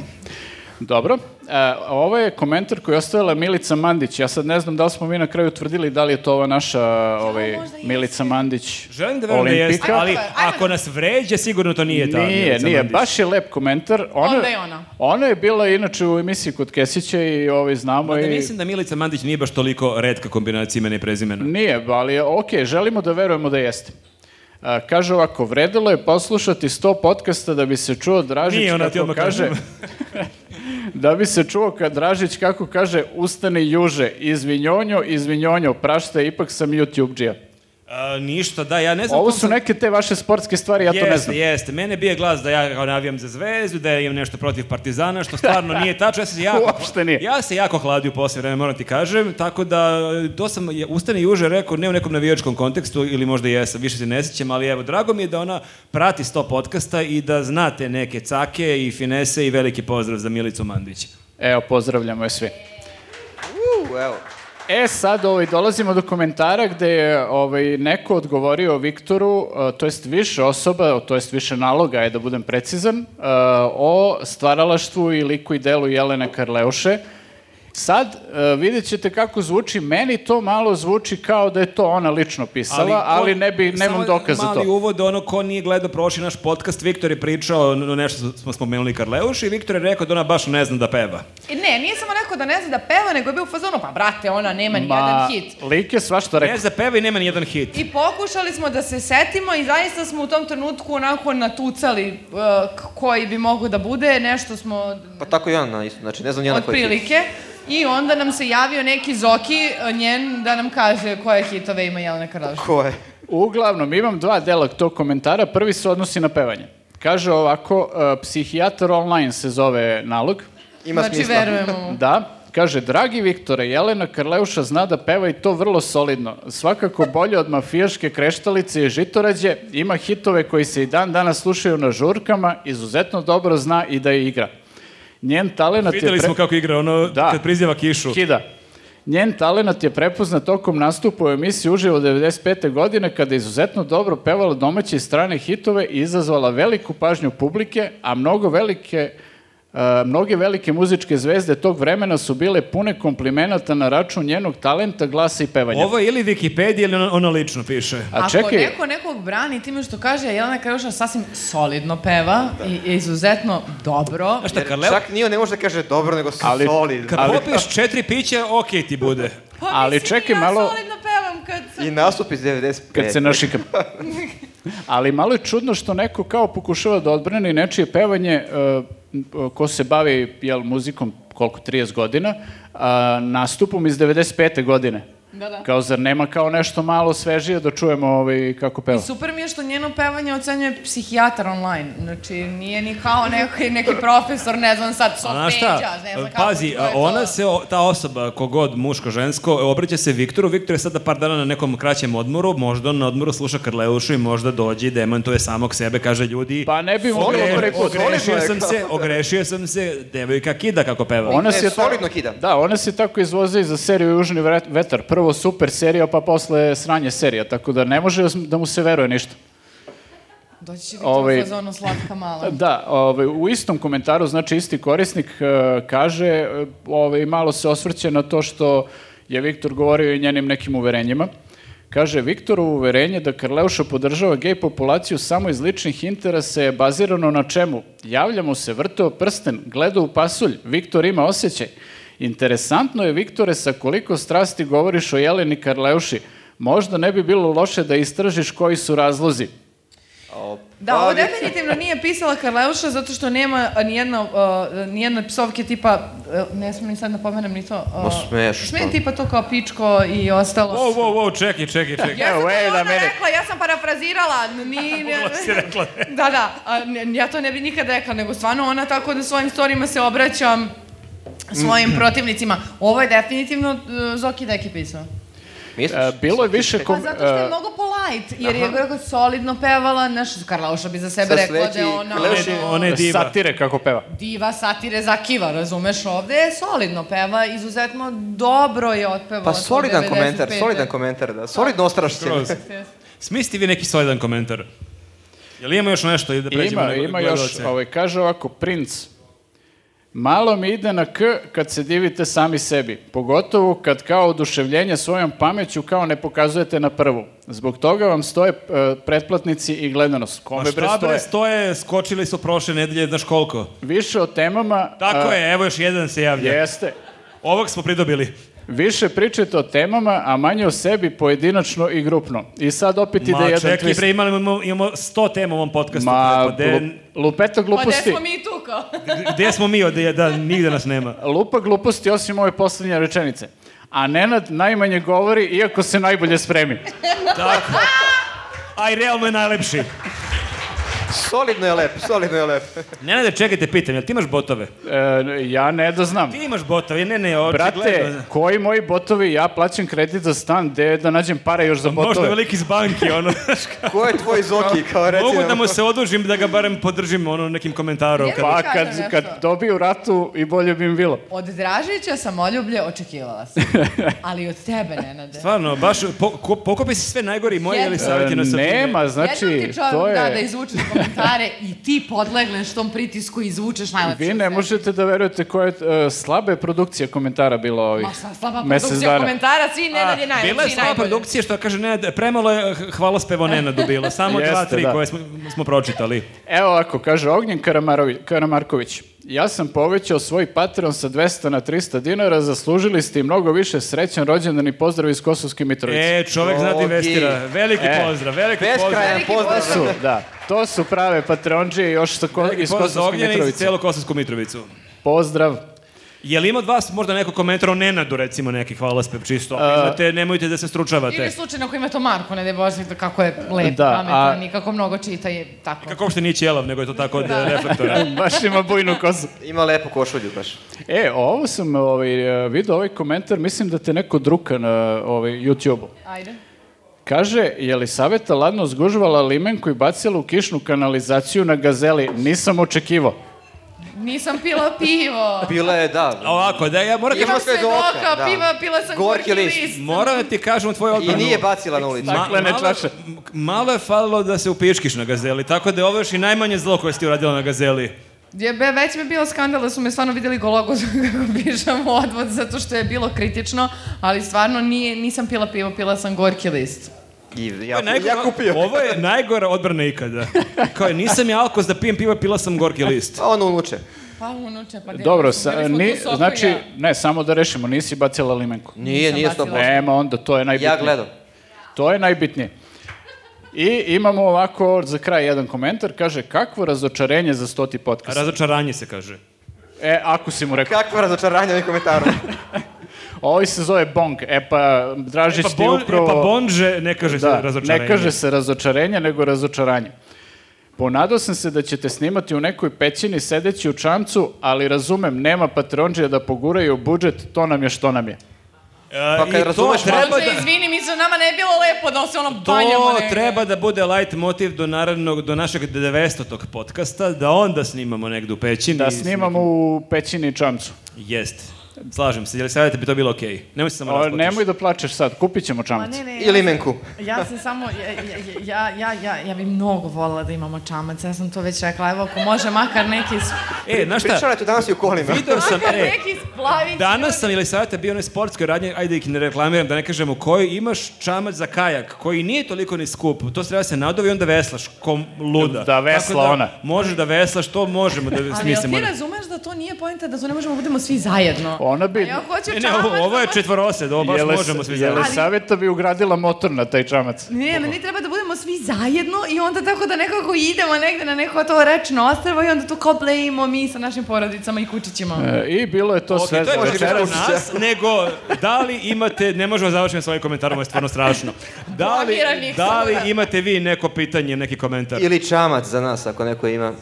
A: Dobro, e, ovo je komentar koji je ostavila Milica Mandić. Ja sad ne znam da li smo mi na kraju utvrdili da li je to ova naša ovaj,
C: možda jeste.
A: Milica Mandić
B: Želim da verujem da jeste,
A: olimpika.
B: ali
C: Ajmo da- ajmo
B: ako nas vređa, sigurno to nije ta
A: Nije,
B: Milica
A: nije,
B: Mandić.
A: baš je lep komentar. Ona,
C: Onda je ona.
A: Ona je bila inače u emisiji kod Kesića i ovaj, znamo
B: Da
A: i...
B: mislim da Milica Mandić nije baš toliko redka kombinacija imena i prezimena.
A: Nije, ali ok, želimo da verujemo da jeste. A, kaže ovako, vredilo je poslušati 100 podcasta da bi se čuo Dražić
B: Nije, ona ti
A: kako
B: odmah
A: kaže...
B: kažem.
A: da bi se čuo kad Dražić kako kaže ustani juže, izvinjonjo, izvinjonjo, prašta, ipak sam YouTube-đija.
B: A, ništa, da, ja ne znam...
A: Ovo
B: kom
A: su
B: sam-
A: neke te vaše sportske stvari, ja to ne
B: jeste,
A: znam.
B: Jeste, mene bije glas da ja kao navijam za Zvezdu, da ja imam nešto protiv Partizana, što stvarno nije tačno. Ja se jako,
A: Uopšte nije.
B: Ja se jako hladio posle vreme, moram ti kažem, tako da e, to sam je- Ustani Juže rekao ne u nekom navijačkom kontekstu ili možda i jesam, više se ne sećam, ali evo, drago mi je da ona prati 100 podcasta i da znate neke cake i finese i veliki pozdrav za Milicu Mandić.
A: Evo, pozdravljamo je svi.
D: U, evo.
A: E, sad ovaj, dolazimo do komentara gde je ovaj, neko odgovorio Viktoru, e, to jest više osoba, to jest više naloga, je da budem precizan, e, o stvaralaštvu i liku i delu Jelene Karleuše. Sad e, vidjet ćete kako zvuči, meni to malo zvuči kao da je to ona lično pisala, ali,
B: ko-
A: ne bi, nemam
B: samo
A: dokaz za
B: Mali
A: to.
B: uvod, ono ko nije gledao prošli naš podcast, Viktor je pričao, n- nešto smo spomenuli Karleuš i Viktor je rekao da ona baš ne zna da peva.
C: I ne, nije samo rekao da ne zna da peva, nego je bio u fazonu, pa brate, ona nema ni jedan
A: Ma,
C: hit.
A: lik je svašta rekao.
B: Ne zna da peva i nema ni jedan hit.
C: I pokušali smo da se setimo i zaista smo u tom trenutku onako natucali uh, k- koji bi mogo da bude, nešto smo
D: Pa tako i ona, isto. Znači, ne znam njena koji je hit.
C: otprilike. I onda nam se javio neki Zoki uh, njen da nam kaže koje hitove ima Jelena Karlaš.
D: Ko je?
A: Uglavnom, imam dva dela tog komentara. Prvi se odnosi na pevanje. Kaže ovako, e, psihijatar online se zove nalog.
D: Ima
C: znači,
D: smisla.
C: verujemo mu.
A: Da, kaže, dragi Viktore, Jelena Karleuša zna da peva i to vrlo solidno. Svakako bolje od mafijaške kreštalice i žitorađe, ima hitove koji se i dan danas slušaju na žurkama, izuzetno dobro zna i da je igra. Njen talenat je...
B: Videli
A: pre-
B: smo kako igra ono
A: Da.
B: kad prizjeva kišu.
A: Kida. Njen talenat je prepoznat tokom nastupa u emisiji Uživo 95. godine kada je izuzetno dobro pevala domaće i strane hitove i izazvala veliku pažnju publike, a mnogo velike e, mnoge velike muzičke zvezde tog vremena su bile pune komplimenata na račun njenog talenta, glasa i pevanja.
B: Ovo je ili Wikipedia ili ono, ono lično piše.
A: A
C: Ako
A: čekaj,
C: neko nekog brani time što kaže Jelena Karleuša sasvim solidno peva i je izuzetno dobro.
B: Znaš šta,
D: Jer
B: kad, leo,
D: čak nije, ne može da kaže dobro, nego
A: Ali-
D: ali, solid.
B: kad
A: ali-
B: popiješ četiri pića, okej ti bude.
C: Pa
A: ali
C: mislim, i
A: čekaj malo-
C: Ja solidno pevam kad sam...
D: I nastup iz 95.
A: kad se našikam. Ali malo je čudno što neko kao pokušava da odbrani nečije pevanje e, m, ko se bavi jel, muzikom koliko 30 godina, a, nastupom iz 95. godine.
C: Da, da.
A: Kao zar nema kao nešto malo svežije da čujemo ovaj, kako peva?
C: Super mi je što njeno pevanje ocenjuje psihijatar online. Znači, nije ni kao neki, neki profesor, ne znam sad,
B: A znaš šta, E,
C: sofeđa, ne znam kako.
B: pazi,
C: to je to.
B: ona se, o- ta osoba, kogod, muško, žensko, obraća se Viktoru, Viktor je sada par dana na nekom kraćem odmoru, možda on na odmoru sluša Karleušu i možda dođe i demantuje samog sebe, kaže ljudi,
A: Pa ne bi mogli
D: Solidno,
A: prvi put.
D: solidno.
B: ogrešio sam se, ogrešio sam se, devojka kida kako peva.
A: Ona
D: Ne,
A: se
D: E, solidno kida.
A: Da, ona se tako izvoze i za seriju Južni vre- vetar. Prvo super serija, pa posle sranje serija, tako da ne može da mu se veruje ništa.
C: Doći će
A: ovaj-
C: ovaj... u fazonu slatka mala.
A: Da, ovaj, u istom komentaru, znači isti korisnik e, kaže, e, ovaj, malo se osvrće na to što je Viktor govorio i njenim nekim uverenjima. E, Kaže, Viktorovo uverenje da Karleuša podržava gej populaciju samo iz ličnih interesa je bazirano na čemu? Javljamo se, vrteo prsten, gledao u pasulj, Viktor ima osjećaj. Interesantno je, Viktore, sa koliko strasti govoriš o Jeleni Karleuši. Možda ne bi bilo loše da istražiš koji su razlozi.
D: O,
C: Da,
D: pa,
C: ovo
D: Viktor-
C: definitivno nije pisala Karleuša zato što nema a, nijedna, uh, nijedna psovke tipa, uh, ne smijem ni sad napomenem ni to. Uh,
D: Ma smeš,
C: smijem
D: pa.
C: tipa to kao pičko i ostalo.
B: Wow, wow, wow, čekaj, čekaj, čekaj.
C: Ja sam to
A: Wait a
C: ona
A: minute.
C: rekla, ja sam parafrazirala. Ni, ne,
B: Ona si rekla.
C: da, da, a, ne, ja to ne bi nikad rekla, nego stvarno ona tako da svojim storijima se obraćam svojim protivnicima. Ovo je definitivno uh, Zoki Deki pisao.
D: Misliš?
A: E, bilo je više
C: Pa
A: kom-
C: zato što je
A: e,
C: mnogo polite, jer je rekao solidno pevala, znaš, Karlauša bi za sebe
D: Sa
C: rekla da je
D: sveći-
C: ona...
D: Karleuša
C: ono,
D: je-
B: Ona je diva.
A: Satire kako peva.
C: diva satire zakiva, razumeš, ovde je solidno peva, izuzetno dobro je otpevala.
D: Pa
C: to
D: solidan
C: 95.
D: komentar, solidan komentar, da. Solidno ostrašćen.
B: Skroz. Smislite vi neki solidan komentar. Jel ima još nešto ili da pređemo
A: Ima,
B: na
A: ima još,
B: gledalce?
A: ovaj, kaže ovako, princ, malo mi ide na k kad se divite sami sebi, pogotovo kad kao oduševljenje svojom pameću kao ne pokazujete na prvu. Zbog toga vam stoje e, pretplatnici i gledanost.
B: Pa
A: Kome bre
B: šta
A: stoje?
B: bre stoje, skočili su prošle nedelje, znaš koliko.
A: Više o temama...
B: Tako
A: a,
B: je, evo još jedan se javlja.
A: Jeste.
B: Ovog smo pridobili.
A: Više pričajte o temama, a manje o sebi pojedinačno i grupno. I sad opet ide
B: Ma
A: da jedan
B: čekaj,
A: twist.
B: pre imali imamo, imamo sto tema u ovom podcastu.
A: Ma,
B: pa de,
A: glu- lupeta
C: Pa gde
A: gluposti.
C: smo mi tu kao?
B: gde smo mi od da nigde nas nema.
A: Lupa gluposti osim ove poslednje rečenice. A Nenad najmanje govori, iako se najbolje spremi.
B: Tako. Aj, realno je najlepši.
D: Solidno je lep, solidno je lep.
B: Nenade, da, čekajte, pitam, jel ti imaš botove?
A: E, ja ne da znam.
B: Ti imaš botove, ne, ne, očigledno.
A: Brate, koji moji botovi, ja plaćam kredit za stan, gde da nađem pare još za
B: Možda
A: botove?
B: veliki iz banki, ono, znaš kao.
D: Ko je tvoj Zoki, kao reci
B: Mogu
D: nam.
B: da mu se odužim, da ga barem podržim, ono, nekim komentarom.
C: Ja-
B: Kad...
A: Pa
C: Ti kažem
A: kad,
C: nešto.
A: kad dobiju ratu i bolje bi im bilo.
C: Od Dražića sam oljublje očekivala sam. Ali od tebe, Nenade.
B: Stvarno, baš, po, ko, pokopi si sve najgori moje,
C: Jedno.
B: ili savjeti na
A: E,
B: srpine.
A: nema, znači,
C: Jednom ti čovjek
A: to
C: da, da
A: je...
C: izvučeš komentare i ti podlegneš tom pritisku i izvučeš najlepše.
A: Vi
C: od
A: ne
C: sebe.
A: možete da verujete koja je e, slaba je produkcija komentara bila ovih
C: Ma šta, slaba
A: mesec
C: produkcija
A: dana.
C: komentara, svi Nenad je najlepši i
B: Bila je
C: najbolji.
B: slaba produkcija što kaže Nenad, premalo je hvalospevo Nenadu bilo. Samo dva,
A: Jeste,
B: tri
A: da.
B: koje smo, smo pročitali.
A: Evo ovako, kaže Ognjen Karamarovi- Karamarković. Ja sam povećao svoj Patreon sa 200 na 300 dinara, zaslužili ste i mnogo više srećan rođendan i pozdrav iz Kosovske Mitrovice.
B: E, čovek zna da
D: Ogi.
B: investira. Veliki
A: E.
B: pozdrav, veliki pozdrav.
D: Beskrajan
C: Veliki
D: pozdrav.
A: To su, da, to su prave Patreonđe još sa ko,
B: Veliki
A: iz
B: pozdrav za
A: Kosovske
B: Ognjena i za
A: Mitrovice.
B: celu Kosovsku Mitrovicu.
A: Pozdrav.
B: Je li ima od vas možda neko komentar o Nenadu, recimo, neki hvalaspev čisto?
A: E.
B: Ako Imate, nemojte da se stručavate.
C: Ili slučajno ako ima to Marko, ne da je Bože, da kako je lep,
A: Da,
C: da,
A: a-
C: pametan i kako mnogo čita i tako.
B: Kako uopšte nije ćelav, nego je to tako od
C: Da.
B: reflektora.
A: Baš ima bujnu kozu.
D: Ima lepu košulju baš.
A: E, ovo sam ovaj, e, video, ovaj komentar, mislim da te neko druka na ovaj, YouTube-u.
C: Ajde.
A: Kaže, je li Saveta ladno zgužvala limenku i bacila u kišnu kanalizaciju na gazeli? Nisam očekivao.
C: Nisam pila pivo.
D: Bila je, da.
B: Ovako, da ja moram,
D: Ima
C: Imam
D: sve
C: svedoka,
D: doka, da.
C: piva, pila sam
D: Gorki
C: gorki,
D: list.
C: list.
B: moram da ti kažem u tvoju
D: I
B: odbranu.
D: nije bacila na ulicu.
A: Ma- Staklene
B: malo-
A: čaše.
B: m- Malo je falilo da se upičkiš na gazeli, tako da je ovo još i najmanje zlo koje si ti uradila na gazeli.
C: Je, be, već mi je bilo skandal da su me stvarno videli gologu kako pišam u odvod zato što je bilo kritično, ali stvarno nije, nisam pila pivo, pila sam gorki list.
D: I
B: Ovo
D: ja,
B: je najgora-
D: ja kupio.
B: Ovo je najgora odbrana ikada. Kao je, nisam ja alkos da pijem piva, pila sam gorki list.
D: Pa ono unuče.
C: Pa unuče, pa djelo.
A: Dobro, sa, ni, znači, ne, samo da rešimo, nisi bacila limenku.
D: Nije,
C: Nisam
D: nije
C: bacila.
D: 100%.
A: Nema, onda to je najbitnije.
D: Ja gledam.
A: To je najbitnije. I imamo ovako za kraj jedan komentar, kaže kakvo razočarenje za stoti podcast.
B: Razočaranje se kaže.
A: E, ako si mu rekao.
D: Kakvo razočaranje ovih komentara.
A: Ovo se zove bong. E pa, Dražić
B: Pa,
A: ti
B: bon, e,
A: upravo... Da,
B: pa bonže ne kaže se razočaranje.
A: Ne kaže se razočarenje, nego razočaranje. Ponadao sam se da ćete snimati u nekoj pećini sedeći u čamcu, ali razumem, nema patronđija da poguraju budžet, to nam je što nam je.
B: E,
D: Pa kad
B: i to
D: razumeš malo-
B: treba
C: Možda,
B: da...
C: izvini, mi se nama ne bi bilo lepo da se ono banjamo
B: To
C: negde.
B: treba da bude light motiv do narednog, do našeg 900. podcasta, da onda snimamo negde u pećini.
A: Da snimamo u pećini i čamcu.
B: Jest. Slažem se, Jelisaveta da bi to bilo okej. Nemoj se samo
A: O,
B: rasplatiš.
A: nemoj da plačeš sad, kupit ćemo
C: Ma
A: čamac.
C: ne, ne, ja,
D: I limenku.
C: ja sam samo, ja, ja, ja, ja, ja, ja bi mnogo volila da imamo čamac, ja sam to već rekla, evo ako može makar neki, s-
B: E, znaš šta?
D: Pričala ću danas i u kolima.
B: Video sam,
C: makar
B: e,
C: neki splavić.
B: Danas sam ili savjeta bio na sportskoj radnji, ajde ih ne reklamiram, da ne kažemo koji, imaš čamac za kajak, koji nije toliko ni skup, to se treba da se nadovi i onda veslaš, kom luda.
A: Da vesla
B: Tako da,
A: ona.
B: Možeš da veslaš, to možemo da
C: Ali jel
B: smislimo.
C: ti razumeš da to nije pojenta, da to ne možemo budemo svi zajedno?
A: Ona bi...
C: A E, ja hoću
B: Ne,
C: čamac.
B: ne, ovo, ovo je
C: da mo-
B: četvorosed, ovo baš
A: Jeles-
B: možemo svi zajedno.
A: Jelisaveta bi ugradila motor na taj čamac.
C: Ne, meni treba da budemo svi zajedno i onda tako da nekako idemo negde na neko to rečno ostrvo i onda to kao plejimo mi sa našim porodicama i kučićima.
A: E, I bilo je to
B: Ok, to
A: sve
B: je
A: za
B: baš
A: večeras.
B: večeras nas, nego da li imate, ne možemo završiti svojim komentarom, ovo je stvarno strašno. Da li,
C: Blokiranih sam.
B: da li imate vi neko pitanje, neki komentar?
D: Ili čamac za nas, ako neko ima.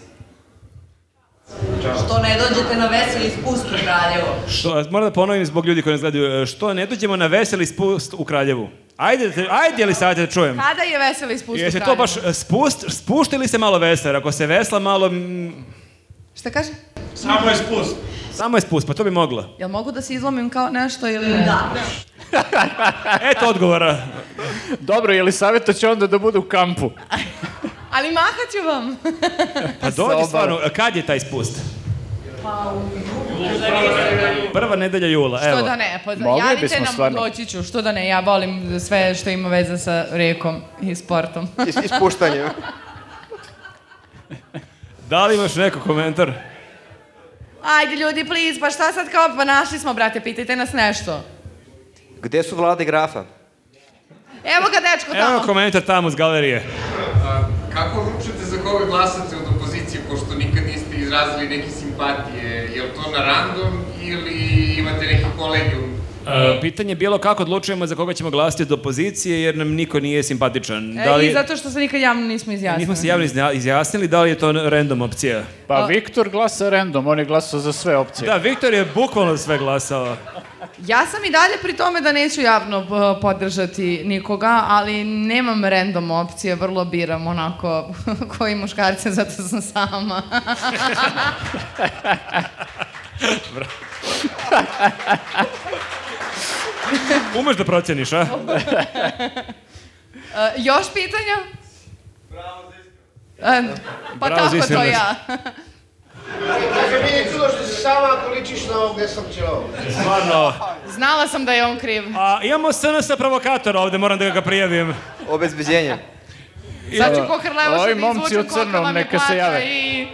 F: Što ne dođete na veseli iskustvo Kraljevo?
B: Što, moram da ponovim zbog ljudi koji nas gledaju, e, što ne dođemo na veseli spust u Kraljevu? Ajde, da te- ajde li savjeta da čujem?
C: Kada je veseli ispustio
B: Jesi to baš e, spust, spušta ili se malo vesera? Ako se vesla malo, mm,
C: Šta kaže?
B: samo je spust, pa to bi mogla.
C: Jel mogu da se izlomim kao nešto ili ne? Da.
B: Eto odgovora.
A: Dobro, Jelisaveta će onda da bude u kampu.
C: Ali mahat ću vam.
B: Pa dođi
A: obale.
B: stvarno, e, kad je taj spust? Prva nedelja jula, evo.
C: Što da ne, pa
A: Mogli
C: javite
A: bismo
C: nam,
A: stvarno.
C: doći ću. Što da ne, ja volim sve što ima veze sa rekom i sportom.
D: Is, ispuštanje.
B: Da li imaš neko komentar?
C: Ajde ljudi, please, pa šta sad kao, pa našli smo, brate, pitajte nas nešto.
D: Gde su vlade grafa?
C: Evo ga dečko tamo.
B: Evo komentar tamo s galerije.
G: A, Kako odlučite za koga glasate od opozicije, pošto nikad niste izrazili neke simpatije? Je li to na random ili imate neki kolegium?
B: E, pitanje je bilo kako odlučujemo za koga ćemo glasiti od opozicije, jer nam niko nije simpatičan.
C: E,
B: da li,
C: I zato što se nikad javno nismo izjasnili.
B: Nismo se javno izna- izjasnili da li je to random opcija.
A: Pa Viktor glasa random, on je glasao za sve opcije.
B: Da, Viktor je bukvalno sve glasao.
C: Ja sam i dalje pri tome da neću javno p- podržati nikoga, ali nemam random opcije, vrlo biram onako koji muškarce, zato sam sama.
B: Umeš da proceniš, a?
C: E, još pitanja? Bravo za Pa
B: Bravo za
C: tako to
B: iskrenost.
C: ja.
H: Kaže, mi je čudo što si sama ako ličiš na ovog, gde sam će ovo.
B: Stvarno.
C: Znala sam da je on kriv.
B: A imamo SNS provokatora ovde, moram da ga prijavim.
D: Obezbeđenje.
C: Sad ću kohrleva
A: Ovi
C: što da
A: momci
C: izvučem
A: u crnom,
C: kohrleva mi
A: neka se
C: plaća
A: jave.
C: i... e,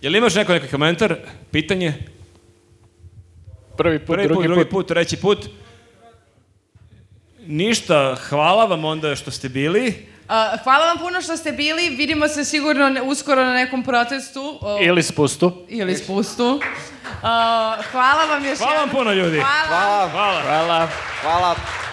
B: Jel imaš neko neki komentar? Pitanje?
A: Prvi put,
B: Prvi
A: drugi,
B: put, drugi
A: put.
B: put, treći put. Ništa, hvala vam onda što ste bili.
C: A, hvala vam puno što ste bili, vidimo se sigurno ne- uskoro na nekom protestu. E, O,
A: Ili spustu.
C: ili spustu. Uh, hvala vam još
B: Hvala vam
C: jednom.
B: puno ljudi.
C: Hvala.
D: Hvala.
B: Hvala.
A: Hvala.
D: Hvala.